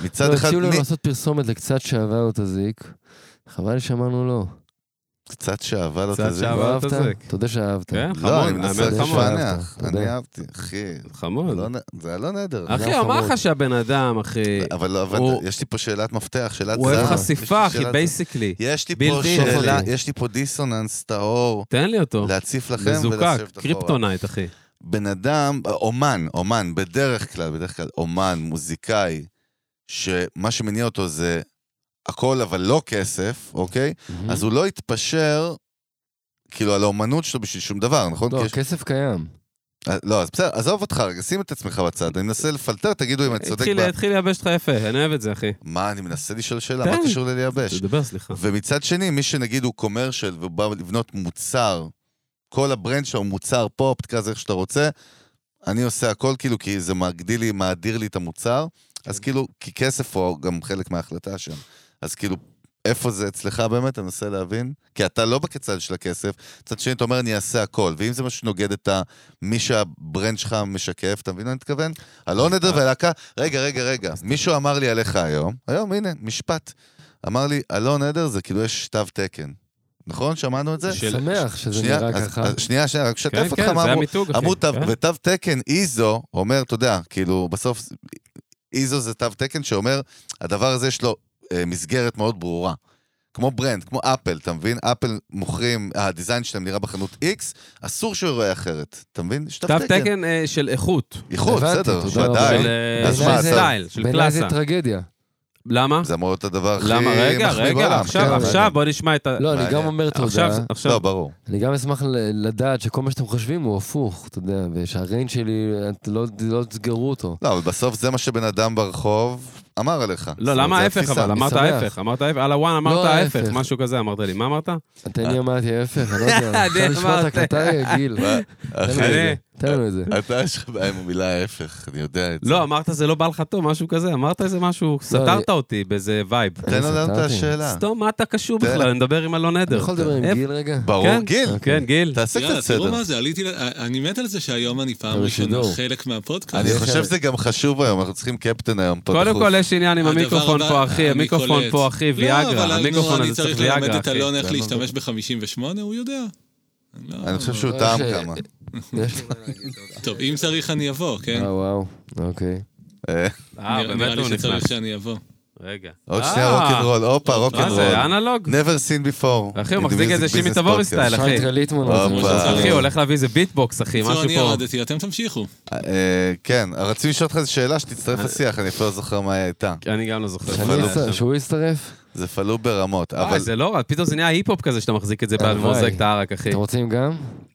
S1: מצד
S4: לא,
S1: אחד,
S4: הציעו לנו
S1: מי-
S4: לעשות פרסומת לקצת שעבר או תזיק. חבל לי שאמרנו לא.
S1: קצת שאהבה לא
S2: קצת
S1: תזיק.
S2: שעבר.
S4: לא
S2: או
S4: אהבת?
S2: תזיק.
S4: תודה שאהבת.
S2: כן,
S1: לא,
S2: חמוד,
S1: אני מנסה
S2: האמת
S4: זה
S2: חמוד.
S4: שאלה.
S1: לפענח,
S4: תודה.
S1: אני אהבתי, אחי.
S2: חמוד.
S1: לא נ- זה היה לא נדר.
S2: אחי,
S4: לא
S2: אמר
S4: חמוד.
S2: לך שהבן אדם, אחי,
S1: אבל לא הבנת,
S2: הוא-
S1: יש לי פה שאלת מפתח, שאלת זהב.
S2: הוא אוהב
S1: יש לי
S2: חשיפה, אחי,
S1: שאלת-
S2: בייסיקלי.
S1: יש לי פה
S2: בלתי אפשרי.
S1: שאלה, יש לי פה דיסוננס טהור,
S2: תן לי אותו.
S1: להציף לכם
S2: מזוקק,
S1: ולשבת אחורה.
S2: קריפטונייט, אחי.
S1: בן אדם, אומן, אומן, בדרך כלל, בדרך כלל, אומן, מוזיקאי, שמה שמניע אותו זה הכל, אבל לא כסף, אוקיי?
S2: Mm-hmm.
S4: מהמם.
S1: אז הוא לא יתפשר, כאילו, על האומנות שלו בשביל שום דבר, נכון?
S2: כן,
S4: לא,
S1: כי יש-
S4: כסף קיים.
S1: אה, לא, אז בסדר, עזוב אותך רגע, שים את עצמך בצד, אני מנסה לפלטר, תגידו אם אני צודק.
S2: התחיל
S1: ב-
S2: התחיל לייבש אותך יפה, אני אוהב את זה, אחי.
S1: מה, אני מנסה לשאול שאלה,
S2: תן.
S1: מה קשור ללייבש?
S2: תדבר, סליחה.
S1: ומצד שני, מי שנגיד הוא קומרשל והוא בא לבנות מוצר, כל הברנד שלו הוא מוצר פופ, תקרא לזה איך שאתה רוצה, אני עושה הכל כאילו, כי זה מגדיל לי, מאדיר לי את המוצר, אז כאילו, כי כסף הוא גם חלק מההחלטה שם. אז כאילו, איפה זה אצלך באמת, אני מנסה להבין? כי אתה לא בצד של הכסף, מצד שני אתה אומר, אני אעשה הכל. ואם זה מה שנוגד את ה... מי שהברנד שלך משקף, אתה מבין מה אני מתכוון? אלון עדר והלהקה, רגע, רגע, רגע, מישהו אמר לי עליך היום, היום, הנה, משפט. אמר לי, אלון עדר זה כאילו יש תו תקן. נכון? שמענו את זה?
S4: אני שמח שזה
S1: שנייה,
S4: נראה
S1: אז-
S4: ככה.
S1: אז שנייה, שנייה, רק
S2: כן,
S1: שתף אותך
S2: כן,
S1: מה
S2: זה
S1: אמרו.
S2: המיתוג, אחי.
S1: אמרו תו,
S2: כן.
S1: ותו תקן איזו אומר, אתה יודע, כאילו, בסוף איזו זה תו תקן שאומר, הדבר הזה יש לו אה, מסגרת מאוד ברורה. כמו ברנד, כמו אפל, אתה מבין? אפל מוכרים, הדיזיין שלהם נראה בחנות X, אסור שהוא יראה אחרת, אתה מבין? יש
S2: תו תקן אה, של איכות.
S1: איכות,
S4: הבנתי,
S1: בסדר,
S4: תודה רבה.
S1: ודאי.
S2: של אה,
S1: אז
S2: של
S1: מה, אתה-
S2: סטייל, של
S4: בעיניי זה
S2: קלאסה.
S4: טרגדיה.
S2: למה?
S1: זה אמור להיות הדבר הכי
S2: למה? רגע,
S1: מחמיא
S2: רגע,
S1: בעולם, כן,
S2: עכשיו,
S1: אבל-
S2: עכשיו, בוא נשמע את ה...
S4: לא, אני
S1: מעניין.
S4: גם אומר
S2: עכשיו,
S4: תודה.
S2: עכשיו.
S1: לא, ברור.
S4: אני גם אשמח ל- לדעת שכל מה שאתם חושבים הוא הפוך, אתה יודע, ושהריינג שלי, את לא- לא תסגרו אותו.
S1: לא, אבל בסוף זה מה שבן אדם ברחוב אמר עליך. זאת
S2: לא,
S1: אומרת,
S2: למה
S1: זה
S2: ההפך
S1: התפיסה.
S2: אבל? אמרת
S4: שמח.
S2: ההפך, אמרת ההפך, על הוואן אמרת
S4: לא
S2: ההפך,
S4: ההפך.
S2: משהו כזה אמרת לי, מה אמרת?
S1: אה.
S4: אתה, אני אמרתי
S1: <laughs>
S4: ההפך, אני לא יודע.
S2: אני
S4: אפשר לשמוע את
S2: אמרתי.
S4: ההקלטה, גיל.
S1: מה?
S4: תן לנו את זה, תן לנו את זה.
S1: אתה יש לך בעיה עם המילה ההפך, אני יודע את זה.
S2: לא, אמרת זה לא בא לך טוב, משהו כזה, אמרת איזה משהו, סתרת
S4: אני-
S2: אותי באיזה וייב.
S1: תן לנו את
S4: סתרתי.
S1: השאלה.
S2: סתום, מה אתה קשור
S1: תן-
S2: בכלל? אני מדבר עם אלון
S4: אני
S2: עדר.
S4: יכול לדבר
S1: אה,
S2: איפה-
S4: עם גיל רגע?
S1: ברור,
S2: כן.
S1: גיל,
S2: כן, גיל.
S1: תעשה
S3: יאללה,
S1: קצת
S3: תראו
S1: סדר.
S3: מה זה, עליתי, ל- אה, אני מת על זה שהיום אני פעם
S4: אבל
S3: ראשונה
S4: שידור.
S3: חלק מהפודקאסט.
S1: אני
S4: זה
S1: חושב
S4: חלק.
S1: שזה גם חשוב היום, אנחנו צריכים קפטן היום פה.
S2: קודם
S1: דחוף.
S2: כל יש עניין עם
S3: הדבר
S2: המיקרופון
S3: הבא,
S2: פה, אחי,
S3: אני
S2: המיקרופון
S3: קולט.
S2: פה, אחי,
S3: לא,
S2: ויאגרה,
S3: אבל
S2: המיקרופון
S3: נו, אני
S2: הזה
S3: צריך
S2: צריך
S3: ללמד
S2: ויאגרה,
S3: את
S2: אחי.
S3: אלון איך
S1: זה לא
S3: להשתמש ב-58, הוא יודע. לא,
S1: אני חושב שהוא
S4: לא,
S1: טעם
S4: יש-
S1: כמה.
S4: יש-
S3: טוב, אם צריך אני אבוא, כן?
S4: אה, וואו, אוקיי.
S1: אה,
S2: אה,
S3: נראה- נראה
S2: באמת
S3: לי
S2: הוא נכנס.
S3: שצריך שאני אבוא.
S2: רגע.
S1: עוד
S2: אה,
S1: שנייה רוקנרול, הופה,
S2: מה
S1: רוקנרול.
S2: זה, אנלוג?
S1: never seen before.
S2: אחי, הוא
S1: in the
S2: מחזיק
S1: music
S2: איזה שימי
S1: business
S2: תבורי
S1: podcast.
S2: סטייל, אחי.
S4: שיינט רליטמון.
S1: הופה.
S4: הזה, מה שצריך.
S2: אחי, הוא הולך להביא איזה ביטבוקס, אחי,
S3: בקיצור,
S2: משהו
S3: אני
S2: פה.
S3: ירדתי, אתם תמשיכו.
S1: אה, כן, רציתי לשאול אותך איזו שאלה
S4: אה.
S1: שתצטרף לשיח, אני אפילו לא זוכר מה היא הייתה.
S2: אני גם לא זוכר.
S4: שאני
S1: אבל-
S4: אצטרף- שהוא יצטרף?
S1: זה פעלו ברמות,
S2: אבל...
S1: אבל
S2: זה לא רע, פתאום זה נהיה היפ-הופ כזה שאתה מחזיק את זה
S4: הלוואי.
S2: במוזג את הערק,
S1: כן.
S2: אחי.
S4: אתם רוצים גם?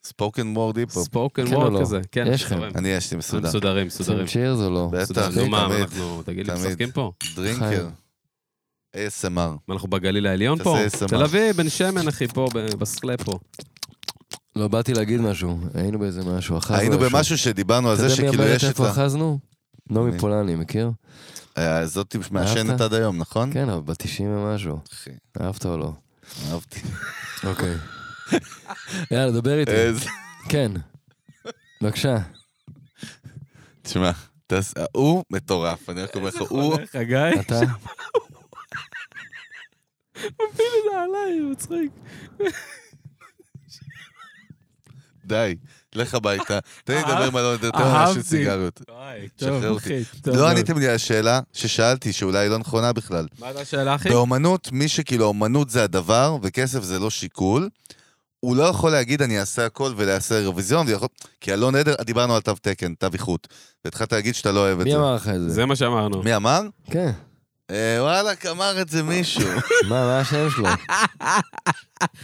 S1: spoken word היפ-הופ.
S2: ספוקן
S4: כן או
S2: וורד
S4: לא?
S2: כזה. כן,
S4: יש לכם.
S2: מסודרים.
S1: אני יש לי מסודר.
S2: מסודרים, מסודרים.
S4: רוצים צ'ירס או לא?
S1: בטח,
S2: נו, מה,
S1: תמיד.
S2: אנחנו, תגיד לי,
S1: תמיד.
S2: משחקים פה?
S1: דרינקר. ASMR.
S2: מה, אנחנו בגליל העליון פה?
S1: תעשה ASMR.
S2: תל אביב, בן שמן, אחי, פה, ב- בסקלה פה.
S4: לא, באתי להגיד משהו. היינו באיזה משהו, אחזנו
S1: היינו
S4: איפשהו.
S1: במשהו שדיברנו על זה
S4: אתה יודע מי
S1: שכאילו
S4: אמרת
S1: יש את
S4: איפה
S1: ה...
S4: אחזנו?
S1: אני.
S4: נעמי פולני, מכיר?
S1: אה, זאת מעשנת
S4: אהבת?
S1: עד היום, נכון?
S4: כן, אבל בת 90 ומשהו.
S1: אחי,
S4: אהבת או לא?
S1: אהבתי.
S4: אוקיי. <laughs> יאללה, דבר איתי.
S1: איזה-
S4: כן. בבקשה.
S1: תשמע, תעש- הוא מטורף, אני רק אומר לך, הוא...
S2: איך, חגי?
S4: אתה?
S2: מפיל את <laughs> זה עליי, מצחיק.
S1: די, לך הביתה, תן לי לדבר עם אלון, תן לי
S2: אהבתי.
S1: משהו סיגריות.
S2: וואי,
S1: שחרר
S2: טוב,
S1: אותי.
S2: אחי, טוב.
S1: לא עניתם לי על השאלה ששאלתי, שאולי לא נכונה בכלל.
S2: מה הייתה השאלה, אחי?
S1: באומנות, מי שכאילו אומנות זה הדבר, וכסף זה לא שיקול, הוא לא יכול להגיד אני אעשה הכל ולעשה אירוויזיון, ויכול- כי אלון עדר, דיברנו על תו תקן, תו איכות, והתחלת להגיד שאתה לא אוהב את
S4: מי
S1: זה.
S4: אמר לך את זה?
S2: זה מה שאמרנו.
S1: מי אמר?
S4: כן.
S1: אה, וואלכ, אמר את זה
S2: <laughs>
S1: מישהו.
S4: מה, מה השם שלו?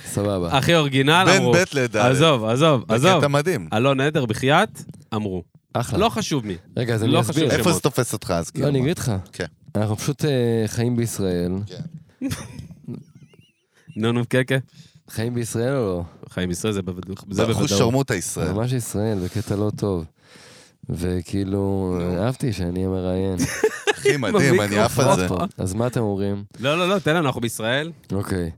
S4: סבבה.
S2: הכי אורגינל,
S1: בן
S2: אמרו.
S1: בית לדעת.
S2: עזוב, עזוב, עזוב.
S1: קטע מדהים.
S2: אלון עדר, בחייאת, אמרו.
S4: אחלה.
S2: לא חשוב מי.
S4: רגע, אז
S2: לא
S4: אני
S2: חשוב
S4: אסביר.
S2: שמות.
S1: איפה זה תופס אותך אז? כאילו,
S4: לא, אני
S1: מה?
S4: אגיד לך.
S1: כן.
S4: אנחנו פשוט אה, חיים בישראל.
S2: נו, נו, כן, כן.
S4: חיים בישראל או לא?
S2: חיים ישראל זה בוודאות. זה
S1: ברחו
S2: בוודאות.
S1: שרמוטה ישראל.
S4: ממש ישראל, בקטע לא טוב. וכאילו, אהבתי שאני המראיין.
S1: הכי מדהים, אני עף על זה.
S2: במיקרופון.
S4: אז מה אתם אומרים?
S2: לא, לא, לא, תן לנו, אנחנו בישראל.
S4: אוקיי.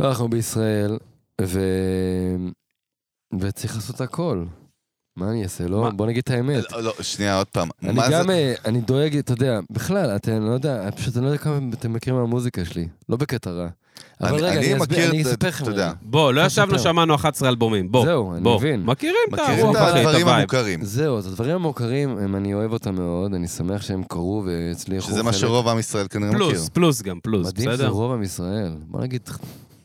S4: לא, אנחנו בישראל, ו... וצריך לעשות הכל. מה אני אעשה, לא?
S2: מה?
S4: בוא נגיד את האמת.
S1: לא, לא, שנייה, עוד פעם.
S4: אני
S1: מה
S4: גם,
S1: זה?
S4: אה, אני דואג, אתה יודע, בכלל, אתה אני לא יודע, אני פשוט אני לא יודע כמה אתם מכירים מהמוזיקה שלי. לא בקטע רע. אבל
S1: אני-
S4: רגע,
S1: אני
S4: אני אסביר,
S1: מכיר
S4: אני
S1: את-
S4: אספר לכם.
S1: אתה יודע.
S4: רגע.
S2: בוא, לא
S1: כן,
S4: אתה
S2: ישבנו,
S4: מספר.
S2: שמענו 11 אלבומים. בוא.
S4: זהו, אני
S2: בוא.
S4: מבין.
S2: מכירים את
S1: מכירים
S2: הרוח,
S1: את
S2: אחי, את
S1: הדברים
S2: הווייב.
S1: המוכרים.
S4: זהו, אז הדברים המוכרים, הם- אני אוהב אותם מאוד, אני שמח שהם קרו והצליחו.
S1: שזה מה
S4: חלק.
S1: שרוב עם ישראל כנראה מכיר.
S2: פלוס, פלוס גם, פלוס,
S4: מדהים שזה
S2: בסדר?
S4: רוב עם ישראל. בוא נגיד,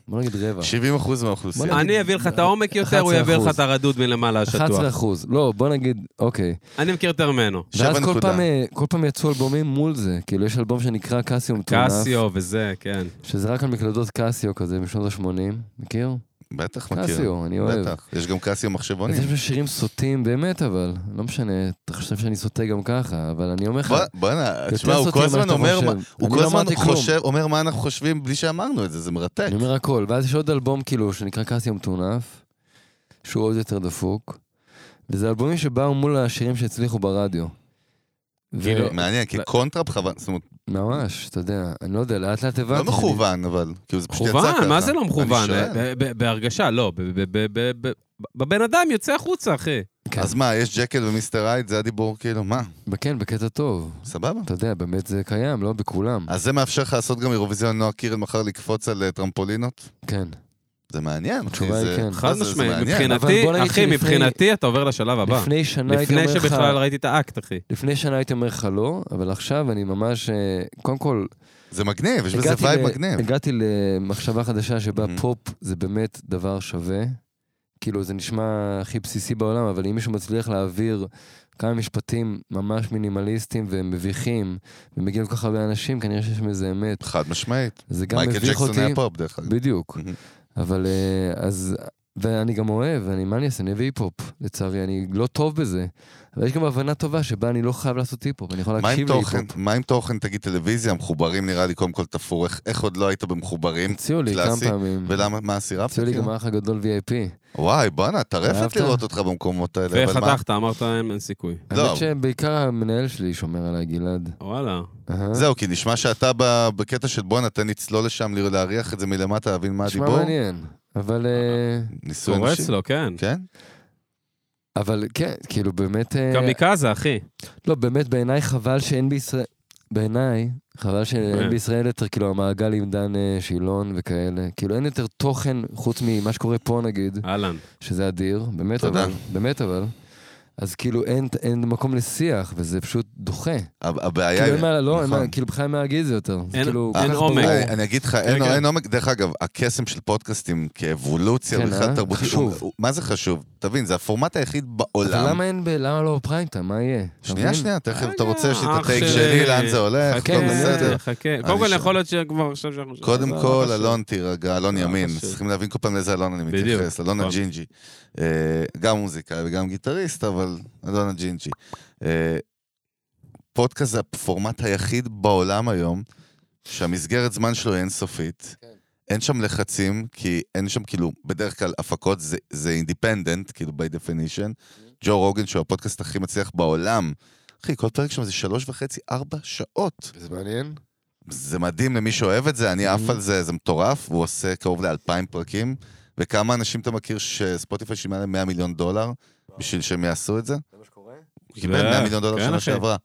S4: בוא נגיד רבע.
S1: 70% מהאוכלוסייה.
S4: בוא
S2: אני אביא לך
S1: <laughs>
S2: את העומק יותר, הוא יביא לך את הרדוד מלמעלה
S4: 11
S2: השטוח.
S4: אחוז. לא, בוא נגיד, אוקיי.
S2: אני מכיר יותר ממנו.
S4: ואז
S1: שבע
S4: כל
S1: נקודה.
S4: פעם, אה, כל פעם יצאו אלבומים מול זה. כאילו, יש אלבום שנקרא קסיום טונף.
S2: קסיו וזה, כן.
S4: שזה רק על מקלדות קסיו כזה משנות ה-80, מכיר?
S1: בטח מכיר.
S4: קסיו, אני אוהב.
S1: בטח. יש גם קסיו
S4: אז
S1: מחשבונים.
S4: יש לי שירים סוטים באמת, אבל לא משנה, אתה חושב שאני סוטה גם ככה, אבל אני אומר לך,
S1: בוא- בואנה,
S4: יותר
S1: תשמע, הוא כל
S4: סוטים
S1: הזמן
S4: ממה שאתה
S1: אומר, מה-
S4: חושב.
S1: הוא
S4: אני
S1: כל
S4: לא
S1: הזמן
S4: אמרתי כלום.
S1: חושב, אומר מה אנחנו חושבים בלי שאמרנו את זה, זה מרתק.
S4: אני אומר הכל. ואז יש עוד אלבום כאילו שנקרא קסיו מטונף, שהוא עוד יותר דפוק, וזה אלבומים שבאו מול השירים שהצליחו ברדיו. ו-
S2: כאילו-
S1: מעניין, כי
S4: לא-
S2: ו-
S1: קונטרה בכוונה, זאת אומרת,
S4: ממש, אתה יודע, אני לא יודע, לאט לאט הבנתי.
S1: לא
S4: שאני-
S1: מכוון, אבל, כאילו זה פשוט יצא ככה.
S2: מכוון, מה זה לא
S1: אני
S2: מכוון?
S4: אה,
S1: שואל.
S2: ב- ב- בהרגשה, לא. ב- ב- ב- ב- ב- בבן אדם יוצא החוצה, אחי.
S4: כן.
S1: אז מה, יש ג'קל ומיסטר הייד, זה הדיבור כאילו, מה,
S4: כן, בקטע טוב.
S1: סבבה.
S4: אתה יודע, באמת זה קיים, לא בכולם.
S1: אז זה מאפשר לך לעשות גם אירוויזיון נועה קירל מחר לקפוץ על אה, טרמפולינות?
S4: כן.
S1: זה מעניין, אחי.
S4: התשובה היא
S1: זה-
S4: כן.
S1: מה
S2: חד
S1: זה- זה
S2: משמעית.
S1: מעניין.
S4: אבל בוא
S2: מבחינתי,
S4: נגיד
S2: אחי,
S4: שלפני-
S2: מבחינתי אתה עובר לשלב הבא.
S4: לפני שנה הייתי אומר
S2: לפני
S4: לך...
S2: שבכלל ראיתי את האקט, אחי.
S4: לפני שנה הייתי אומר לך לא, אבל עכשיו אני ממש, אה, קודם כל,
S1: זה מגניב, יש בזה וייב מגניב.
S4: הגעתי למחשבה חדשה שבה
S1: Mhm.
S4: פופ זה באמת דבר שווה. כאילו, זה נשמע הכי בסיסי בעולם, אבל אם מישהו מצליח להעביר כמה משפטים ממש מינימליסטיים ומביכים, ומגיעים כל כך הרבה אנשים, כנראה שיש מזה אמת.
S1: חד משמעית.
S4: זה גם
S1: מייקל
S4: מביך
S1: ג'קסון
S4: אותי.
S1: היה פופ דרך אגב.
S4: בדיוק.
S1: Mhm.
S4: אבל אה, אז, ואני גם אוהב, אני, מה אני אעשה, אני אוהב היפ-הופ, לצערי, אני לא טוב בזה. אבל יש גם הבנה טובה שבה אני לא חייב לעשות היפ-הופ, אני יכול
S1: מה עם
S4: להקשיב
S1: תוכן?
S4: להיפ-הופ.
S1: מה עם תוכן, תגיד טלוויזיה, מחוברים נראה לי קודם כל תפור, איך- איך עוד לא היית במחוברים?
S4: הציעו לי כמה
S1: קלאסי.
S4: פעמים.
S1: ולמה, מה, סירבת?
S4: הציעו לי
S1: כאילו?
S4: גם האח הגדול VIP.
S1: וואי, בואנה, טרפת
S4: אהבת?
S1: לראות אותך במקומות האלה. אבל מה-
S2: וחתכת, אמרת אין אין סיכוי.
S1: לא.
S4: האמת שבעיקר המנהל שלי שומר עליי, גלעד.
S2: וואלה.
S4: אהה.
S1: זהו, כי נשמע שאתה ב- בקטע של בואנה, תן נצלול לשם, ל- להריח את זה מלמטה, להבין מה
S4: נשמע
S1: הדיבור.
S4: מעניין. אבל... אה,
S1: ניסוי אנושי.
S2: קורץ לו, כן.
S1: כן?
S4: אבל כן, כאילו באמת... אה,
S2: קמיקזה, אחי.
S4: לא, באמת, בעיניי חבל שאין בישראל... בעיניי, חבל שאין
S2: כן.
S4: בישראל יותר, כאילו, המעגל עם דן אה, שילון וכאלה. כאילו, אין יותר תוכן חוץ ממה שקורה פה, נגיד,
S2: אהלן.
S4: שזה אדיר. באמת,
S1: תודה.
S4: אבל. באמת, אבל. אז כאילו, אין, אין מקום לשיח, וזה פשוט דוחה.
S1: ה- הבעיה
S4: כאילו,
S1: היא...
S4: אין מה, לא, אין מה-
S1: נכון.
S4: כאילו, בכלל אין מה להגיד את זה יותר. זה
S2: אין-
S4: כאילו, כל
S1: אין
S4: כך
S2: עומק.
S4: ברור.
S1: אני, אני אגיד לך, אין,
S2: כן.
S1: אין עומק, דרך אגב, הקסם של פודקאסטים כאבולוציה
S4: כן,
S1: בכלל
S4: אה?
S1: תרבות,
S4: חשוב.
S1: מה זה חשוב? תבין, זה הפורמט היחיד
S4: אבל
S1: בעולם.
S4: למה אין ב... למה לא פריימטה? מה יהיה?
S1: שנייה,
S4: אתה מבין?
S1: שנייה, תכף אתה
S2: רגע,
S1: רוצה, יש לי את
S2: אח
S1: הטייק
S2: של-
S1: שלי, לאן זה הולך,
S4: חכה,
S1: הכל בסדר.
S2: אה, חכה. קודם כל,
S1: שם.
S2: יכול להיות שכבר עכשיו שאנחנו...
S1: קודם
S2: זה לא
S1: כל,
S2: חשוב.
S1: אלון תירגע, אלון
S2: לא
S1: ימין,
S2: חשוב.
S1: צריכים להבין כל פעם לאיזה אלון אני
S2: בדיוק,
S1: מתייחס, אלון
S2: נכון.
S1: הג'ינג'י. אה, גם מוזיקאי וגם גיטריסט, אבל אלון הג'ינג'י. אה, פודקאסט זה הפורמט היחיד בעולם היום, שהמסגרת זמן שלו היא אינסופית.
S2: כן.
S1: אין שם לחצים, כי אין שם כאילו, בדרך כלל הפקות זה- זה אינדיפנדנט, כאילו by definition.
S2: Mm-hmm.
S1: ג'ו רוגן, שהוא הפודקאסט הכי מצליח בעולם, אחי, כל פרק שם זה שלוש וחצי, ארבע שעות.
S4: זה מעניין.
S1: זה מדהים למי שאוהב את זה, אני עף על זה, זה מטורף, הוא עושה קרוב לאלפיים פרקים, וכמה אנשים אתה מכיר שספוטיפיי שילמה להם 100 מיליון דולר בשביל שהם יעשו את זה? הוא קיבל
S2: זה-
S1: 100 מיליון דולר
S2: כן,
S1: שנה
S2: אחי.
S1: שעברה.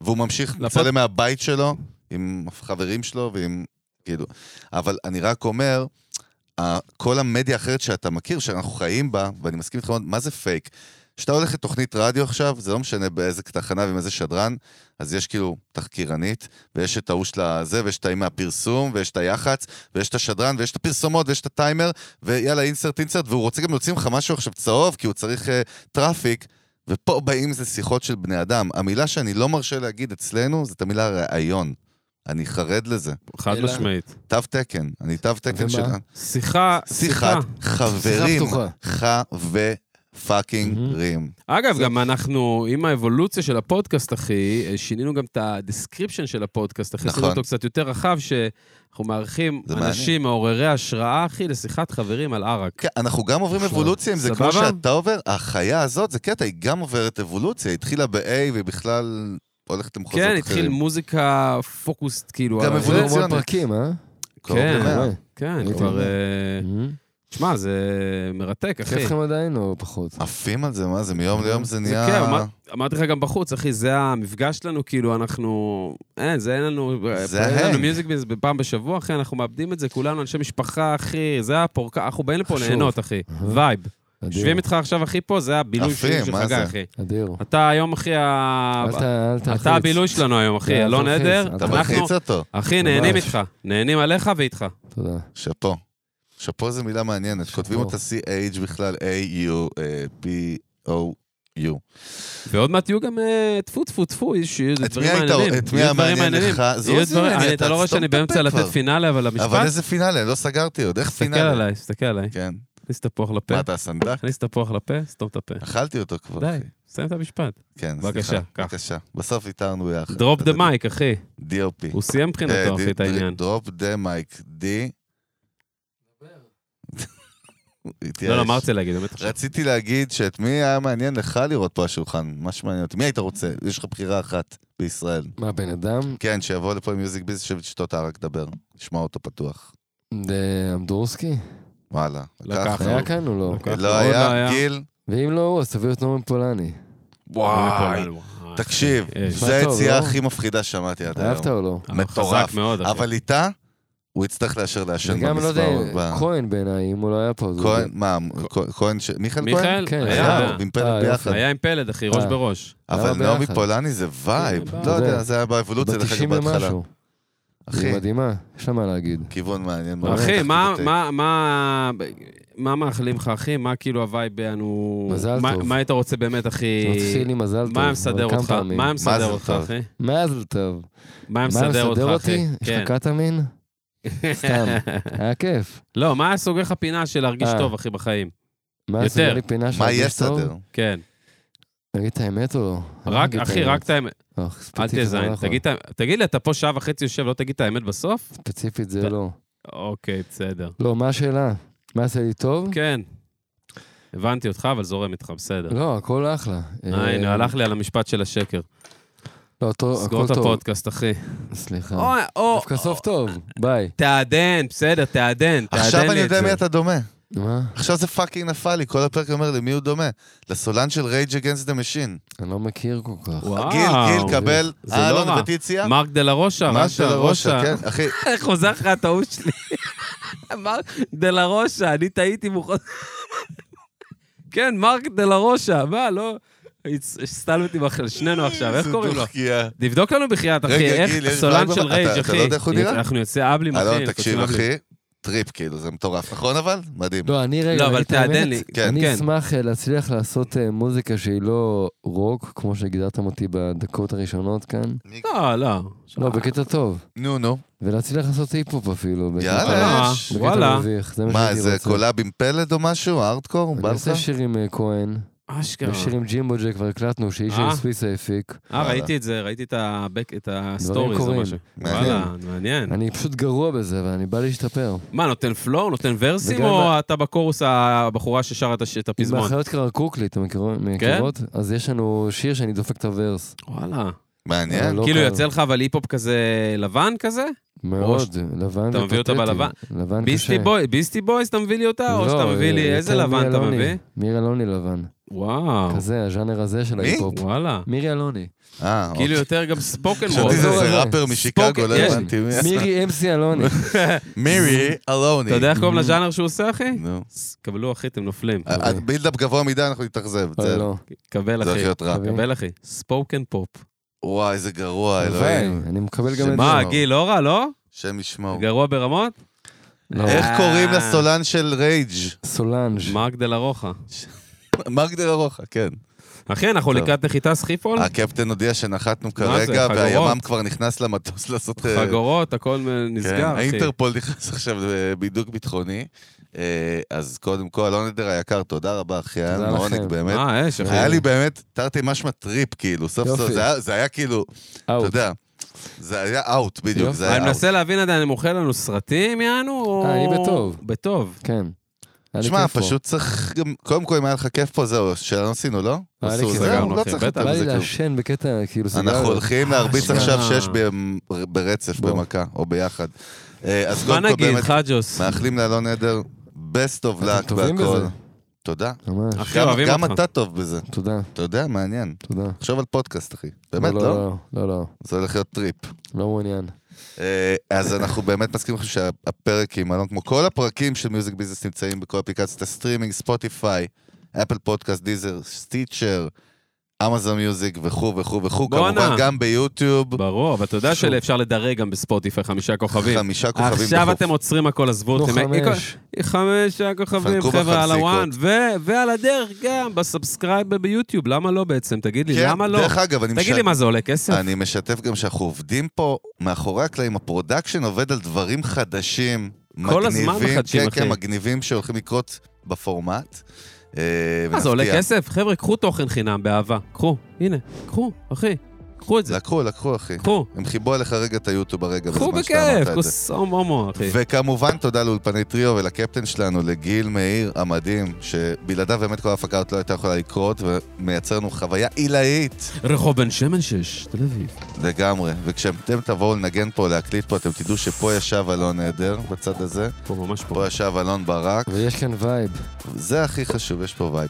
S1: והוא ממשיך
S2: לפוד-
S1: לצלם מהבית שלו, עם חברים שלו ועם, כאילו, אבל אני רק אומר, ה- כל המדיה האחרת שאתה מכיר, שאנחנו חיים בה, ואני מסכים איתך מאוד, מה זה פייק? כשאתה הולך לתוכנית רדיו עכשיו, זה לא משנה באיזה תחנה ועם איזה שדרן, אז יש כאילו תחקירנית, ויש את ההוא של הזה, ויש את ההיא מהפרסום, ויש את היח"צ, ויש את השדרן, ויש את הפרסומות, ויש את הטיימר, ויאללה אינסרט אינסרט, והוא רוצה גם להוציא ממך משהו עכשיו צהוב, כי הוא צריך אה, טראפיק, ופה באים זה שיחות של בני אדם. המילה שאני לא מרשה להגיד אצלנו, זאת המילה ראיון. אני חרד לזה.
S2: חד
S4: אלא-
S2: משמעית.
S1: תו תקן, אני תו תקן
S4: ומה?
S1: של...
S2: שיחה, שיחה.
S1: שיחת חברים,
S4: פתוחה.
S1: חברים.
S2: אגב,
S1: זה-
S2: גם אנחנו, עם האבולוציה של הפודקאסט, אחי, אה, שינינו גם את הדסקריפשן של הפודקאסט, אחי,
S1: נכון.
S2: עשינו אותו קצת יותר רחב, שאנחנו מארחים
S1: זה
S2: אנשים מעוררי השראה, אחי, לשיחת חברים על ערק.
S1: כן, אנחנו גם עוברים
S4: אחלה.
S1: אבולוציה, אם זה כמו
S2: סבבה?
S1: שאתה עובר, החיה הזאת, זה קטע, היא גם עוברת אבולוציה, היא התחילה ב-A והיא בכלל הולכת למחוזות
S2: כן,
S1: אחרים.
S2: התחיל מוזיקה פוקוסט, כאילו...
S1: גם
S2: על-
S4: זה
S1: אבולוציה.
S4: המון פרקים, אה?
S1: קרוב
S2: כן.
S1: למאה.
S4: אה,
S2: כן,
S4: הייתי
S2: כבר...
S4: אומר.
S2: אה,
S4: Mhm.
S2: תשמע, זה מרתק, אחי.
S4: כיף לכם עדיין או פחות?
S2: אה.
S1: עפים על זה, מה זה, מיום ליום זה
S2: זה כן,
S1: נהיה...
S2: אמר- אמרתי לך גם בחוץ, אחי, זה המפגש שלנו, כאילו, אנחנו... אין, זה אין לנו... אה,
S1: זה
S2: אין לנו
S1: ההנג.
S2: מיוזיק ביז פעם בשבוע, אחי, אנחנו מאבדים את זה, כולנו אנשי משפחה, אחי, זה הפורקה, אנחנו באים לפה
S4: חשוב.
S2: ליהנות, אחי.
S4: אהה.
S2: וייב.
S4: אדיר,
S2: יושבים איתך עכשיו, אחי, פה, זה הבילוי
S1: יפים,
S2: שלי של
S1: מה
S2: חגי,
S1: זה?
S2: אחי.
S4: אדיר.
S2: אתה היום, אחי, ה-
S4: אל ת- אל תלחיץ.
S2: אתה הבילוי שלנו היום, אחי,
S4: אל
S2: אלון
S4: תלחיץ,
S2: עדר.
S4: אל
S1: כן, אתה
S4: אנחנו-
S1: מלחיץ אותו,
S2: אחי, נהנים
S4: ממש.
S2: איתך. נהנים עליך ואיתך.
S4: תודה.
S1: שאפו. שאפו זו מילה מעניינת,
S4: שאפו.
S1: כותבים אותה C-H בכלל, אה, A-U-P-O-U.
S2: ועוד מעט יהיו גם אה, טפו טפו טפו, איש- יהיו
S1: את
S2: דברים
S1: מי היית-
S2: מעניינים.
S1: את מי אה,
S2: יהיו
S1: היה
S2: דברים
S1: מעניין
S2: מעניינים.
S1: לך?
S2: יהיו
S1: זוזי,
S2: דברים-
S1: אני-
S2: אני-
S1: אתה
S2: אתה לא רואה
S1: סתום
S2: שאני
S1: את הפה
S2: באמצע
S1: כבר.
S2: לתת פינאלה, אבל
S1: אבל
S2: המשפט,
S1: איזה פינאלה, לא סגרתי עוד, איך
S2: תסתכל
S1: פינאלה?
S2: עליי, תסתכל עליי.
S1: כן.
S2: תכניס תפוח לפה,
S1: מה אתה הסנדק?
S2: תכניס תפוח לפה, סתום את הפה.
S1: אכלתי אותו כבר.
S2: די,
S1: אחי.
S2: סיים את המשפט.
S1: כן,
S2: בבקשה,
S1: סליחה.
S2: קח.
S1: בבקשה. בסוף איתרנו ביחד.
S2: דרופ דה מייק, אחי.
S1: DOP.
S2: הוא סיים
S1: אה,
S2: מבחינתו, אחי, את העניין.
S1: דרופ דה מייק. D.
S2: לא, לא, מה רוצה להגיד? באמת עכשיו.
S1: רציתי להגיד שאת מי היה מעניין לך לראות פה השולחן, מה שמעניין אותי. מי היית רוצה? יש לך בחירה אחת בישראל.
S4: מה, בן אדם? כן.
S1: כן, שיבוא לפה עם מיוזיק ביז, שתשתו את הערק לדבר. לשמוע אותו פתוח.
S4: אמדורסקי?
S1: וואלה.
S2: לקח.
S1: לקחנו.
S4: היה כאן או לא?
S2: אוקיי.
S1: לא
S2: עוד לא היה.
S1: היה, גיל.
S4: ואם לא הוא, אז תביאו את נורמן פולני.
S1: וואי.
S2: וואי.
S1: תקשיב,
S2: אה,
S1: זו
S4: נשמע טוב,
S1: היציאה
S4: לא?
S1: הכי מפחידה שמעתי עד היום.
S4: אהבת או לא?
S2: אבל
S1: מטורף.
S2: חזק מאוד, אחי.
S1: אבל איתה, הוא יצטרך לאשר לעשן
S4: וגם לא יודע,
S1: במספר. ב-
S4: כהן בעיניי, אם הוא לא היה פה. אז הוא-
S1: כהן, מה, כהן, ש- מיכאל כהן?
S2: מיכאל,
S4: כן,
S2: היה,
S1: היה, עם פלד
S4: אה,
S1: ביחד.
S2: היה עם פלד, אחי, ראש
S4: אה.
S2: בראש.
S1: אבל
S4: למה
S1: נעמי
S4: ביחד?
S1: פולני זה וייב.
S2: אה,
S1: לא יודע,
S4: יודע.
S1: זה היה באבולוציה, דרך אגב,
S4: ב-90
S1: בהתחלה.
S4: ומשהו.
S1: אחי,
S4: היא מדהימה, יש לה מה להגיד.
S1: כיוון מעניין. מאוד.
S2: אחי,
S1: לקחתי
S2: מה-
S1: בטייק.
S2: מה- מה מה מאחלים לך, אחי? מה כאילו הווייב אנו...
S4: מזל
S2: מה-
S4: טוב. לא
S2: מה היית רוצה באמת, אחי?
S4: מתחיל עם מזל טוב.
S2: מה היה
S4: אבל
S2: מסדר
S4: כמה
S2: אותך?
S4: פעמים.
S2: מה היה
S1: מה
S2: מסדר
S1: זה
S2: אותך,
S1: טוב?
S2: אחי?
S4: מזל טוב.
S2: מה היה
S4: מה היה
S2: מסדר
S4: מסדר
S2: אותך,
S4: אותי?
S2: אחי?
S4: יש
S2: כן. <laughs>
S4: לך קטמין? סתם. היה כיף.
S2: לא, מה היה סוגר לך פינה של להרגיש
S4: אה.
S2: טוב, אחי, בחיים?
S4: מה היה סוגר
S2: יותר.
S4: לי פינה של
S1: מה
S4: להרגיש
S1: יש
S4: טוב?
S1: סדר?
S2: כן.
S4: תגיד את האמת או לא? אני לא
S2: רק,
S4: אגיד את
S2: אחי,
S4: האמת.
S2: רק את האמת.
S4: לא,
S2: אל
S4: ספציפית זה לא
S2: תזיין.
S4: יכול.
S2: תגיד את האמת. תגיד לי, אתה פה שעה וחצי יושב, לא תגיד את האמת בסוף?
S4: ספציפית
S2: ת-
S4: זה לא.
S2: אוקיי, בסדר.
S4: לא, מה השאלה? מה עשה לי טוב?
S2: כן. הבנתי אותך, אבל זורם איתך, בסדר.
S4: לא, הכל אחלה.
S2: אה, הנה,
S4: אה,
S2: הלך לי על המשפט של השקר.
S4: לא,
S2: סגור
S4: טוב, הכל
S2: את לא.
S4: טוב.
S2: הפודקאסט, אחי.
S4: סליחה.
S2: או, או,
S4: דווקא סוף טוב, ביי.
S2: תעדן, בסדר, תעדן,
S1: עכשיו
S2: תעדן
S1: אני
S2: לי את זה.
S1: יודע מי אתה דומה.
S4: מה?
S1: עכשיו זה פאקינג נפל לי, כל הפרק אומר לי, מי הוא דומה? לסולן של רייג' אגנסט דה משין.
S4: אני לא מכיר כל כך.
S2: וואו.
S1: גיל, גיל, קבל,
S2: זה לא
S1: אהלון
S2: רע.
S1: פטיציה.
S2: מרק דה לה רושה,
S1: מה
S2: רשע,
S1: של הראשה,
S2: רושה.
S1: כן, אחי.
S2: איך חוזר לך הטעות שלי? מרק דה לה רושה, אני טעיתי אם הוא חוזר... כן, מרק דה לה רושה, מה, לא... הסתלנו אותי בחל, שנינו עכשיו, איך
S1: איזה
S2: קוראים לו?
S1: דוחקיה.
S2: תבדוק לנו בחייאת, אחי,
S1: רגע,
S2: איך
S1: גיל, יש
S2: סולן
S1: בעיה בבית?
S2: של
S1: אתה-
S2: רייג',
S1: אתה
S2: אחי.
S1: לא יודע איך הוא נראה?
S2: אנחנו יוצא אבלים, אחי.
S1: אלון,
S2: אנחנו
S1: תקשיב,
S2: יוצאים אבלים.
S1: אחי, טריפ, כאילו, זה מטורף, נכון אבל? מדהים.
S4: לא, אני רגע,
S2: לא, אבל
S4: אני את האמת,
S2: תעדן לי.
S1: כן,
S4: אני
S2: כן.
S4: אשמח אה, להצליח לעשות אה, מוזיקה שהיא לא רוק, כמו שגידרתם אותי בדקות הראשונות כאן.
S2: לא, לא.
S4: לא, בקטע טוב.
S1: נו, נו.
S4: ולהצליח לעשות היפ-הופ אפילו. בקטע-
S1: יאללה,
S2: אה,
S1: לא יש.
S4: בקטע
S2: וואלה.
S4: מביך, זה מה
S1: מה,
S4: שהייתי
S1: זה
S4: רוצה.
S1: קולאב עם פלד או משהו? הארדקור?
S4: אני
S1: בא לך?
S4: עושה שיר עם אה, כהן,
S2: אשכרה.
S4: יש שיר עם ג'ימבו ג'ק, כבר הקלטנו, שאיש
S2: כן. אה.
S4: של סוויסה הפיק.
S2: אה,
S1: וואלה.
S2: ראיתי את זה, ראיתי את הבק- את הסטוריז או
S4: קורים.
S2: משהו.
S1: מעניין.
S2: וואלה, מעניין.
S4: אני פשוט גרוע בזה, אבל אני בא להשתפר.
S2: מה, נותן פלואו? נותן ורסים?
S4: וגם
S2: או
S4: ה-
S2: אתה בקורוס הבחורה ששרה את הש- את
S4: עם
S2: הפזמון?
S4: האחיות קרקוק לי, אתם מכירו- מכירות? אז יש לנו שיר שאני דופק את הוורס.
S2: וואלה.
S1: מעניין.
S4: אבל לא
S2: כאילו,
S4: קל.
S2: יוצא לך אבל היפ-הופ כזה לבן כזה?
S4: מאוד, לבן
S2: אתה מביא אותה
S4: ופתטי.
S2: בלבן?
S4: לבן
S2: ביסטי
S4: קשה.
S2: בוי- ביסטי בויז אתה מביא לי אותה?
S1: לא,
S2: או שאתה מביא לי...
S4: אה,
S2: איזה
S4: יותר
S2: לבן
S4: מירי
S2: אתה
S4: אלוני.
S2: מביא?
S4: מירי אלוני לבן.
S2: וואו.
S4: כזה, הז'אנר הזה של
S1: מי?
S4: ההיפ-הופ.
S2: וואלה.
S4: מירי אלוני.
S1: אה, אוקיי.
S2: כאילו יותר גם ספוקן וורד.
S1: חשבתי
S4: לא,
S1: שזה
S4: לא.
S1: ראפר משיקגו, לא
S2: יש-
S1: הבנתי מי זה.
S4: מירי אמסי אלוני.
S1: מירי אלוני.
S2: <laughs> אתה יודע
S1: <laughs>
S2: איך קוראים לז'אנר שהוא עושה, אחי?
S1: נו.
S2: ס- קבלו, אחי, אתם נופלים.
S1: אה, אה, בילדאפ גבוה מדי, אנחנו נתאכזב.
S4: אבל
S1: זה
S4: לא.
S2: קבל,
S1: זה הולך
S2: אה, אחי.
S1: להיות רע.
S4: אבל-
S2: קבל, אחי. ספוקן פופ.
S1: וואי, איזה גרוע,
S4: הלוואי,
S1: אה, אלוהים.
S4: אני מקבל גם
S1: שמה?
S4: את זה.
S2: מה,
S1: לא.
S2: גיל, לא רע, לא?
S1: השם ישמור.
S2: גרוע ברמות?
S4: לא,
S1: איך
S2: אה.
S1: קוראים לסולן של רייג'?
S4: סולנג'.
S2: מרק דה לה רוחה.
S1: מרגדר ארוחה, כן.
S2: אחי, אנחנו
S1: טוב. אה,
S2: לקראת נחיתה סחיפול?
S1: הקפטן הודיע שנחתנו
S2: מה זה,
S1: כרגע,
S2: חגורות?
S1: והימ"מ כבר נכנס למטוס לעשות... אה,
S2: חגורות, הכל
S1: כן,
S2: נסגר, אחי.
S1: האינטרפול נכנס עכשיו לבידוק ביטחוני. אה, אז קודם כל, אלון עדר היקר, תודה רבה, אחי, היה
S4: תודה
S1: לנו עונג
S4: לכם.
S1: באמת.
S2: אה, אש, אחי.
S1: היה לי באמת, תרתי משמע טריפ, כאילו, סוף
S4: יופי.
S1: סוף, זה היה- זה היה כאילו, אתה
S4: אאוט.
S1: יודע, זה היה אאוט, בדיוק,
S4: יופי.
S1: זה
S2: אני
S1: היה אאוט.
S2: מנסה להבין עדיין, אני מוכר לנו סרטים, יענו? או-
S4: אה, אני בטוב.
S2: בטוב.
S4: כן. היה לי
S1: שמע,
S4: כיף פה.
S1: פשוט צריך גם, קודם כל, אם היה לך כיף פה, זהו, שאלה עשינו, לא?
S4: היה לי
S1: עשו,
S4: כיף.
S1: זהו,
S2: סגרנו,
S1: לא
S2: אחי,
S1: צריך
S2: בטח.
S1: יותר
S4: בא
S1: מזה
S4: לי
S1: כלום.
S4: לעשן בקטע, כאילו סיגריות. אה,
S1: אנחנו הולכים להרביץ
S2: שנייה.
S1: עכשיו שש ב- ברצף,
S4: בוא.
S1: במכה, או ביחד. אה, אז
S2: מה
S1: קודם כל,
S2: נגיד,
S1: באמת,
S2: חג'וס?
S1: מאחלים לאלון עדר, best of
S4: אתם
S1: luck
S4: טובים
S1: והכל.
S4: בזה.
S1: תודה.
S4: ממש.
S2: אחי,
S1: גם-
S2: אוהבים
S1: גם
S2: אותך.
S1: אתה טוב בזה.
S4: תודה,
S1: אתה יודע, מעניין.
S4: תודה.
S1: תחשוב על פודקאסט, אחי. באמת,
S4: לא,
S1: לא?
S4: לא, לא, לא.
S1: זה הולך להיות טריפ.
S4: לא מעוניין.
S1: אה, אז אנחנו באמת מסכימים לכם שהפרק עם אלון, כמו כל הפרקים של מיוזיק ביזנס נמצאים בכל אפליקציות הסטרימינג, ספוטיפיי, אפל פודקאסט, דיזר, סטיצ'ר, אמזון מיוזיק וכו' וכו' וכו',
S2: בואנה.
S1: כמובן גם ביוטיוב,
S2: ברור, אבל אתה יודע
S4: שוב.
S2: שאפשר לדרג גם בספוטיפיי חמישה כוכבים.
S1: חמישה כוכבים
S2: עכשיו
S1: בחוף.
S2: אתם עוצרים הכל, עזבו
S4: נו,
S2: אתכם.
S4: חמש.
S2: חמישה כוכבים,
S1: פנקו
S2: חבר'ה, על
S1: בחפסיקות.
S2: הוואן, ו- ועל הדרך גם בסאבסקרייב ביוטיוב, למה לא בעצם? תגיד לי,
S1: כן,
S2: למה לא?
S1: דרך אגב, אני
S2: תגיד לי,
S1: משת-
S2: מה זה עולה כסף?
S1: אני משתף גם שאנחנו עובדים פה מאחורי הקלעים, הפרודקשן עובד על דברים חדשים,
S2: כל
S1: מגניבים,
S2: הזמן מחדשים,
S1: כן, כן,
S2: אחי.
S1: מגניבים שהולכים לקרות בפורמט. אה,
S2: מה, זה עולה כסף? חבר'ה, קחו תוכן חינם באהבה. קחו, הנה, קחו, אחי, קחו את זה.
S1: לקחו, לקחו, אחי.
S2: קחו,
S1: הם חיבו עליך רגע את היוטיוב הרגע
S2: קחו אוקיי.
S1: בזמן שאתה אמרת
S2: בכיף,
S1: את זה.
S2: כוס הומו הומו, אחי.
S1: וכמובן, תודה לאולפני טריו ולקפטן שלנו, לגיל מאיר המדהים, שבלעדיו באמת כל ההפקה עוד לא הייתה יכולה לקרות, ומייצר לנו חוויה עילאית.
S2: רחוב בן שמן שש, תל אביב.
S1: לגמרי. וכשאתם תבואו לנגן פה, להקליט פה, אתם תדעו שפה ישב אלון עדר, בצד הזה.
S2: פה, ממש פה.
S1: פה ישב אלון ברק.
S4: ויש כאן וייב.
S1: זה הכי חשוב, יש פה וייב.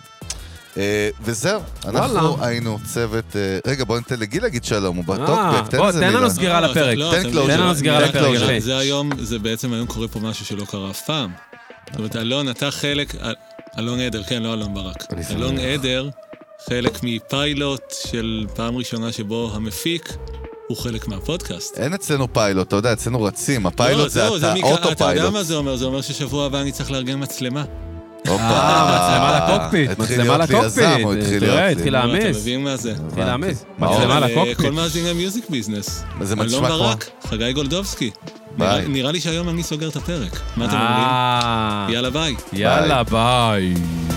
S1: אה, וזהו, אנחנו
S2: וואלה.
S1: היינו צוות... אה, רגע, בוא ניתן לגיל להגיד שלום, הוא
S2: אה,
S1: בטוקבק, תן
S2: בוא,
S1: איזה
S2: תן
S1: מילה.
S2: לנו סגירה
S3: לא,
S2: לפרק.
S3: לא,
S1: תן
S3: אתם-
S1: closure.
S2: תן לנו סגירה
S3: תן
S2: לפרק,
S3: closure.
S2: אחי.
S3: זה היום, זה בעצם היום קורה פה משהו שלא קרה אף פעם. זאת אומרת, אלון, אתה חלק, אל- אלון עדר, כן, לא אלון ברק.
S4: אני שמח.
S3: אלון עדר, חלק מפיילוט של פעם ראשונה שבו המפיק הוא חלק מהפודקאסט.
S1: אין אצלנו פיילוט, אתה יודע, אצלנו רצים,
S3: לא,
S1: הפיילוט זה
S3: זהו,
S1: אתה,
S3: מי-
S1: אוטו
S3: אתה יודע מה
S1: פיילוט.
S3: זה אומר? זה אומר ששבוע הבא אני צריך לארגן מצלמה.
S2: אה, מצלמה לקוקפיט,
S1: התחיל
S2: מצלמה
S1: להיות לי יזם, הוא
S2: לקוקפיט.
S1: התחיל
S2: תראה,
S1: להיות לי.
S2: התחיל
S3: אתה
S2: להעמיס.
S3: מבין מה זה?
S2: התחיל להעמיס.
S1: מה,
S2: אה, מצלמה
S3: אבל, אה, כל
S2: לקוקפיט.
S3: מאזיני המיוזיק ביזנס.
S1: זה
S3: אלון
S1: מצלמה כמו-
S3: ברק, חגי גולדובסקי. נראה-
S1: ביי.
S3: נראה לי שהיום אני סוגר את הפרק. מה אתם אומרים?
S2: אה,
S3: יאללה ביי.
S2: יאללה, ביי.